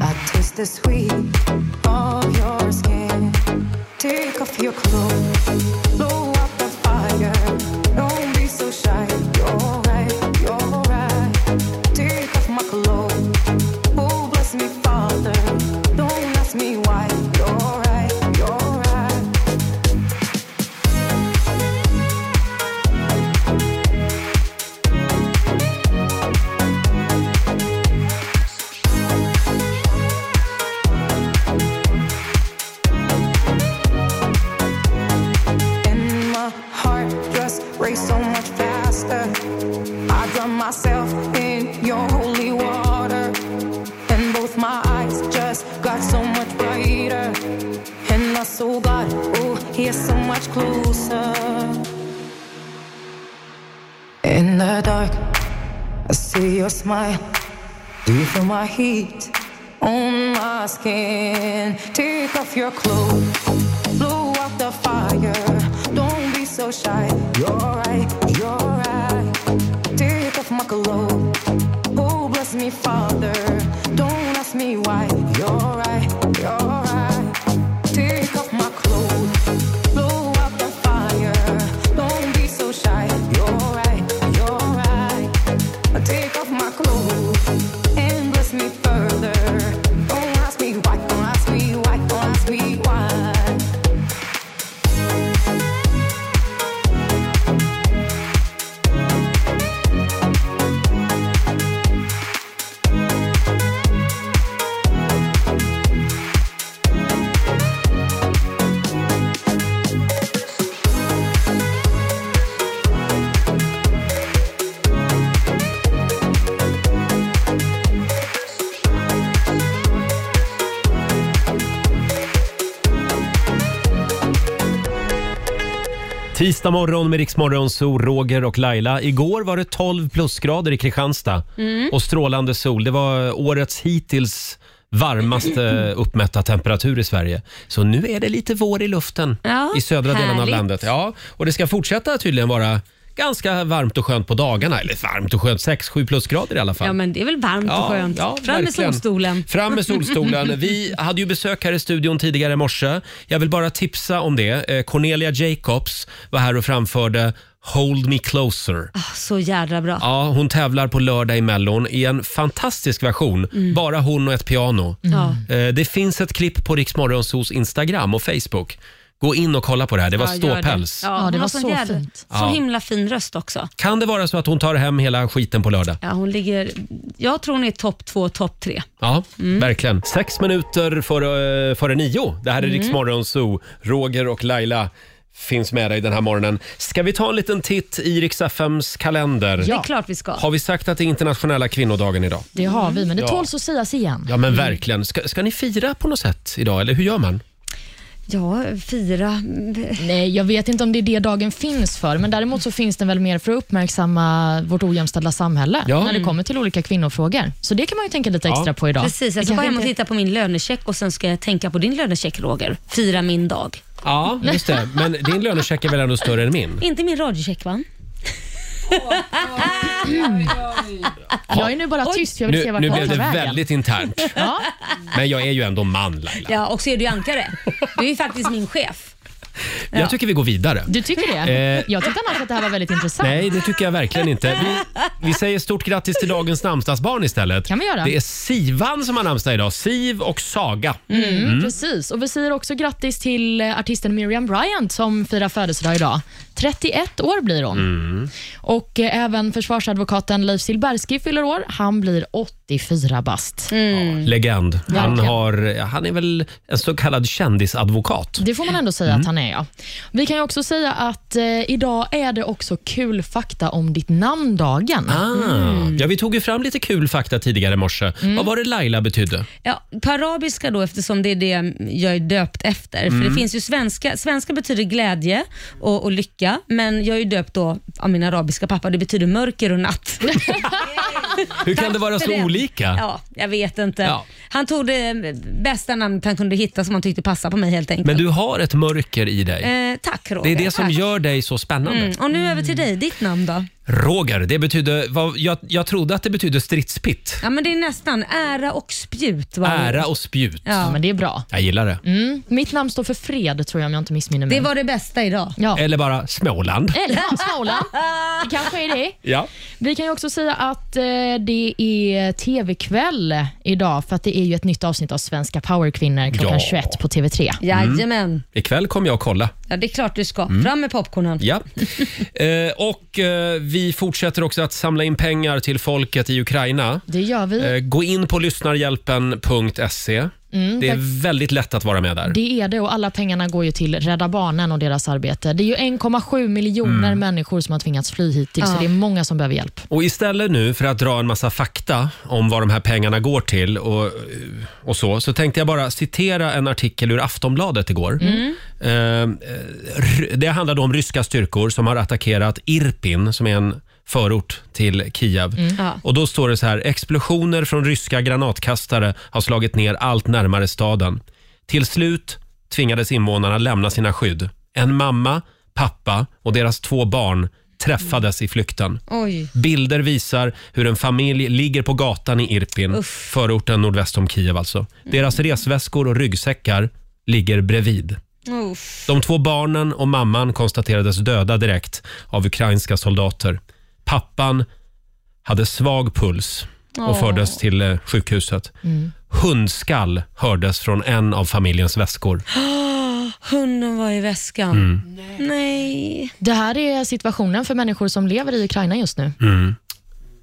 [SPEAKER 13] I taste the sweet of your skin. Take off your clothes, blow up the fire. Don't be so shy. You're right, you're right. Take off my clothes. Oh, bless me, Father. Don't ask me why. You're right, you're right. And my heart just raced so much faster. I drowned myself in your holy water. And both my eyes just got so much brighter. And my soul got, oh, here so much closer. In the dark, I see your smile. Do you feel my heat on my skin? Take off your clothes, blow out the fire. Don't be so shy. You're right, you're right. Take off my clothes. Oh, bless me, Father. Don't ask me why. You're right, you're right. Take off my clothes, blow out the fire. Don't be so shy. You're right, you're right. Take off my clothes and bless me further. Don't ask me why, don't ask me why, don't ask me why.
[SPEAKER 1] Tisdag morgon med Riksmorgon, så Roger och Laila. Igår var det 12 plusgrader i Kristianstad
[SPEAKER 14] Mm.
[SPEAKER 1] och strålande sol. Det var årets hittills varmaste uppmätta temperatur i Sverige. Så nu är det lite vår i luften
[SPEAKER 14] Ja,
[SPEAKER 1] i södra delen av
[SPEAKER 14] härligt.
[SPEAKER 1] landet. Ja, och det ska fortsätta tydligen vara ganska varmt och skönt på dagarna. Eller varmt och skönt, 6-7 plusgrader i alla fall.
[SPEAKER 2] Ja, men det är väl varmt
[SPEAKER 1] Ja,
[SPEAKER 2] och skönt.
[SPEAKER 1] ja,
[SPEAKER 2] Fram med
[SPEAKER 1] verkligen.
[SPEAKER 2] solstolen.
[SPEAKER 1] Fram med solstolen. Vi hade ju besök här i studion tidigare i morse. Jag vill bara tipsa om det. Eh, Cornelia Jacobs var här och framförde Hold Me Closer.
[SPEAKER 2] Så jädra bra.
[SPEAKER 1] Ja, hon tävlar på lördag i Mellon i en fantastisk version.
[SPEAKER 2] Mm.
[SPEAKER 1] Bara hon och ett piano.
[SPEAKER 3] Mm.
[SPEAKER 2] Ja.
[SPEAKER 1] Eh, Det finns ett klipp på Rix Morgonzos Instagram och Facebook. Gå in och kolla på det här. Det var
[SPEAKER 2] Ja, gör
[SPEAKER 1] ståpäls.
[SPEAKER 2] Ja, hon
[SPEAKER 3] det
[SPEAKER 2] har
[SPEAKER 3] var
[SPEAKER 2] sån
[SPEAKER 3] så
[SPEAKER 2] jädra-
[SPEAKER 3] fint.
[SPEAKER 2] Så
[SPEAKER 1] Ja.
[SPEAKER 2] himla fin röst också.
[SPEAKER 1] Kan det vara så att hon tar hem hela skiten på lördag?
[SPEAKER 2] Ja, hon ligger, jag tror hon är topp två, topp tre.
[SPEAKER 1] Ja,
[SPEAKER 3] Mm.
[SPEAKER 1] verkligen. Sex minuter före, före nio. Det här är
[SPEAKER 2] Mm.
[SPEAKER 1] Rix Morgon Zoo. Roger och Laila finns med dig den här morgonen. Ska vi ta en liten titt i Rix FMs kalender?
[SPEAKER 3] Det är klart vi ska.
[SPEAKER 1] Har vi sagt att det är internationella kvinnodagen idag?
[SPEAKER 3] Det har vi, men det
[SPEAKER 1] Ja.
[SPEAKER 3] tåls att sägas igen.
[SPEAKER 1] Ja, men verkligen. Ska, ska ni fira på något sätt idag, eller hur gör man?
[SPEAKER 3] Ja, fira. Nej, jag vet inte om det är det dagen finns för, men däremot så finns den väl mer för att uppmärksamma vårt ojämställda samhälle
[SPEAKER 1] Ja.
[SPEAKER 3] när det kommer till olika kvinnofrågor. Så det kan man ju tänka lite extra på idag.
[SPEAKER 2] Precis,
[SPEAKER 3] Det
[SPEAKER 2] jag ska
[SPEAKER 3] kanske
[SPEAKER 2] gå hem och
[SPEAKER 3] inte-
[SPEAKER 2] titta på min lönecheck och sen ska jag tänka på din lönecheck Roger. Fira min dag.
[SPEAKER 1] Ja, just det. Men din lönecheck är väl ändå större än min?
[SPEAKER 2] Inte min radiocheck va?
[SPEAKER 3] Jag är nu bara tyst, jag vill se
[SPEAKER 1] Nu,
[SPEAKER 3] vart
[SPEAKER 1] nu
[SPEAKER 3] det
[SPEAKER 1] blev
[SPEAKER 3] tar
[SPEAKER 1] det
[SPEAKER 3] vägen.
[SPEAKER 1] väldigt internt.
[SPEAKER 3] Ja.
[SPEAKER 1] Men jag är ju ändå man, Laila.
[SPEAKER 2] Ja, och så är du ju ankare. Du är ju faktiskt min chef. Ja.
[SPEAKER 1] Jag tycker vi går vidare.
[SPEAKER 3] Du tycker det?
[SPEAKER 1] Eh.
[SPEAKER 3] Jag tyckte annars att det här var väldigt intressant.
[SPEAKER 1] Nej, det tycker jag verkligen inte. Vi, vi säger stort grattis till dagens namnsdagsbarn istället.
[SPEAKER 3] Kan vi göra?
[SPEAKER 1] Det är Sivan som har namnsdag idag. Siv och Saga.
[SPEAKER 3] Mm,
[SPEAKER 1] Mm.
[SPEAKER 3] Precis. Och Vi säger också grattis till eh, artisten Miriam Bryant som firar födelsedag idag. 31 år blir hon.
[SPEAKER 1] Mm.
[SPEAKER 3] Och eh, Även försvarsadvokaten Leif Silbersky fyller år. Han blir 84 bast.
[SPEAKER 1] Legend. Han,
[SPEAKER 3] Verkligen.
[SPEAKER 1] har, han är väl en så kallad kändisadvokat.
[SPEAKER 3] Det får man ändå säga
[SPEAKER 1] Mm.
[SPEAKER 3] att han är. Ja. Vi kan ju också säga att eh, idag är det också kul fakta om ditt namn-dagen.
[SPEAKER 1] Ah. Ja, vi tog ju fram lite kul fakta tidigare i morse.
[SPEAKER 2] Mm.
[SPEAKER 1] Vad var det Laila betydde?
[SPEAKER 2] Ja, på arabiska då eftersom det är det jag är döpt efter. För
[SPEAKER 1] Mm.
[SPEAKER 2] det finns ju svenska, svenska betyder glädje och, och lycka, men jag är ju döpt då av min arabiska pappa. Det betyder mörker och natt.
[SPEAKER 1] Hur kan det vara
[SPEAKER 2] för
[SPEAKER 1] så
[SPEAKER 2] det.
[SPEAKER 1] olika?
[SPEAKER 2] Ja, jag vet inte.
[SPEAKER 1] Ja.
[SPEAKER 2] Han tog det eh, bästa namnet han kunde hitta som han tyckte passade på mig helt enkelt.
[SPEAKER 1] Men du har ett mörker i dig.
[SPEAKER 2] eh, tack Roger.
[SPEAKER 1] Det är det som
[SPEAKER 2] tack.
[SPEAKER 1] gör dig så spännande.
[SPEAKER 2] Mm. Och nu över till dig, ditt namn då?
[SPEAKER 1] Roger, det betyder, vad, jag, jag trodde att det betydde stridspitt.
[SPEAKER 2] Ja men det är nästan ära och spjut. Var det.
[SPEAKER 1] Ära och spjut.
[SPEAKER 2] Ja.
[SPEAKER 3] men det är bra.
[SPEAKER 1] Jag gillar det.
[SPEAKER 3] Mm. Mitt namn står för fred, tror jag, om jag inte missminner mig.
[SPEAKER 2] Det var det bästa idag.
[SPEAKER 3] Ja.
[SPEAKER 1] Eller bara Småland.
[SPEAKER 3] Eller ja, Småland. Det kanske är det.
[SPEAKER 1] Ja.
[SPEAKER 3] Vi kan ju också säga att eh, det är tv-kväll idag för att det är ju ett nytt avsnitt av Svenska powerkvinnor klockan
[SPEAKER 1] Ja.
[SPEAKER 3] 21 på TV3.
[SPEAKER 2] Jajamän.
[SPEAKER 1] Ikväll kommer jag att kolla.
[SPEAKER 2] Ja, det är klart du ska.
[SPEAKER 1] Mm.
[SPEAKER 2] Fram med popcornen.
[SPEAKER 1] Ja. Eh, och eh, vi fortsätter också att samla in pengar till folket i Ukraina.
[SPEAKER 3] Det gör vi.
[SPEAKER 1] Eh, gå in på lyssnarhjälpen.se.
[SPEAKER 3] Mm,
[SPEAKER 1] det är
[SPEAKER 3] tack.
[SPEAKER 1] väldigt lätt att vara med där.
[SPEAKER 3] Det är det och alla pengarna går ju till Rädda Barnen och deras arbete. Det är ju 1,7 miljoner människor som har tvingats fly
[SPEAKER 1] Ja.
[SPEAKER 3] hittills, så det är många som behöver hjälp.
[SPEAKER 1] Och istället nu för att dra en massa fakta om vad de här pengarna går till och, och så, så tänkte jag bara citera en artikel ur Aftonbladet igår.
[SPEAKER 14] Mm.
[SPEAKER 1] Eh, r- det handlade om ryska styrkor som har attackerat Irpin, som är en förort till Kiev.
[SPEAKER 14] Mm. Ja.
[SPEAKER 1] Och då står det så här, explosioner från ryska granatkastare har slagit ner allt närmare staden. Till slut tvingades invånarna lämna sina skydd. En mamma, pappa och deras två barn träffades i flykten.
[SPEAKER 2] Oj.
[SPEAKER 1] Bilder visar hur en familj ligger på gatan i Irpin, förorten nordväst om Kiev alltså. Deras
[SPEAKER 3] Mm.
[SPEAKER 1] resväskor och ryggsäckar ligger bredvid.
[SPEAKER 2] Uff.
[SPEAKER 1] De två barnen och mamman konstaterades döda direkt av ukrainska soldater. Pappan hade svag puls och
[SPEAKER 14] Åh.
[SPEAKER 1] fördes till eh, sjukhuset.
[SPEAKER 14] Mm.
[SPEAKER 1] Hundskall hördes från en av familjens väskor.
[SPEAKER 2] Ah, Hunden var i väskan.
[SPEAKER 1] Mm.
[SPEAKER 2] Nej.
[SPEAKER 3] Det här är situationen för människor som lever i Ukraina just nu.
[SPEAKER 1] Mm.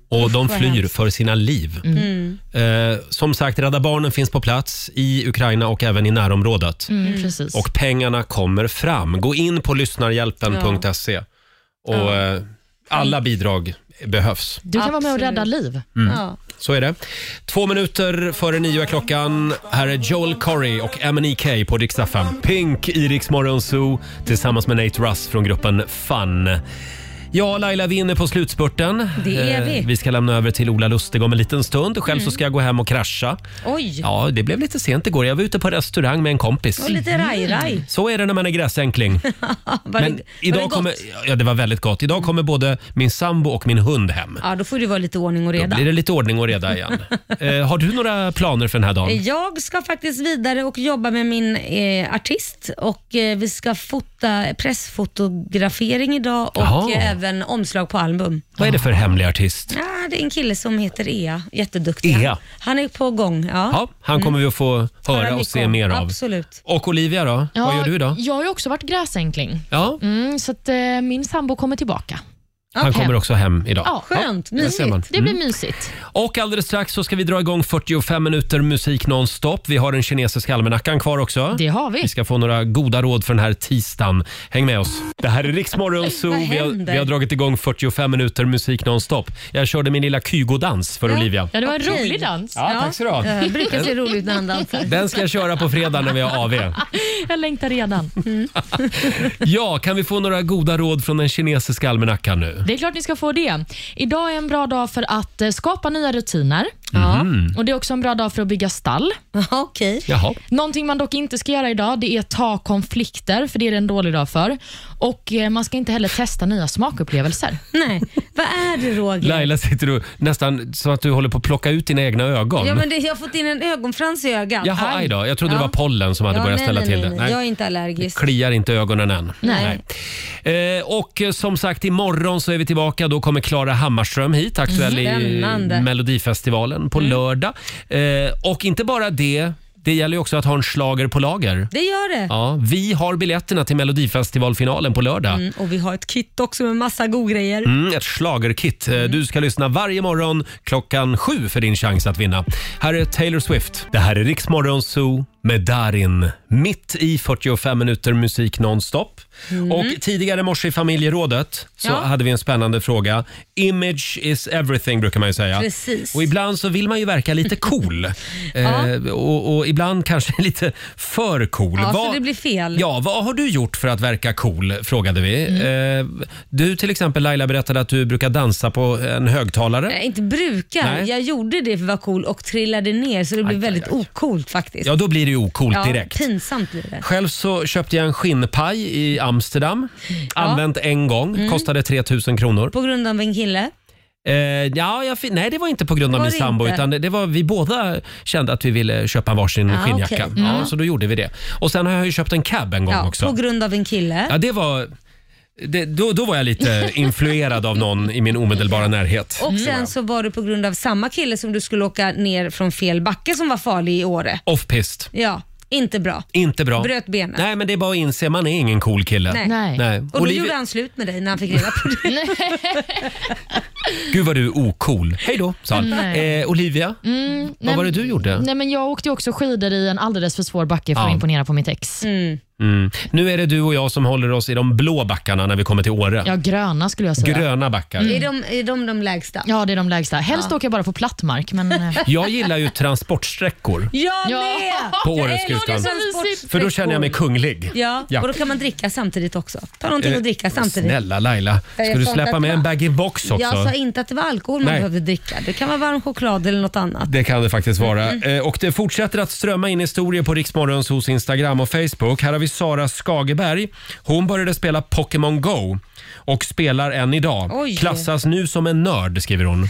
[SPEAKER 1] Och de
[SPEAKER 3] vad
[SPEAKER 1] flyr
[SPEAKER 3] hemskt.
[SPEAKER 1] för sina liv.
[SPEAKER 3] Mm.
[SPEAKER 1] Eh, som sagt, Rädda Barnen finns på plats i Ukraina och även i närområdet.
[SPEAKER 3] Mm, precis.
[SPEAKER 1] Och pengarna kommer fram. Gå in på lyssnarhjälpen.se och eh, Alla bidrag behövs.
[SPEAKER 3] Du kan vara med och rädda liv.
[SPEAKER 1] Mm. Så är det. Två minuter före nio är klockan. Här är Joel Corry och MNEK på Dix FM. Pink i Rix Morgon Zoo tillsammans med Nate Russ från gruppen Fun. Ja, Laila, vi är inne på slutspurten. Eh,
[SPEAKER 2] Det är vi.
[SPEAKER 1] vi ska lämna över till Ola Lustig om en liten stund. Själv så
[SPEAKER 2] Mm.
[SPEAKER 1] ska jag gå hem och krascha.
[SPEAKER 2] Oj!
[SPEAKER 1] Ja, det blev lite sent igår. Jag var ute på restaurang med en kompis.
[SPEAKER 2] Och lite raj-raj.
[SPEAKER 1] Så är det när man är gräsänkling.
[SPEAKER 2] Var det-
[SPEAKER 1] Mm.
[SPEAKER 2] var
[SPEAKER 1] Men
[SPEAKER 2] det
[SPEAKER 1] idag
[SPEAKER 2] gott?
[SPEAKER 1] kommer, ja, det var väldigt gott. Idag kommer både min sambo och min hund hem.
[SPEAKER 2] Ja, då får det vara lite ordning och
[SPEAKER 1] Då
[SPEAKER 2] reda.
[SPEAKER 1] blir det lite ordning och reda igen. eh, har du några planer för den här dagen?
[SPEAKER 2] Jag ska faktiskt vidare och jobba med min eh, artist och eh, vi ska fota pressfotografering idag och
[SPEAKER 1] Jaha.
[SPEAKER 2] eh, även omslag på album.
[SPEAKER 1] Vad är det för hemlig artist?
[SPEAKER 2] Ja, det är en kille som heter Ea, jätteduktig.
[SPEAKER 1] Ea.
[SPEAKER 2] Han är på gång. Ja,
[SPEAKER 1] Ja, han kommer vi att få höra och
[SPEAKER 3] mycket
[SPEAKER 1] se
[SPEAKER 3] om.
[SPEAKER 1] mer av.
[SPEAKER 2] Absolut.
[SPEAKER 1] Och Olivia då? Vad gör du idag?
[SPEAKER 3] Jag har ju också varit gräsänkling.
[SPEAKER 1] Ja,
[SPEAKER 3] Mm, så att, eh, min sambo kommer tillbaka.
[SPEAKER 1] han kommer också hem idag.
[SPEAKER 3] Ja. Skönt,
[SPEAKER 1] där ser man.
[SPEAKER 3] Det blir
[SPEAKER 1] Mm.
[SPEAKER 3] mysigt.
[SPEAKER 1] Och alldeles strax så ska vi dra igång 45 minuter musik nonstop. Vi har den kinesiska almanackan kvar också.
[SPEAKER 3] Det har vi.
[SPEAKER 1] Vi ska få några goda råd för den här tisdagen. Häng med oss. Det här är Riksmorgon Zoo.
[SPEAKER 2] Vad
[SPEAKER 1] Vi har,
[SPEAKER 2] händer?
[SPEAKER 1] vi har dragit igång 45 minuter musik nonstop. Jag körde min lilla Kygo-dans för Olivia.
[SPEAKER 3] Ja, det var en
[SPEAKER 2] Okej.
[SPEAKER 3] rolig dans.
[SPEAKER 1] Ja, tack ska du ha.
[SPEAKER 2] Jag Eh, brukar se roligt ut när han dansar.
[SPEAKER 1] Den ska jag köra på fredag när vi har AV.
[SPEAKER 3] Jag längtar redan.
[SPEAKER 1] Ja, kan vi få några goda råd från den kinesiska almanackan nu?
[SPEAKER 3] Det är klart ni ska få det. Idag är en bra dag för att eh, skapa nya rutiner.
[SPEAKER 1] Mhm.
[SPEAKER 3] Och Det är också en bra dag för att bygga stall.
[SPEAKER 2] Okej.
[SPEAKER 1] Jaha.
[SPEAKER 3] Någonting man dock inte ska göra idag det är ta konflikter, för det är det en dålig dag för. Och eh, Man ska inte heller testa nya smakupplevelser.
[SPEAKER 2] Nej, vad är det Roger?
[SPEAKER 1] Laila sitter du nästan som att du håller på att plocka ut dina egna ögon.
[SPEAKER 2] Ja, men det, jag har fått in en ögonfrans i ögat.
[SPEAKER 1] Jaha, aj då. Jag trodde det var pollen som hade
[SPEAKER 2] Ja,
[SPEAKER 1] börjat
[SPEAKER 2] nej,
[SPEAKER 1] ställa
[SPEAKER 2] nej,
[SPEAKER 1] till
[SPEAKER 2] nej,
[SPEAKER 1] det.
[SPEAKER 2] Nej. Jag är inte allergisk.
[SPEAKER 1] Kliar inte ögonen än.
[SPEAKER 2] Nej.
[SPEAKER 1] Nej. Eh, och eh, som sagt, imorgon så är vi tillbaka. Då kommer Klara Hammarström hit, aktuell i
[SPEAKER 2] Spännande. Mm.
[SPEAKER 1] eh, Melodifestivalen på lördag. Eh, och inte bara det, det gäller ju också att ha en slager på lager.
[SPEAKER 2] Det gör det.
[SPEAKER 1] Ja, vi har biljetterna till Melodifestivalfinalen på lördag.
[SPEAKER 2] Mm, och vi har ett kit också med massa god grejer.
[SPEAKER 1] Mm, ett schlagerkit. Eh, Du ska lyssna varje morgon klockan sju för din chans att vinna. Här är Taylor Swift. Det här är Riksmorgon Zoo med Darin. Mitt i 45 minuter musik nonstop. Och tidigare i morse i familjerådet så
[SPEAKER 2] Mm. Ja.
[SPEAKER 1] hade vi en spännande fråga. Image is everything brukar man ju säga.
[SPEAKER 2] Precis.
[SPEAKER 1] Och ibland så vill man ju verka lite cool. eh, och, och ibland kanske lite för cool.
[SPEAKER 2] Ja,
[SPEAKER 1] Vad-
[SPEAKER 2] så det blir fel.
[SPEAKER 1] Ja, vad har du gjort för att verka cool? Frågade vi.
[SPEAKER 2] Mm.
[SPEAKER 1] Eh, du till exempel Laila berättade att du brukar dansa på en högtalare.
[SPEAKER 2] Nej, inte brukar.
[SPEAKER 1] Nej.
[SPEAKER 2] Jag gjorde det för att vara cool och trillade ner så det blev väldigt ocoolt faktiskt.
[SPEAKER 1] Ja, då blir det ju ocoolt
[SPEAKER 2] Ja,
[SPEAKER 1] direkt.
[SPEAKER 2] Pinsamt blir det.
[SPEAKER 1] Själv så köpte jag en skinnpaj i Amsterdam. Använt en gång.
[SPEAKER 2] Mm.
[SPEAKER 1] Kostade 3 000 kronor.
[SPEAKER 2] På grund av en kille.
[SPEAKER 1] Eh, ja, jag, fi- nej, det var inte på grund av
[SPEAKER 2] Var
[SPEAKER 1] min
[SPEAKER 2] det
[SPEAKER 1] sambo.
[SPEAKER 2] inte?
[SPEAKER 1] Utan det, det var, vi båda kände att vi ville köpa varsin
[SPEAKER 2] Ah,
[SPEAKER 1] skinnjacka.
[SPEAKER 2] okej.
[SPEAKER 1] Ja,
[SPEAKER 2] Mm.
[SPEAKER 1] så då gjorde vi det. Och sen har jag ju köpt en cab en gång
[SPEAKER 2] Ja,
[SPEAKER 1] också.
[SPEAKER 2] på grund av en kille.
[SPEAKER 1] Ja, det var... Det, då, då var jag lite influerad av någon i min omedelbara närhet.
[SPEAKER 2] Och sen så var det på grund av samma kille som du skulle åka ner från fel backe som var farlig i Åre.
[SPEAKER 1] Off-pist.
[SPEAKER 2] Ja, inte bra.
[SPEAKER 1] Inte bra.
[SPEAKER 2] Bröt benet.
[SPEAKER 1] Nej, men det är bara att inse, man är ingen cool kille.
[SPEAKER 2] Nej. Och då
[SPEAKER 1] Olivia-
[SPEAKER 2] gjorde han slut med dig när han fick reda på det.
[SPEAKER 1] Gud vad du är ocool. Hej då, sa han.
[SPEAKER 3] Mm, Nej.
[SPEAKER 1] Eh, Olivia,
[SPEAKER 3] Mm, nej,
[SPEAKER 1] vad var det
[SPEAKER 3] men-
[SPEAKER 1] du gjorde?
[SPEAKER 3] Nej, men jag åkte ju också skidor i en alldeles för svår backe för
[SPEAKER 1] Ja.
[SPEAKER 3] att imponera på mitt ex.
[SPEAKER 1] Mm. Nu är det du och jag som håller oss i de blå backarna när vi kommer till Åre.
[SPEAKER 3] Ja, Mm. gröna skulle jag säga.
[SPEAKER 1] Gröna backar.
[SPEAKER 2] Är, de, är de de lägsta?
[SPEAKER 3] Ja, det är de lägsta. Helst
[SPEAKER 2] Ja.
[SPEAKER 3] åker jag bara på platt mark. Men, eh,
[SPEAKER 1] Jag gillar ju transportsträckor
[SPEAKER 2] Jag med!
[SPEAKER 1] på
[SPEAKER 2] Jag
[SPEAKER 1] Åreskutan.
[SPEAKER 2] älskar transportsträckor.
[SPEAKER 1] För då känner jag mig kunglig.
[SPEAKER 2] Ja, och då kan man dricka samtidigt också. Ta någonting
[SPEAKER 1] Eh,
[SPEAKER 2] att dricka samtidigt.
[SPEAKER 1] Snälla Laila,
[SPEAKER 2] Jag
[SPEAKER 1] ska du
[SPEAKER 2] sa inte
[SPEAKER 1] släppa
[SPEAKER 2] att
[SPEAKER 1] med
[SPEAKER 2] det var-
[SPEAKER 1] en bag-in-box också?
[SPEAKER 2] Jag sa inte att det var alkohol man
[SPEAKER 1] Nej.
[SPEAKER 2] behövde dricka. Det kan vara varm choklad eller något annat. Mm.
[SPEAKER 1] Det kan det faktiskt vara. Eh, Och det fortsätter att strömma in historier på Riksmorgons hos Instagram och Facebook. Här har vi Sara Skageberg. Hon började spela Pokémon Go och spelar än idag.
[SPEAKER 2] Oj. Mm.
[SPEAKER 1] Klassas nu som en nörd, skriver hon.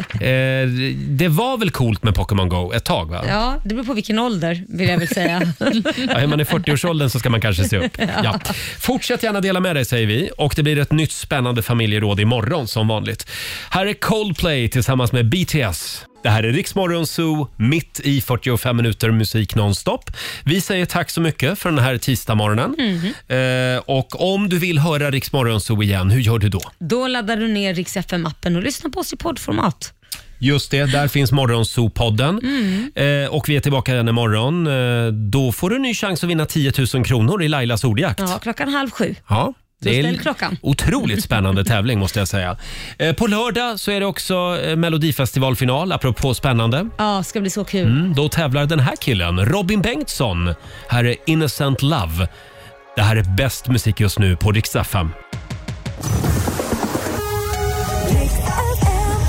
[SPEAKER 1] Eh, det var väl coolt med Pokémon Go ett tag, va?
[SPEAKER 2] Ja, det beror på vilken ålder vill jag väl säga.
[SPEAKER 1] Ja, är man i 40-årsåldern så ska man kanske se upp.
[SPEAKER 2] Ja.
[SPEAKER 1] Ja. Fortsätt gärna dela med dig säger vi och det blir ett nytt spännande familjeråd imorgon som vanligt. Här är Coldplay tillsammans med BTS. Det här är Riksmorgon Zoo, mitt i 45 minuter musik nonstop. Vi säger tack så mycket för den här tisdagsmorgonen.
[SPEAKER 2] Mhm.
[SPEAKER 1] Eh, och om du vill höra Riksmorgon Zoo igen, hur gör du då?
[SPEAKER 2] Då laddar du ner Rix FM-appen och lyssnar på oss i poddformat.
[SPEAKER 1] Just det, där finns Morgonzoo-podden.
[SPEAKER 2] Mm.
[SPEAKER 1] Eh, och vi är tillbaka igen imorgon. Eh, då får du en ny chans att vinna 10 000 kronor i Lailas ordjakt.
[SPEAKER 2] Ja, klockan halv sju.
[SPEAKER 1] Ja,
[SPEAKER 2] Så
[SPEAKER 1] en
[SPEAKER 2] ställ klockan.
[SPEAKER 1] otroligt spännande tävling måste jag säga. Eh, På lördag så är det också eh, Melodifestivalfinal, apropå spännande.
[SPEAKER 2] Ja, ska bli så kul.
[SPEAKER 1] Mm, då tävlar den här killen, Robin Bengtsson. Här är Innocent Love. Det här är bäst musik just nu på Rix FM.